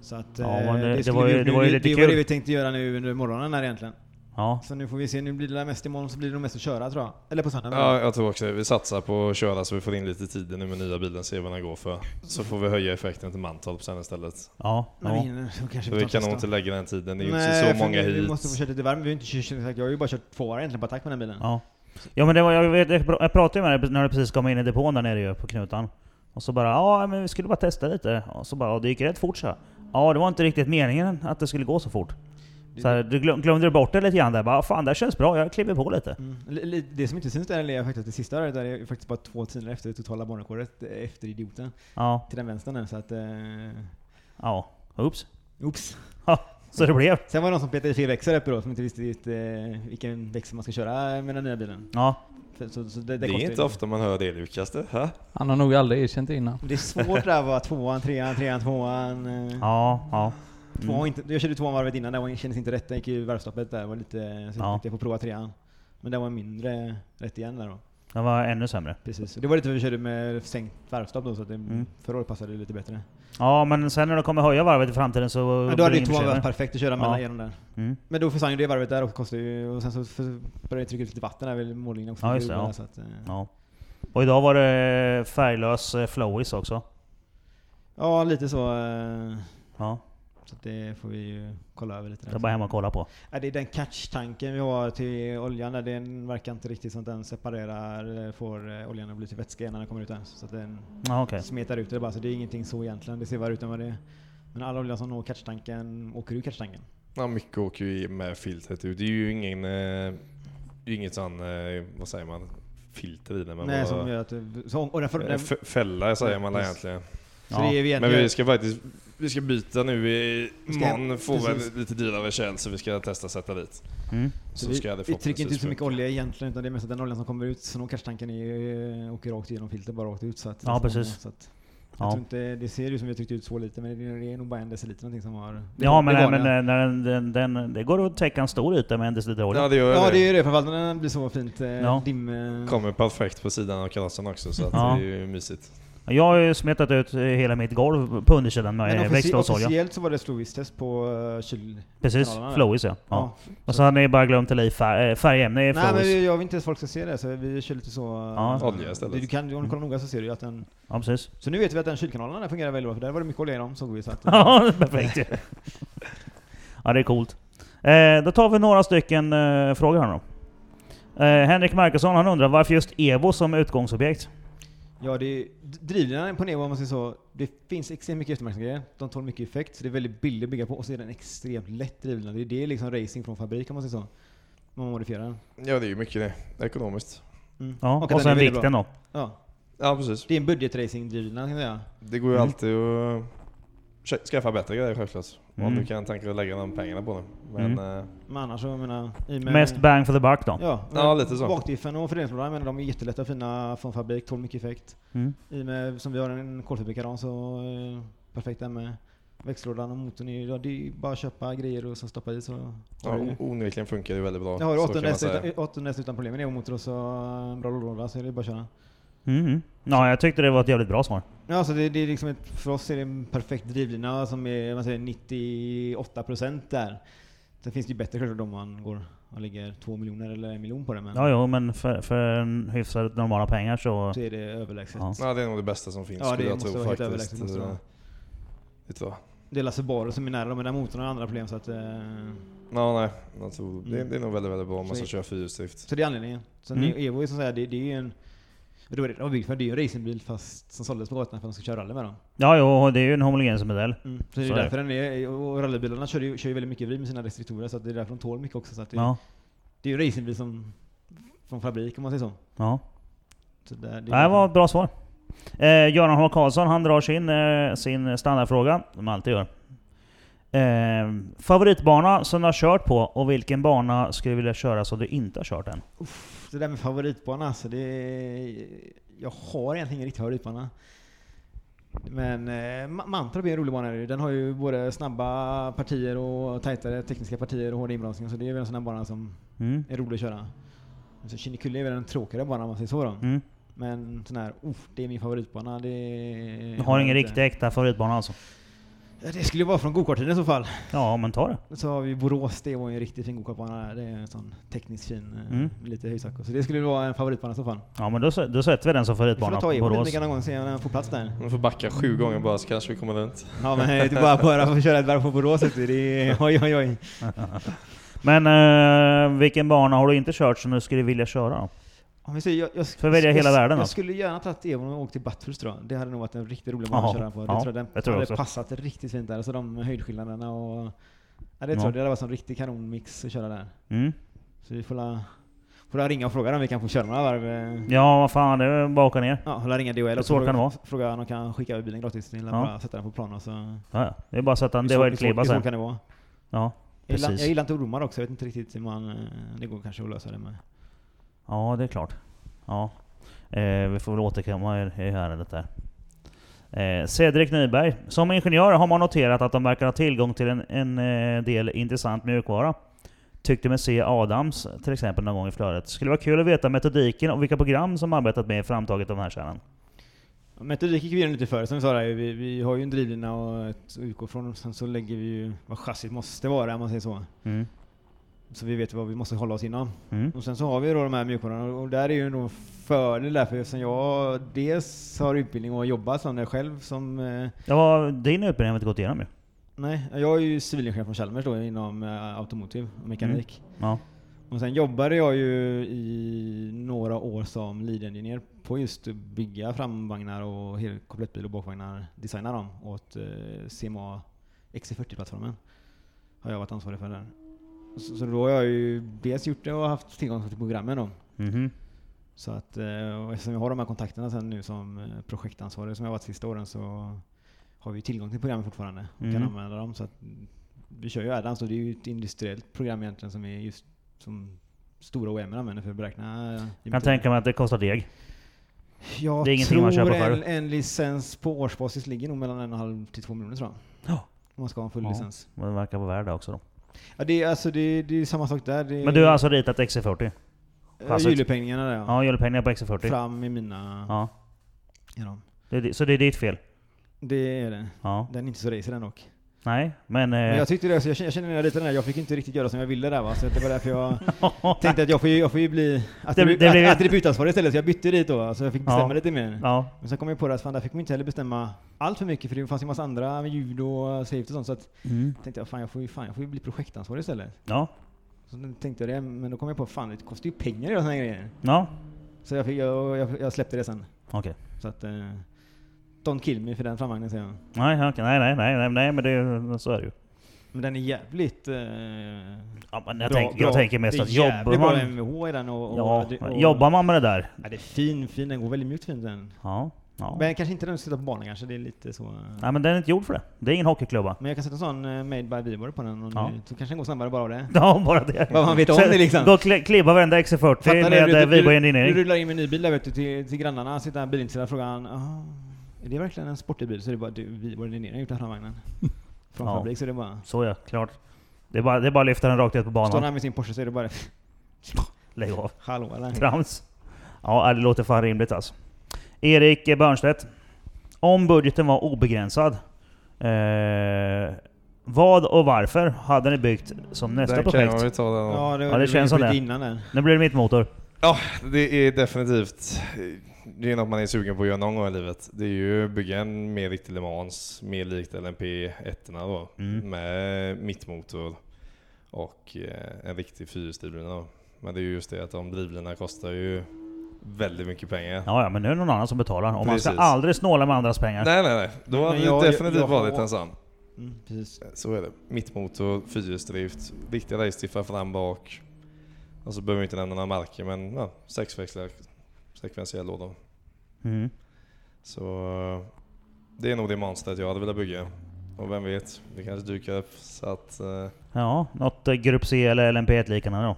S5: Så att
S2: Ja,
S5: eh,
S2: men det- det
S5: skulle
S2: var
S5: vi
S2: ju-
S5: gjort
S2: det
S5: nu.
S2: var ju
S5: det,
S2: lite
S5: det var det
S2: kul.
S5: vi tänkte göra nu under morgonen här egentligen.
S2: Ja.
S5: Så nu får vi se, nu blir det där mest imorgon så blir det nog mest att köra tror jag. Eller på söndag.
S3: Ja, jag tror också det. Vi satsar på att köra så vi får in lite tider nu med nya bilen, se vad den går för. Så får vi höja effekten till Mantorp sen istället.
S2: Ja.
S5: När vi
S2: ja.
S5: hinner så kanske
S3: För
S5: vi
S3: vi
S5: tar
S3: kan nog
S5: Typ
S3: inte
S5: nästa.
S3: lägga den tiden, det är ju
S5: Nej,
S3: inte så
S5: för
S3: många
S5: vi- Vi
S3: hit.
S5: måste få köra lite varmt. Vi har ju inte kört, kört- jag har ju bara kört två varv egentligen på attack med den bilen.
S2: Ja. Ja men det var, jag, vet, jag pr- jag pratade ju med dig när du precis kom in i depån där nere ju, på Knutan. Och så bara ja men vi skulle bara testa lite. Och så bara ja, det gick rätt fort så här. Ja det var inte riktigt meningen att det skulle gå så fort. Så här, du glöm, glömde du bort det lite grann där. Bara fan det här känns bra, jag kliver på lite.
S5: Mm. Li- li- Det som inte syns där är faktiskt att det sista röret där är faktiskt bara två tider efter det totala banrekordet eh, efter idioten.
S2: Ja.
S5: Till den vänstern där, så att... Eh,
S2: Ja. Oops.
S5: oops.
S2: Så det blev.
S5: Sen var det någon som petade i fel växel uppe då som inte visste riktigt, eh, vilken växel man ska köra med den nya bilen.
S2: Ja.
S5: För, så, så det,
S3: Det
S5: det,
S3: är
S5: kostar ju
S3: inte
S5: lite.
S3: ofta man hör det Lukas det. Hä?
S4: Han har nog aldrig erkänt det innan.
S5: Men Det är svårt där va, tvåan, trean, trean, tvåan. eh,
S2: Ja. Ja. Mm.
S5: Tvåan var inte, jag körde tvåan varvet innan, det var- kändes inte rätt. Jag gick ju varvstoppet där, var lite... Så
S2: Ja.
S5: ja. jag får prova trean. Men det var mindre rätt igen där då.
S2: Det var ännu sämre.
S5: Precis. Det var lite vad vi körde med sänkt varvstopp då, så att det,
S2: Mm.
S5: förra året passade det lite bättre.
S2: Ja men sen när de kommer höja varvet i framtiden så...
S5: Ja,
S2: blir
S5: då
S2: det
S5: hade ju
S2: ingen
S5: tvåan
S2: försämring.
S5: varit perfekt att köra mellan
S2: Ja.
S5: igenom där.
S2: Mm.
S5: Men då försvann ju det varvet där och kostade ju, och sen så för- började det trycka ut lite vatten där vid mållinjen också.
S2: Ja, just det,
S5: Där,
S2: ja.
S5: Så att, eh,
S2: Ja. Och idag var det färglös eh, flowis också.
S5: ja, lite så. eh,
S2: Ja.
S5: Så att det får vi ju kolla över lite.
S2: Det
S5: Där.
S2: är bara hem och kolla på.
S5: Ja, det är den catchtanken vi har till oljan där, den verkar inte riktigt som att den separerar, eller får eh, oljan att bli till vätska innan den kommer ut ens. Så att den
S2: Ja okej.
S5: smetar ut det bara, så det är ingenting så egentligen. Det ser värre ut än vad det är. Men all olja som når catchtanken åker ur catchtanken.
S3: Ja, mycket åker ju med filtret ut. Det är ju ingen, eh, det är inget sån, eh, vad säger man, filter i den. Men
S5: Nej,
S3: bara,
S5: som gör att... det- Så, och den för,
S3: eh,
S5: den, så
S3: f- fälla säger man
S5: Ja,
S3: egentligen.
S2: Ja.
S5: det är vi
S3: Men
S5: egentligen...
S3: vi ska faktiskt vi ska byta nu i
S5: Vi ska-
S3: morgon, får
S5: precis.
S3: väl lite dyrare käll så vi ska testa sätta dit.
S2: Mm.
S5: så
S3: Så
S5: vi,
S3: ska det
S5: vi trycker inte ut
S3: förhoppningsvis
S5: så mycket
S3: funka.
S5: olja egentligen, utan det är mest att den oljan som kommer ut, så når catchtanken är, eh, åker rakt igenom filtret, bara rakt ut. Så att,
S2: Ja,
S5: så-
S2: precis.
S5: Så att, jag
S2: Ja.
S5: tror inte, det ser ut som vi har tryckt ut så lite, men det är- det är nog bara en deciliter någonting som har... det
S2: Ja
S5: var-
S2: men,
S5: det var
S2: men
S5: det.
S2: eh, när den, den, den, det går att täcka en stor yta med en deciliter olja.
S3: Ja det gör
S5: Ja det
S3: det.
S5: är ju det, framförallt när den blir så fint eh,
S2: Ja.
S5: dim...
S3: Kommer perfekt på sidan av karossen också så att
S2: Ja.
S3: det är ju mysigt.
S2: Jag har ju smetat ut eh, hela mitt golv på undersidan med eh,
S5: offici-
S2: växtodsolja.
S5: officiellt så var det slovis-test på uh, kyl...
S2: Precis,
S5: kanalerna där.
S2: flowis ja. ja.
S5: Ja.
S2: Och så har ni bara glömt att lägga i fär- eh, färgämne i
S5: Nej men
S2: flowis.
S5: jag vill inte att folk ska se det, så vi kör lite så... eh,
S2: Ja.
S3: Olja istället.
S5: Du kan, om du kollar noga så ser du ju att den...
S2: Ja precis.
S5: Så nu vet vi att den kylkanalen där fungerar väldigt bra, för där var det mycket olja i dem såg vi. Så att,
S2: Ja, perfekt ju. Ja det är coolt. Eh, då tar vi några stycken eh, frågor här då. Eh, Henrik Markusson han undrar varför just Evo som utgångsobjekt?
S5: Ja, det är, d- drivlinan på Nevo om man säger så, det finns extremt mycket eftermarknadsgrejer. De tål mycket effekt, så det är väldigt billigt att bygga på. Och så är den extremt lätt drivlina. Det är det liksom racing från fabrik om man säger så. Man modifierar den.
S3: Ja det är ju mycket det. Ekonomiskt.
S5: Mm.
S2: Ja,
S5: att
S2: och,
S5: den är
S2: sen
S5: väldigt bra.
S2: vikten då.
S5: Ja,
S3: Ja precis.
S5: det är en budgetracing-drivlina kan jag säga.
S3: Det går ju
S2: Mm.
S3: alltid att kä- skaffa bättre grejer självklart. Om
S2: Mm.
S3: du kan tänka dig att lägga de pengarna på det. Men eh,
S5: Men annars så, jag menar... i och med-
S2: Mest bang for the buck då.
S5: Ja,
S3: Ja, lite så.
S5: Bakdiffen och fördelningslådan, jag menar de är jättelätta och fina från fabrik, tål mycket effekt.
S2: Mm.
S5: I och med som vi har en kolfiberkaran så eh, perfekt där med. Växellådan och motorn är ju, ja, det är ju bara att köpa grejer och så stoppa i så...
S3: Ja, o- onekligen funkar det väldigt bra.
S5: jag har
S3: så kan man
S5: 800 häst
S3: säga.
S5: utan, 800 häst utan problem med det och motor och så en eh, bra låda så är det bara att köra.
S2: Mhm. Ja, jag tyckte det var ett jävligt bra svar.
S5: Ja, alltså det, det är liksom ett, för oss är det en perfekt drivlina som är man säger, 98% där. Sen finns det ju bättre självklart om man går och lägger 2 miljoner eller en miljon på det men
S2: Ja, jo, men för, för en hyfsat normala pengar så...
S5: så är det överlägset.
S2: Ja.
S3: Ja, det är nog det bästa som finns
S5: Ja, det
S3: skulle jag
S5: måste
S3: tro
S5: vara helt
S3: faktiskt. Eh,
S5: överlägset, måste det vara.
S3: Vet du vad?
S5: Det är Lasse Baro som är nära dem, men den motorn har andra problem så att... eh,
S3: Ja, nej. Jag tror, det,
S5: Mm.
S3: det är nog väldigt, väldigt bra om man
S5: Så-
S3: ska köra fyrhjulsdrift.
S5: Så det är anledningen. Sen
S2: Mm.
S5: mm. Evo är som säger, det, det är ju en... och Det var det den var byggd för, det är ju en racingbil fast som såldes på gatan för att de ska köra rally med dem.
S2: Ja, jo, det är ju en homologeringsmodell.
S5: Mm.
S2: typ. Så
S5: Så det är ju
S2: är det.
S5: därför den är, och rallybilarna kör ju, kör ju väldigt mycket vrid med sina restriktorer så att det är därför de tål mycket också. Så att det,
S2: Ja.
S5: det är ju en racingbil som, från fabrik om man säger så.
S2: ja.
S5: så där,
S2: Det här var ett bra svar. Eh, Göran H. Karlsson, han drar sin, eh, sin standardfråga, som han alltid gör. Eh, favoritbana som du har kört på och vilken bana skulle du vilja köra som du inte har kört än?
S5: Det där med favoritbana alltså, det... Jag har egentligen ingen riktig favoritbana. Men eh, Ma- Mantorp är en rolig bana. är det ju. Den har ju både snabba partier och tajtare tekniska partier och hård inbromsning. Så det är väl en sån här bana som
S2: Mm.
S5: är rolig att köra. Alltså, Kinnekulle är väl en tråkigare bana om man säger så då.
S2: Mm.
S5: Men sån här, oh, det är min favoritbana. Det
S2: Du har ingen riktig äkta favoritbana alltså?
S5: Ja, Det skulle ju vara från gokarttiden i så fall.
S2: Ja, men ta det.
S5: Så har vi Borås, det var ju en riktigt fin gokartbana där. Det är en sån tekniskt fin, eh,
S2: Mm.
S5: lite höjdsack. Så det skulle vara en favoritbana i så fall.
S2: Ja, men då, s- då sätter vi den som
S5: Vi får
S2: favoritbana
S5: väl ta
S2: på
S5: Evo lite
S2: Borås.
S5: mycket någon gång och se om han får plats där.
S3: Man får backa sju gånger bara så kanske vi kommer runt.
S5: Ja men inte bara bara få köra ett varv på Borås vet du. det är oj oj oj.
S2: Men eh, vilken bana har du inte kört som du skulle vilja köra då?
S5: Om vi säger, jag, jag,
S2: Får välja
S5: jag,
S2: hela
S5: jag,
S2: världen,
S5: Jag
S2: alltså.
S5: skulle gärna tagit Evon och åkt till Bathurst tror jag. Det hade nog varit en riktigt rolig bana
S2: Ja,
S5: att köra på. Det
S2: ja,
S5: tror jag den
S2: jag tror
S5: hade
S2: också.
S5: passat riktigt fint där. Alltså de höjdskillnaderna och... Ja, det
S2: Ja.
S5: tror jag. Det hade varit en riktig kanonmix att köra där.
S2: Mm.
S5: Så vi får la, får la ringa och fråga om vi kan få köra några varv. eh.
S2: Ja, vad fan, det är bara att åka ner.
S5: Ja, får la ringa DHL och
S2: Så kan det vara.
S5: fråga, fråga om de kan skicka över bilen gratis till ja.
S2: Ja.
S5: bara sätta den på plan och så...
S2: Ja, ja. Det är bara att sätta en
S5: hur svårt- hur
S2: DHL-klibba
S5: svårt- hur
S2: sen.
S5: svårt kan det vara?
S2: Ja,
S5: Jag gillar, jag
S2: precis.
S5: gillar inte ormar också. Jag vet inte riktigt hur man... eh, Det går kanske att lösa det med.
S2: Ja, det är klart. Ja. Eh, vi får väl återkomma i i ärendet där. Eh, Cedric Nyberg. Som ingenjör har man noterat att de verkar ha tillgång till en, en eh, del intressant mjukvara. Tyckte mig se Adams till exempel någon gång i flödet. Skulle vara kul att veta metodiken och vilka program som arbetat med i framtaget av den här kärnan.
S5: Metodik gick vi igenom lite före som vi sa där. Vi, vi har ju en drivlina och ett utgår från och sen så lägger vi ju vad chassit måste vara om man säger så.
S2: Mm.
S5: Så vi vet vad vi måste hålla oss inom.
S2: Mm.
S5: Och sen så har vi ju då de här mjukvarorna och- och där är ju nog en fördel därför eftersom jag dels har utbildning och har jobbat som det själv som... Eh,
S2: Det var din utbildning har vi inte gått igenom ju.
S5: nej, jag är ju civilingenjör från Chalmers då inom eh, automotiv och mekanik.
S2: Ja.
S5: Och sen jobbade jag ju i några år som lead-engineer på just att bygga framvagnar och hel- komplettbil och bakvagnar, designa dem åt eh, CMA XC40-plattformen. E Har jag varit ansvarig för där. Så, så då har jag ju dels gjort det och haft tillgång till programmen då.
S2: Mhm.
S5: Så att, eh, och eftersom jag har de här kontakterna sen nu som eh, projektansvarig som jag har varit sista åren så har vi tillgång till programmen fortfarande och
S2: Mm.
S5: kan använda dem. Så att, mm, vi kör ju Adams och det är ju ett industriellt program egentligen som är just som stora OM använder för att beräkna. eh,
S2: Kan
S5: dimensioner.
S2: tänka mig att det kostar deg.
S5: Jag
S2: det är ingenting
S5: tror
S2: man köper själv.
S5: en, en licens på årsbasis ligger nog mellan en och en halv till två miljoner tror jag.
S2: Ja.
S5: Om man ska ha en full
S2: Ja.
S5: licens.
S2: Men det verkar vara värd det också då.
S5: Ja, det är alltså det, det är samma sak där. Det
S2: Men du har alltså ritat XC40?
S5: alltså
S2: chassit?
S5: Hjulupphängningarna där ja.
S2: Ja, julpengar på XC40?
S5: Fram i mina... Ja.
S2: Ja.
S5: då.
S2: Det är di- Så det är ditt fel?
S5: Det är det.
S2: Ja.
S5: Den är inte så racer den dock.
S2: Nej, men... eh,
S5: Men jag tyckte det, så jag känner- jag känner när jag ritade den här, jag fick inte riktigt göra som jag ville där va, så det var därför jag tänkte att jag får ju, jag får ju bli attribut-
S2: det blev-
S5: att- attributansvarig istället, så jag bytte dit då, så jag fick bestämma
S2: Ja.
S5: lite mer.
S2: ja.
S5: Men sen kom jag på det att fan, där fick man inte heller bestämma allt för mycket, för det fanns ju massa andra med ljud och safety och sånt, så att tänkte jag fan jag får ju, fan, jag får ju bli projektansvarig istället.
S2: ja.
S5: Så då tänkte jag det, men då kom jag på fan det kostar ju pengar att göra såna här grejer.
S2: Ja.
S5: Så jag, fick, jag, jag, jag släppte det sen.
S2: Okej.
S5: Så att, eh, don't kill me för den framvagnen säger jag.
S2: Nej, okej. nej, nej, nej, nej, nej, men det, är- så är det ju.
S5: Men den är jävligt... Eh,
S2: Ja, men jag,
S5: Bra-
S2: tänk,
S5: bra.
S2: jag tänker mest
S5: Det är
S2: att
S5: jävligt
S2: jobbar
S5: bra
S2: man...
S5: MVH i den och... och,
S2: Ja,
S5: det- och
S2: jobbar man med det där?
S5: Ja, det är fin, fin. Den går väldigt mjukt fin den.
S2: Ja. ja.
S5: Men kanske inte den du sitter på banan kanske. Det är lite så... eh.
S2: Nej men den är inte gjord för det. Det är ingen hockeyklubba.
S5: Men jag kan sätta en sån eh, Made by Viborg på den och
S2: Ja.
S5: nu, så kanske den går snabbare bara av det.
S2: Ja, bara det.
S5: Vad man vet om det liksom.
S2: Gå och kli- klibba varenda XC40
S5: Fattar du?
S2: med
S5: Du-
S2: eh,
S5: du-
S2: Viborg
S5: Du
S2: Engineering.
S5: rullar in med en ny bil där vet du till, till grannarna, sitter en bilintresserad och frågar han, "Ah, är det verkligen en sportig bil? Så är det bara du, Viborg Linnér har gjort den här vagnen. från
S2: Ja.
S5: fabrik så det är bara...
S2: Så ja, klart. Det är bara, det är bara att lyfta den rakt ut på
S5: Står han
S2: banan.
S5: här med sin Porsche så är det bara
S2: Lägg av.
S5: hallå eller?
S2: Trams. Ja, det låter fan rimligt alltså. Erik Börnstedt. Om budgeten var obegränsad, eh, vad och varför hade ni byggt som nästa
S3: Den kan jag
S2: projekt?
S3: ju ta den.
S5: Ja, det,
S2: Ja,
S5: var
S2: det känns som det.
S5: Innan den.
S2: Nu blir det mitt motor.
S3: Ja, det är definitivt det är något man är sugen på att göra någon gång i livet. Det är ju att bygga en mer riktig Le Mans, mer likt LMP 1 då.
S2: Mm.
S3: Med mittmotor och eh, en riktig fyrhjulsdriven då. Men det är ju just det att de drivlinorna kostar ju väldigt mycket pengar.
S2: Ja, ja, men nu är det någon annan som betalar. Och man ska
S3: Precis.
S2: aldrig snåla med andras pengar.
S3: Nej nej nej, då hade
S5: Men
S3: jag,
S5: jag-
S3: det definitivt
S5: jag- jag
S3: varit
S5: har-
S3: en sån.
S5: Mm, precis.
S3: Så är det. Mittmotor, fyrhjulsdrift, riktiga racestiffar fram bak. Och så behöver vi inte nämna några marker men ja, sexväxlar, sekventiell låda.
S2: Mm.
S3: Så eh, det är nog det monstret jag hade velat bygga. Och vem vet, det kanske dyker upp. Så att, eh,
S2: Ja, något eh, Grupp C eller LMP1 liknande då.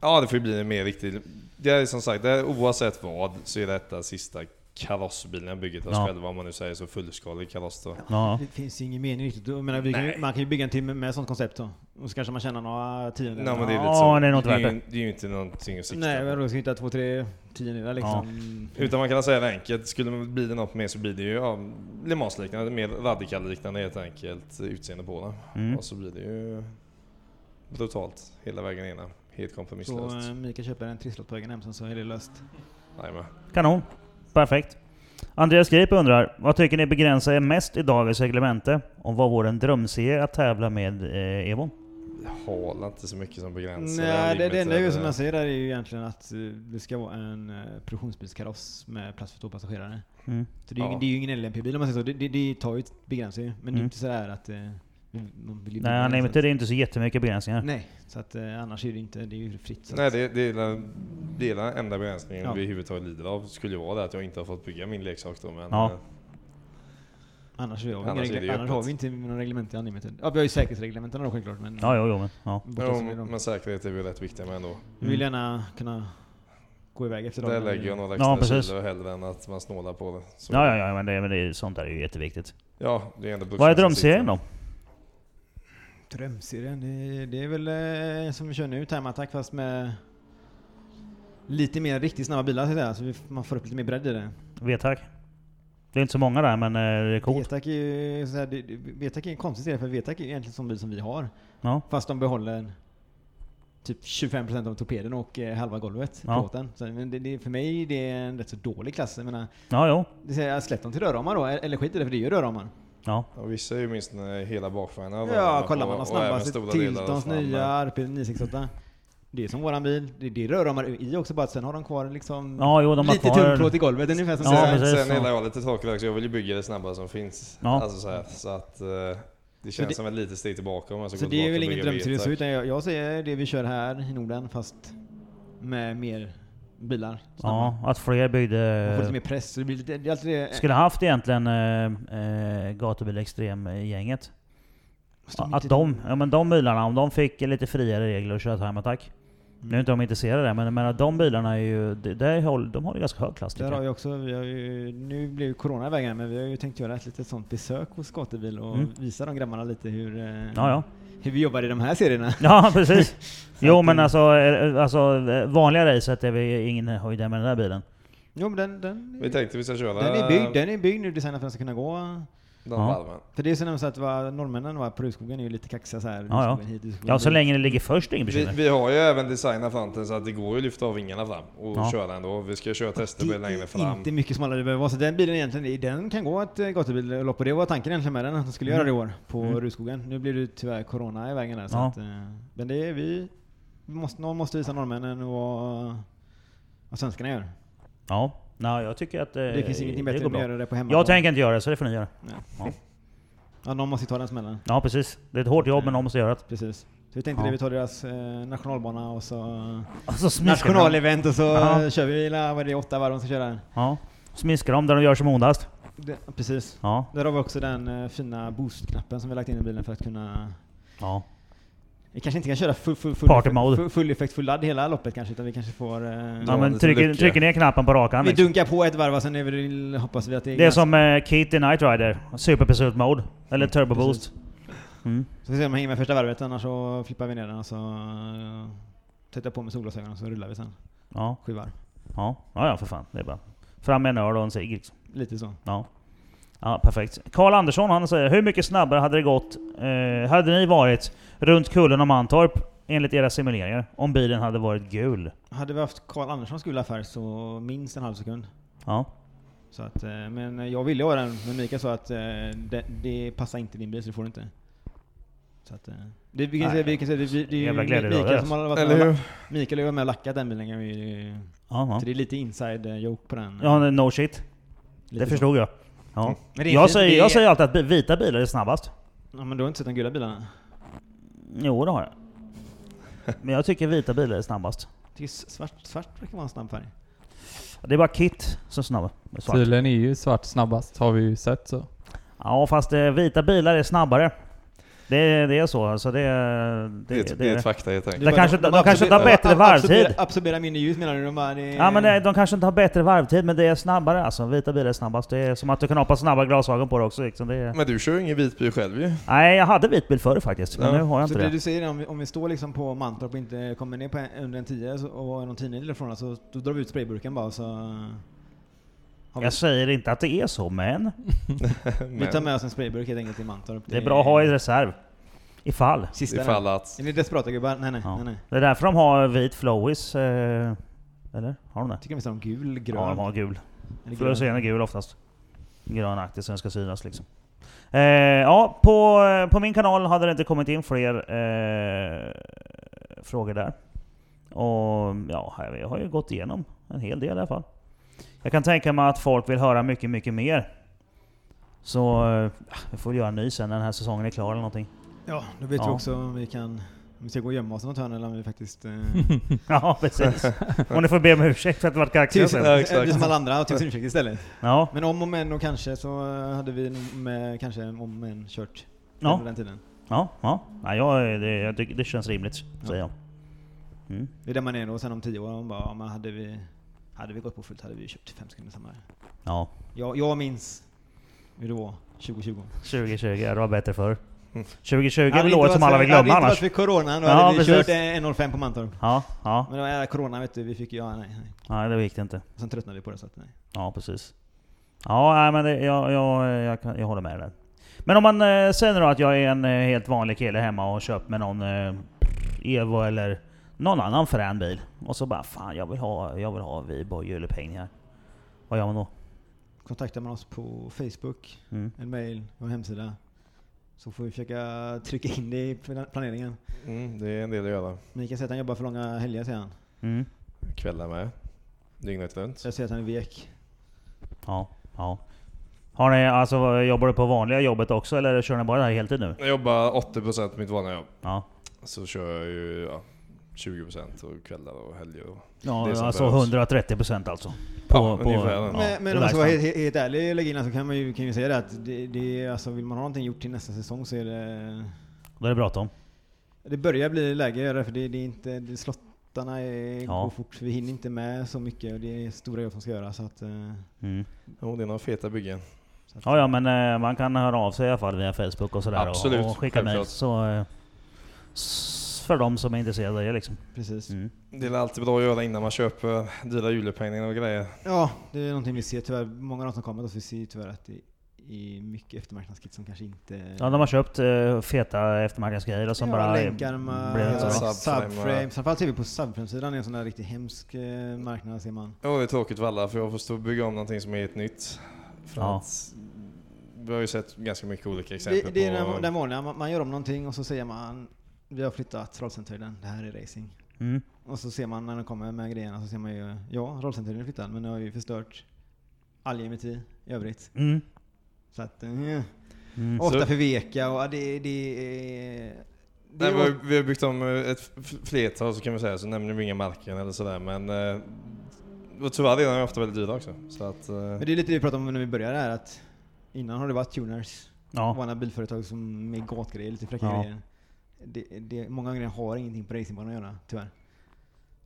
S3: ja, det får ju bli en mer riktig... Det är som sagt, det är, oavsett vad så är detta sista karossbilen jag bygger till oss
S2: Ja.
S3: själva. Om man nu säger så fullskalig kaross då.
S2: Ja.
S5: Det finns ju ingen mening riktigt. Jag menar, vi kan, ju- man kan ju bygga en timme med sånt koncept då. Och så kanske man tjänar några tiondelar.
S3: Nej, men det är
S2: Ja,
S3: lite så.
S2: det är nog inte
S3: ju,
S2: värt
S3: det. är ju inte någonting att sikta
S5: Nej, men
S3: på.
S5: då ska vi hitta två, tre tiondelar liksom.
S3: Utan man kan säga det enkelt, skulle man bli det något mer så blir det ju ja, Le Mans-liknande, mer radikal-liknande helt enkelt utseende på den.
S2: Mm.
S3: Och så blir det ju brutalt hela vägen innan. Helt
S5: Så
S3: kompromisslöst.
S5: eh, Mikael köper en trisslott på vägen hem sen så är det löst.
S3: Jajamän.
S2: Kanon. Perfekt. Andreas Grip undrar, vad tycker ni begränsar er mest i dagens reglemente? Och vad vore en drömserie att tävla med eh, Evon?
S3: Hala inte så mycket som begränsar.
S5: Nej, det, det enda
S3: limiter.
S5: ju som jag säger där är ju egentligen att eh, det ska vara en eh, produktionsbilskaross med plats för två passagerare.
S2: Mm.
S5: Så det, är ju,
S3: Ja.
S5: det är ju ingen LMP-bil om man säger så. Det, det, det tar ju begränsar ju. Men det
S2: Mm.
S5: är inte sådär att eh, man vill ju
S2: Nej,
S5: bygga
S2: nej,
S5: den,
S2: men
S5: så
S2: det
S5: att-
S2: är inte så jättemycket begränsningar.
S5: Nej, så att eh, annars är det inte, det är ju fritt. Så
S3: Nej,
S5: att,
S3: det, det, är den- det är den enda begränsningen
S5: Ja.
S3: vi överhuvudtaget lider av. Skulle ju vara det att jag inte har fått bygga min leksak då. Men
S2: Ja.
S3: eh,
S5: annars, är det,
S3: Annars
S5: annars,
S3: är det ju
S5: annars
S3: öppet.
S5: har vi inte någon reglement i Unlimited. Ja, vi har ju säkerhetsreglementen då självklart. Men
S2: Ja, jo, jo, men ja.
S5: bortsett från
S3: jo,
S5: dem.
S3: men säkerhet är vi rätt viktiga med ändå.
S5: Vi vill gärna kunna gå iväg efter
S3: Där
S5: dagen.
S3: lägger jag några
S2: Ja,
S3: extra
S2: precis.
S3: kilo hellre än att man snålar på det. Så-
S2: Ja, ja, ja men, det, men det, sånt där är ju jätteviktigt.
S3: ja, det är ändå
S2: Vad är drömserien då?
S5: Drömserien, det, det är väl eh, som vi kör nu, Time Attack fast med lite mer riktigt snabba bilar så att säga. Så vi, f- man får upp lite mer bredd i det.
S2: Vetack? Det är inte så många där, men eh, det är coolt.
S5: Vetac är ju så här, det, det- Vetac är en konstig serie för Vetac är ju egentligen som bil som vi har.
S2: Ja.
S5: Fast de behåller typ 25% av torpeden och eh, halva golvet
S2: Ja.
S5: på båten. Så, men det, det, för mig är det en rätt så dålig klass. Jag menar,
S2: Ja, jo.
S5: det säger, släpp dem till rörramar då, eller skit i det för det är ju rörramar.
S2: Ja.
S3: Ja, vissa är ju minst eh, hela bakvagnen. och
S5: Ja,
S3: rörarna
S5: kollar
S3: på,
S5: man de
S3: och även
S5: snabbaste
S3: stora delar
S5: Tiltons
S3: framme.
S5: nya RP968. Det är som våran bil. Det, det är rörramar i också bara att sen har de kvar liksom
S2: Ja, jo, de har
S5: lite
S2: kvar-
S5: tunnplåt i golvet ungefär som
S2: Ja,
S5: ja,
S2: precis.
S5: så.
S3: Sen
S2: så.
S3: gillar jag lite tråkigt så jag vill ju bygga det snabbare som finns.
S2: Ja.
S3: Alltså så, här, så att eh, det känns
S5: det-
S3: som ett litet steg tillbaka om jag ska
S5: Så
S3: gå
S5: det
S3: tillbaka
S5: är väl
S3: och
S5: ingen
S3: bygga
S5: drömserie så
S3: Vetac.
S5: utan jag, jag ser det vi kör här i Norden fast med mer bilar.
S2: ja, eh,
S5: Ja.
S2: att fler
S5: Man får lite mer
S2: byggde...
S5: press. Så det blir lite, det är alltid det.
S2: Skulle haft egentligen eh, eh, Gatubil Extrem-gänget.
S5: Fast
S2: Ja,
S5: de
S2: Att
S5: inte-
S2: de, ja men de bilarna, om de fick lite friare regler att köra time attack.
S5: Mm.
S2: Nu är inte de intresserade där, men jag menar, de bilarna är ju, de, där håller, de håller ganska hög klass
S5: Där
S2: tycker
S5: har
S2: jag.
S5: vi också, vi har ju, nu blev ju Corona i vägen men vi har ju tänkt göra ett litet sånt besök hos Gatubil och
S2: Mm.
S5: visa de grabbarna lite hur, eh,
S2: Ja, ja.
S5: hur vi jobbar i de här serierna.
S2: ja precis. Jo
S5: att
S2: men
S5: det-
S2: alltså, eh, alltså eh, vanliga racet är vi ingen höjdare med den där bilen.
S5: Jo men den, den,
S3: Vi tänkte vi ska köra
S5: den är byggd, den är byggd nu designad för att den ska kunna gå.
S3: den
S2: Ja.
S3: varven.
S5: För det är ju så nämligen så att va, norrmännen va, på Rudskogen är ju lite kaxiga så här.
S2: Ja, ja.
S5: Rudskogen hit, Rudskogen
S2: Ja så
S5: dit.
S2: länge det ligger först är det inget
S3: Vi,
S2: bekymmer.
S3: vi har ju även designat fronten så att det går ju att lyfta av vingarna fram och
S2: Ja.
S3: köra ändå. Vi ska köra tester
S5: Det
S3: med längre
S5: är
S3: fram.
S5: inte mycket smalare det behöver vara. Så den bilen egentligen, den kan gå ett eh, gatubillopp och det var tanken egentligen med den, att de skulle göra det i år på Rudskogen. Nu blir det tyvärr Corona i vägen där. Så
S2: Mm. Ja.
S5: att, eh, men det är vi, vi måste, någon måste visa norrmännen vad, vad svenskarna gör.
S2: Ja. Nej jag tycker att eh,
S5: Det finns ingenting
S2: går
S5: bättre än
S2: bra.
S5: att göra det på hemmaplan.
S2: Jag tänker inte göra det så det får ni göra.
S5: Nej.
S2: Ja.
S5: Ja, någon måste ju ta den smällen.
S2: Ja precis. Det är ett hårt jobb men de måste göra det.
S5: Precis. Så vi tänkte
S2: Ja.
S5: det, vi tar deras eh, nationalbana och så
S2: Alltså, smiskar de.
S5: nationalevent och så
S2: Ja.
S5: eh, kör vi, la- vad är det, åtta varv de ska köra?
S2: Ja. Smiskar dem där de gör som ondast.
S5: Det, precis.
S2: Ja.
S5: Där har vi också den eh, fina boost-knappen som vi lagt in i bilen för att kunna...
S2: Ja.
S5: Vi kanske inte kan köra full, full, full,
S2: Party
S5: full,
S2: mode.
S5: full, full effekt, full ladd hela loppet kanske, utan vi kanske får... eh,
S2: Ja men
S3: lite
S2: trycker,
S3: lycka.
S2: trycker ner knappen på rakan
S5: vi
S2: liksom.
S5: dunkar på ett varv och sen är vi, hoppas vi att det är...
S2: Det är som eh, Kit i Knight Rider. Super Pursuit Mode. Eller Turbo
S5: Mm, precis.
S2: Boost. Mm.
S5: Så vi ser om jag hänger med första varvet, annars så flippar vi ner den och så eh, sätter jag på mig solglasögonen och så rullar vi sen.
S2: Ja,
S5: Sju varv.
S2: ja, ja, ja för fan. Det är bara fram med en öl och en cigg liksom.
S5: Lite så.
S2: Ja. Ja, perfekt. Karl Andersson han säger, hur mycket snabbare hade det gått, eh, hade ni varit runt kullen om Mantorp enligt era simuleringar? Om bilen hade varit gul?
S5: Hade vi haft Karl Anderssons gula färg så minst en halv sekund.
S2: Ja.
S5: Så att, eh, men jag ville ha den, men Mikael sa att eh, det, det passar inte din bil så det får du inte. Så att, eh, det, vi kan
S2: Nej.
S5: säga, vi kan säga det, det, det är ju
S2: Jävla
S5: Mi-
S2: glädje då,
S5: Mikael
S2: det.
S5: som har varit
S3: Eller
S5: med
S3: hur?
S5: och- Mikael har ju varit med och lackat den bilen kan vi ju-
S2: Ja,
S5: Så
S2: ja.
S5: det är lite inside eh, joke på den.
S2: ja no shit.
S5: Lite
S2: Det
S5: så.
S2: förstod jag. Ja.
S5: Men det är
S2: Jag,
S5: inte-
S2: säger,
S5: det
S2: jag
S5: är-
S2: säger alltid att bi- vita bilar är snabbast.
S5: Ja, men du har inte sett de gula bilarna?
S2: Jo, det har jag. Men jag tycker vita bilar är snabbast.
S5: Jag tycker s- svart, svart verkar vara en snabb färg.
S2: Det är bara kit som är snabba. med Svart.
S4: Tydligen är ju svart snabbast har vi ju sett så.
S2: Ja, fast eh, vita bilar är snabbare. Det, det är så alltså. Det, det,
S3: Det, är ett- det är ett fakta helt enkelt.
S2: Det kanske- de kanske inte har
S5: absorberar-
S2: bättre
S5: ab-
S2: varvtid.
S5: absorberar- Absorberar mindre ljus menar du? De bara, det,
S2: Ja men det, de kanske inte har bättre varvtid, men det är snabbare alltså. Vita bilar är snabbast. Det är som att du kan ha på snabba glasögon på dig också liksom. det
S5: Mm.
S2: är...
S3: Men du kör ju ingen vitbil själv ju.
S2: Nej, jag hade vit bil förr faktiskt, men
S3: Ja,
S2: nu har jag
S5: så
S2: inte
S5: det
S2: det.
S5: du säger är om vi, om vi står liksom på Mantorp och inte kommer ner på en, under en 10 så- och någon tidning ifrån oss, så då drar vi ut sprayburken bara så... Har vi,
S2: Jag säger inte att det är så, men
S5: vi tar med oss en sprayburk helt enkelt till Mantorp.
S2: det är bra att ha i reserv. Ifall.
S5: Sista
S3: Ifall
S5: den.
S3: att...
S5: Är ni desperata gubbar? Nej nej,
S2: Ja.
S5: nej nej.
S2: Det är därför de har vit flowis. Eh, eller? Har de det?
S5: Jag tycker mest om gul, grön.
S2: Ja, de har gul.
S5: Eller grön.
S2: Fluorescerande gul oftast. Grönaktig så den ska synas liksom. Eh, ja, på, på min kanal hade det inte kommit in fler eh, frågor där. Och ja, här- jag har ju gått igenom en hel del i alla fall. Jag kan tänka mig att folk vill höra mycket, mycket mer. Så eh, vi får göra en ny sen när den här säsongen är klar eller någonting.
S5: Ja, då vet vi
S2: Ja.
S5: också om vi kan... Om vi ska gå och gömma oss i något hörn eller om vi faktiskt... Eh,
S2: Ja, precis. Och ni får be om ursäkt för att det varit kaxigt
S5: tusen,
S2: sen.
S3: Ja, exakt.
S5: vi som alla andra har tusen ursäkter istället.
S2: Ja,
S5: Men om och men och kanske så eh, hade vi nog med, kanske om och men kört
S2: Ja.
S5: under den tiden.
S2: ja, ja. Nej, jag, det, jag tycker det känns rimligt, säger jag. Mm.
S5: Det är där man är då, och sen om tio år, man bara, ja, men hade vi, hade vi gått på fullt hade vi ju köpt fem sekunder snabbare.
S2: Ja.
S5: Jag, jag minns hur det var 2020.
S2: 2020, det var bättre förr. 2020 är
S5: Hade det
S2: väl
S5: inte
S2: året som
S5: varit
S2: alla
S5: för-
S2: vill glömma
S5: Hade det
S2: annars.
S5: inte varit för coronan, då
S2: Ja,
S5: hade vi
S2: precis.
S5: kört en- 1.05 på Mantorp.
S2: Ja, ja.
S5: Men det var jävla corona vet du, vi fick ju, ja nej, nej.
S2: Nej, det gick det inte.
S5: Sen tröttnade vi på det så att nej.
S2: Ja, precis. Ja, nej, men det, jag, jag, jag, kan, jag håller med där. Men om man eh, säger nu då att jag är en eh, helt vanlig kille hemma och har köpt med någon eh, Evo eller någon annan frän bil. Och så bara fan jag vill ha, jag vill ha Viborg julepeng här. Vad gör man då?
S5: Kontaktar man oss på Facebook,
S2: Mm.
S5: en mail, vår hemsida. Så får vi försöka trycka in det i plan- planeringen.
S3: Mm, det är en del att göra.
S5: Mikael säger att han jobbar för långa helger säger han.
S2: Mm.
S3: Kvällar med. Dygnet runt.
S5: Jag säger att han är vek.
S2: Ja, ja. Har ni, alltså, jobbar du på vanliga jobbet också eller kör ni bara det här heltid nu?
S3: Jag jobbar 80% på mitt vanliga jobb.
S2: Ja.
S3: Så kör jag ju ja, 20% och kvällar och helger. Och, Det är
S2: Ja,
S3: som
S2: alltså
S3: behövs.
S2: 130 procent alltså.
S3: Ja, ungefär.
S5: Men, men
S2: det
S5: om man ska
S2: där
S5: vara
S2: är
S5: helt, helt- helt ärlig och lägga in så kan man ju, kan ju säga det att det, det, är- alltså, vill man ha någonting gjort till nästa säsong så är det...
S2: sant. Då är det bråttom.
S5: Det börjar bli läge att göra det, för det, det är inte... Det, slottarna är,
S2: Ja.
S5: går fort, vi hinner inte med så mycket och det är stora jobb som ska göras. Så att, eh,
S2: Mm.
S3: Jo, det är några feta byggen.
S5: så att,
S2: Ja, ja, men eh, man kan höra av sig i alla fall via Facebook och sådär.
S3: Absolut,
S2: och, och skicka mejl.
S3: självklart.
S2: Så, eh, s- för de som är intresserade av det liksom.
S5: Precis.
S2: Mm.
S3: Det är alltid bra att göra innan man köper dyra julepengningar och grejer.
S5: Ja, det är någonting vi ser tyvärr. Många av de som kommer till oss, vi ser tyvärr att det är mycket eftermarknadskit som kanske inte...
S2: Ja, de har köpt eh, feta eftermarknadsgrejer och som
S5: ja,
S2: bara... Mm.
S5: länkar
S2: blev inte
S5: med
S2: så bra.
S3: Subframe.
S5: subframe. Framförallt ser vi på subframe-sidan, det är en sån där riktigt hemsk eh, marknad ser man.
S3: Ja, det är tråkigt för alla för jag får stå och bygga om någonting som är helt nytt. För
S2: Ja.
S3: att vi har ju sett ganska mycket olika
S5: Det,
S3: exempel
S5: det är
S3: på...
S5: den, den vanliga, man, man gör om någonting och så säger man Vi har flyttat rollcentralen, det här är racing.
S2: Mm.
S5: Och så ser man när de kommer med grejerna så ser man ju Ja, rollcentralen är flyttad men det har ju förstört all geometri i övrigt.
S2: Mm.
S5: Så att... Eh,
S2: Mm.
S5: ofta
S3: Så-
S5: för veka och ja, det, det är... Det
S3: Nej,
S5: är
S3: vi, har, vi har byggt om eh, ett f- flertal så kan vi säga, så nämner vi inga marken eller sådär men... eh, Och tyvärr är de ju ofta väldigt dyra också. Så att... eh,
S5: men det är lite det vi pratade om när vi började här att Innan har det varit tuners,
S2: Ja.
S5: vanliga bilföretag som med gatgrejer, lite fräcka
S2: Ja.
S5: grejer. Det, det, många grejer har ingenting på racingbanan att göra, tyvärr.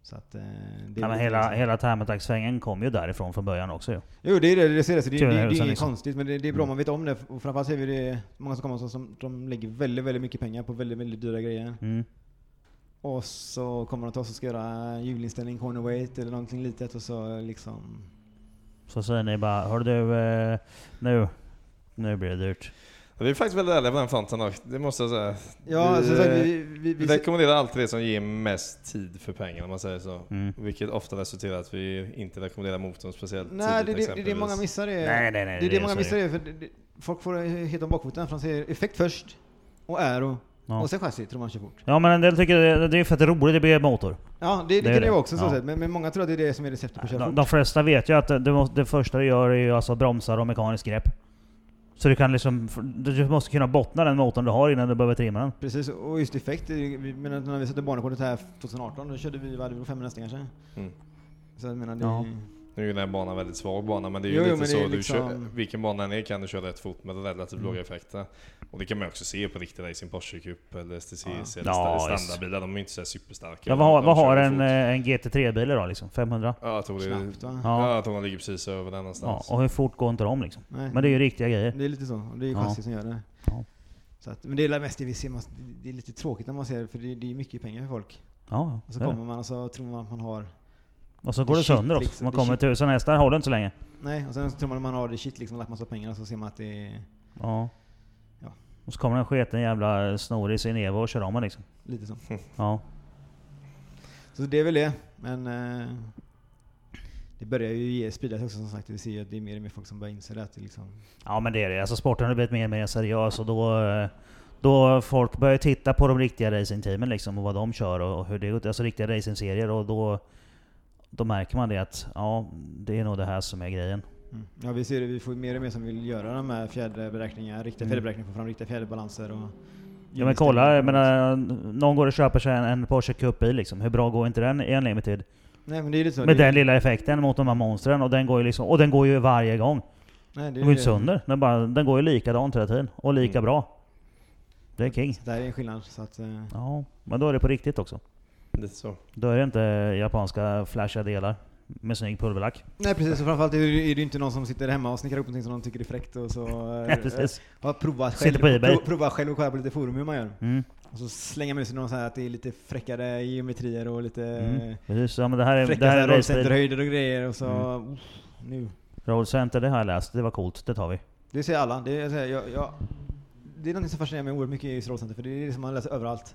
S5: Så att, eh, det är
S2: Nej, men
S5: lite
S2: hela,
S5: liksom-
S2: hela Time Attack-svängen kom ju därifrån från början också ju.
S5: Jo, det är det. Det, ser jag, så det, det,
S2: Tyvärr,
S5: det, är
S2: sen
S5: inget
S2: liksom.
S5: konstigt, men det, det är bra om man vet om det. Och framförallt ser vi det, många som kommer som, som de lägger väldigt, väldigt mycket pengar på väldigt, väldigt dyra grejer.
S2: Mm.
S5: Och så kommer de till oss och ska göra julinställning, cornerweight eller någonting litet och så liksom...
S2: Så säger ni bara Hör du, eh, nu, nu blir det dyrt.
S3: Vi är faktiskt väldigt ärliga på den fronten dock, det måste jag säga.
S5: Ja, alltså, så
S3: vi,
S5: här, vi, vi,
S3: vi
S5: vi,
S3: rekommenderar alltid det som ger mest tid för pengarna om man säger så.
S2: Mm.
S3: Vilket ofta resulterar i att vi inte rekommenderar motorn speciellt
S5: Nej, det,
S3: tidigt
S5: det, det, det är
S3: exempelvis.
S5: många missar det.
S2: Nej, nej, nej,
S5: Eh, det är
S2: det
S5: det
S2: är
S5: många
S2: så
S5: missar
S2: det
S5: det. För det, det, folk får det helt om bakfoten för de ser effekt först och aero.
S2: Ja.
S5: Och sen chassi tror man kör fort.
S2: Ja men en del tycker det, det är för att det är roligt att bygga motor.
S5: Ja, det, det,
S2: Det är
S5: kan det
S2: det.
S5: vara också så
S2: Ja.
S5: sett. Men, men många tror att det är det som är receptet på att köra
S2: De,
S5: fort.
S2: de flesta vet ju att det, det, måste, det första du gör är ju alltså bromsar och mekaniskt grepp. Så du kan liksom, du måste kunna bottna den motorn du har innan du behöver trimma den.
S5: Precis, och just effekt. det är- vi- Men när vi satte barnrekordet här 2018, då körde vi, vad hade vi, 500 hästar kanske?
S3: Mm.
S5: Så jag menar, det,
S2: Ja.
S3: Nu är ju den här banan väldigt svag bana men det är ju
S5: Jo, jo,
S3: lite
S5: men det
S3: så,
S5: är
S3: du
S5: liksom-
S3: kör, vilken bana än är kan du köra rätt fort med relativt låga effekter. Och det kan man ju också se på riktiga racing, Porsche Cup eller STCC eller sta-
S2: Ja, visst.
S3: standardbilar, de är ju inte så här superstarka.
S2: Ja, vad har,
S3: De
S2: vad
S3: kör
S2: har
S3: ju
S2: en,
S3: fort.
S2: eh, en GT3-bil idag liksom? 500?
S3: Ja, jag tror det är...
S5: knappt va?
S2: Ja.
S3: Ja, jag tror de ligger precis över den
S2: Ja,
S3: någonstans.
S2: och hur fort går inte de liksom?
S5: Nej.
S2: Men det är ju riktiga grejer.
S5: Det är lite så. och Det är
S2: Ja.
S5: chassi som gör det.
S2: Ja.
S5: Så att, men det är väl mest det vi ser, man, det är lite tråkigt när man ser det, för det, det är mycket pengar för folk.
S2: Ja,
S5: Och så
S2: det är det.
S5: kommer man och så tror man att man har...
S2: och så går
S5: det
S2: det
S5: shit,
S2: sönder också.
S5: liksom,
S2: Man
S5: det
S2: kommer
S5: shit.
S2: tusen hästar, håller inte så länge.
S5: Nej, och sen så tror man att man har det shit liksom, lagt massa pengar och så ser man att det är
S2: Ja.
S5: Ja.
S2: Och så kommer den sketen jävla snorig sin Evo och kör om den liksom.
S5: lite så.
S3: Mm.
S2: Ja.
S5: Så det är väl det. Men eh, det börjar ju ge spridas också som sagt. Vi ser ju att det är mer och mer folk som börjar inse det. Att det liksom,
S2: ja men det är det. Alltså sporten har blivit mer och mer seriös och då... eh, Då folk börjar titta på de riktiga racingteamen liksom och vad de kör och och hur det går till. Alltså riktiga racingserier och då... Då märker man det att ja, det är nog det här som är grejen.
S5: mm. Ja vi ser det, vi får ju mer och mer som vill göra de här fjäderberäkningarna, riktiga
S2: Mm.
S5: fjäderberäkningar, få fram riktiga fjäderbalanser och...
S2: Ja men kolla, jag menar, någon går och köper sig en, en Porsche Cup-bil liksom. Hur bra går inte den i en limited?
S5: Nej men det är lite så.
S2: Med
S5: det,
S2: den lilla effekten mot de här monstren och den går ju liksom, och den går ju varje gång.
S5: nej, det
S2: Den går
S5: är
S2: ju
S5: det.
S2: inte sönder. Den, bara, den går ju likadant hela tiden. Och lika
S3: Mm.
S2: bra. Det är king.
S5: Så det här är en skillnad. Så att, eh,
S2: Ja, men då är det på riktigt också.
S3: Lite så.
S2: Då är det inte japanska flashiga delar med snygg pulverlack.
S5: Nej precis, och framförallt är det är det ju inte någon som sitter hemma och snickrar upp någonting som de tycker är fräckt och så... eh,
S2: Ja, precis.
S5: Har provat
S2: Sitter
S5: själv,
S2: på eBay.
S5: prov- provat själv och kollat på lite forum hur man gör.
S2: Mm,
S5: Och så slänger man ut sig någon så här att det är lite fräckare geometrier och lite...
S2: mm. Precis. Ja, men det här är, det
S5: fräcka
S2: här
S5: såhär
S2: är racebil. Mm.
S5: rollcenterhöjder och grejer och så... Uff, nu.
S2: Roll Center, det har jag läst. Det var coolt. Det tar vi.
S5: Det ser alla. Det är, så här, jag, jag, det är något som fascinerar mig oerhört mycket i just rollcenter för det är det som man läser överallt.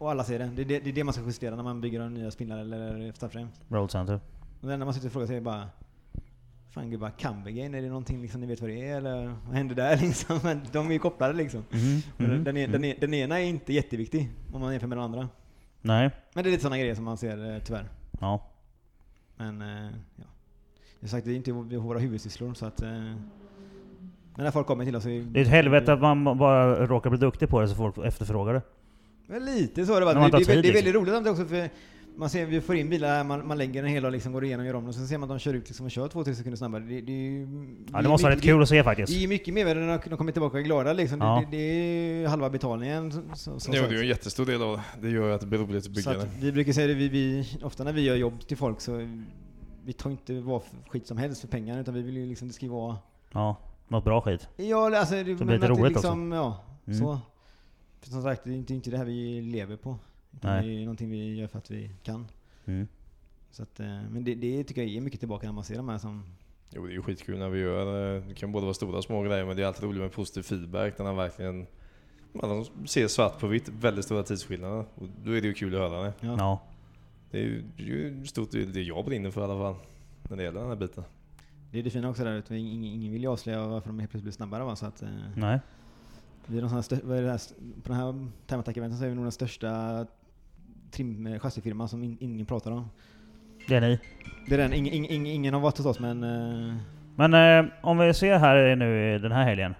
S5: Och alla ser det. Det är det, det, är det man ska justera när man bygger de nya spindlar eller startframe.
S2: Roll Center.
S5: Och det enda man sitter och frågar sig är bara... Fan gubbar, Cambergain, är det någonting liksom, ni vet vad det är eller vad händer där liksom? Men De är ju kopplade liksom.
S2: Mhm,
S5: Men
S2: mhm,
S5: Den, e- den, e- den ena är inte jätteviktig om man jämför med den andra.
S2: Nej.
S5: Men det är lite sådana grejer som man ser eh, tyvärr.
S2: Ja.
S5: Men eh, ja. Som sagt, det är inte vå- våra huvudsysslor så att... eh, Men när folk kommer till oss så...
S2: Det är ett helvete att man bara råkar bli duktig på det så folk efterfrågar det.
S5: Men lite så har det varit.
S2: När man
S5: Det,
S2: tar
S5: det, är
S2: tid,
S5: vä-
S2: liksom.
S5: det är väldigt roligt samtidigt också för man ser, vi får in bilar här, man, man lägger en hel och liksom går igenom och gör om den. Sen ser man att de kör ut liksom och kör 2-3 sekunder snabbare. Det, det, är ju-
S2: Ja,
S5: är
S2: det måste vara rätt
S5: mycket-
S2: kul att se
S5: Det
S2: faktiskt.
S5: är ju mycket mervärde när de kommer tillbaka glada liksom.
S2: Ja.
S5: Det, det, det är ju halva betalningen. Så, så, så,
S3: Jo, det är
S5: så.
S3: ju en jättestor del av det. Det gör ju att det blir roligt att
S5: Så
S3: bygga
S5: att
S3: det.
S5: vi brukar säga det, vi, vi, ofta när vi gör jobb till folk så vi tar inte vad för skit som helst för pengarna utan vi vill ju liksom, det ska ju vara...
S2: Ja, något bra skit.
S5: Ja, eller alltså, det, men
S2: blir lite
S5: att det
S2: roligt
S5: liksom, Ja,
S2: Mm.
S5: så. För som sagt, det är inte, inte det här vi lever på. utan
S2: Nej.
S5: Det är någonting vi gör för att vi kan.
S2: Mm.
S5: Så att, eh, men det, det tycker jag ger mycket tillbaka när man ser de här som...
S3: Jo, det är ju skitkul när vi gör. eh, Det kan både vara stora och små grejer, men det är alltid roligt med positiv feedback när man verkligen ja, de ser svart på vitt, väldigt stora tidsskillnader. Och då är det ju kul att höra det.
S5: Ja.
S2: Ja.
S3: Det är ju, det är ju stort det är det jag brinner för i alla fall, när det gäller den här biten.
S5: Det är det fina också där ute, ingen, ingen vill ju avslöja varför de helt plötsligt blir snabbare va? Så att, eh,
S2: Nej.
S5: vi är de sån här stö- vad är det här, st- på den här Time Attack-eventen så är vi nog den största trim eh, chassifirman som in, ingen pratar om.
S2: Det är ni.
S5: Det är den, ingen, ingen, ingen, ingen har varit hos oss men... eh,
S2: Men eh, om vi ser här nu i den här helgen.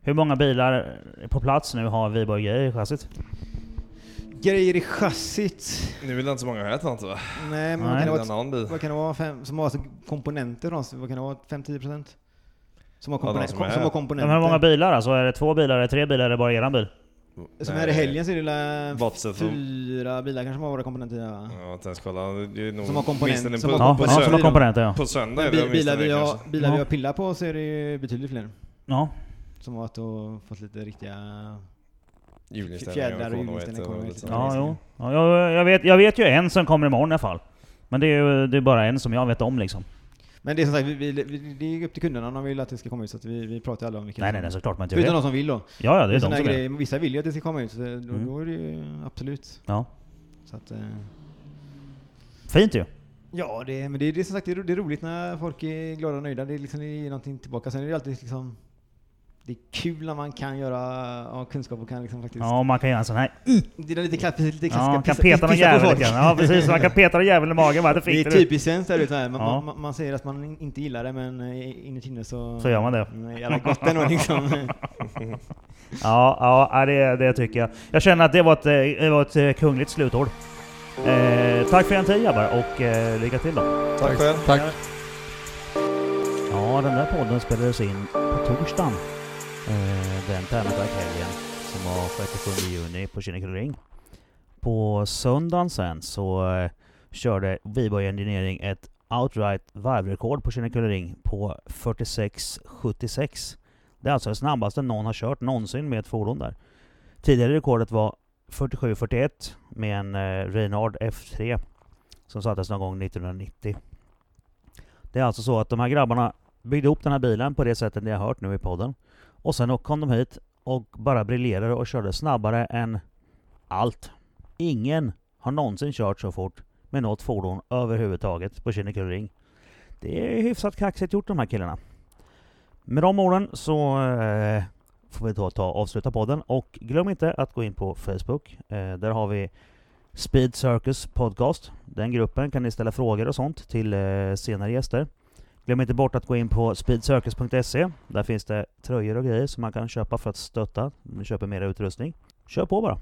S2: Hur många bilar på plats nu har Viborg Gay i chassit?
S5: grejer i chassit.
S3: Nu är det inte så många här tror jag inte va?
S5: Nej men vad
S2: Nej,
S5: kan
S3: Det
S5: det
S3: är
S5: vara?
S3: en annan bil.
S5: Vad kan det vara? Fem, som har alltså komponenter då? Vad kan det vara? 5-10%? Som har, komponen-
S3: de som är
S5: kom, som
S3: här.
S5: har
S2: Ja,
S5: komponenter?
S2: men hur många bilar alltså? Är det två bilar, är det tre bilar, är det bara eran bil?
S5: Som
S3: Nej.
S5: här i helgen så är det lilla
S3: Botset som-
S5: fyra bilar kanske som har våra komponenter i va?
S3: Jag har inte ens kollat. Det är nog
S5: Som har komponent-
S3: minst en
S5: som
S3: på-
S5: har
S2: Ja,
S3: på
S2: ja, som
S5: komponent.
S3: söndag.
S2: har komponenter ja.
S3: På söndag
S5: Men
S3: är det
S5: bi-
S3: minst
S5: bilar
S3: en
S5: vi, har,
S3: kanske.
S5: bilar
S2: Ja.
S5: vi har pillat på så är det ju betydligt fler.
S2: ja.
S5: Som har varit och fått lite riktiga...
S3: Julinställningar
S5: fjädrar och
S3: och
S5: julinställningar kommer
S3: konoet.
S5: hit.
S2: Ja, jo. Ja, jag, jag, vet, jag vet ju en som kommer imorgon i alla fall. Men det är ju det är bara en som jag vet om liksom.
S5: Men det är som sagt, vi, vi, vi, det är upp till kunderna om de vill att det ska komma ut så att vi, vi pratar ju alla om vilken
S2: Nej
S5: som-
S2: nej nej, såklart man inte
S5: Utan
S2: vet.
S5: de som vill då.
S2: Ja, ja, det är de som
S5: Såna
S2: är.
S5: här grejer, vissa vill ju att det ska komma ut, så då,
S2: Mm.
S5: då är det ju absolut.
S2: Ja.
S5: Så att, eh,
S2: Fint ju.
S5: ja, det, men det, är- det är som sagt det är, ro, det är roligt när folk är glada och nöjda. Det är liksom det ger någonting tillbaka. Sen är det ju alltid liksom... Det är kul när man kan göra ja, kunskap och kan liksom faktiskt...
S2: Ja, man kan göra en sån här.
S5: Det är den lite, klass, lite klassiska
S2: Ja, man kan
S5: pissa-
S2: peta någon
S5: pissa på
S2: jävel
S5: folk.
S2: lite grann. Ja, precis. Man kan peta någon jävel i magen. Bara, det
S5: Det
S2: fick
S5: är typ-
S2: du.
S5: typiskt svenskt där ute. Man,
S2: Ja.
S5: man, man säger att man in- inte gillar det, men eh, inuti inne så...
S2: Så gör man det.
S5: Mm, Jävla gott ändå liksom.
S2: Ja, ja ja, det, det tycker jag. Jag känner att det var ett, eh, det var ett eh, kungligt slutord. Eh, tack för en tid grabbar och eh, lycka till då.
S3: Tack själv.
S4: Tack.
S2: Ja, den där podden spelades in på torsdagen. Eh, den Tärnaback-helgen som var 37 juni på Kinnekulle Ring. På söndagen sen så eh, körde Viborg Engineering ett outright varvrekord på Kinnekulle Ring på 46,76. Det är alltså det snabbaste någon har kört någonsin med ett fordon där. Tidigare rekordet var 47,41 med en eh, Reynard F3 som sattes någon gång 1990. Det är alltså så att de här grabbarna byggde ihop den här bilen på det sättet ni har hört nu i podden. Och sen kom de hit och bara briljerade och körde snabbare än allt. Ingen har någonsin kört så fort med något fordon överhuvudtaget på Kinnekulle Ring. Det är hyfsat kaxigt gjort de här killarna. Med de orden så eh, får vi då ta och avsluta podden och glöm inte att gå in på Facebook. Eh, där har vi Speed Circus Podcast. Den gruppen kan ni ställa frågor och sånt till eh, senare gäster. Glöm inte bort att gå in på speedcircus.se. Där finns det tröjor och grejer som man kan köpa för att stötta. Vi köper mer utrustning. Kör på bara!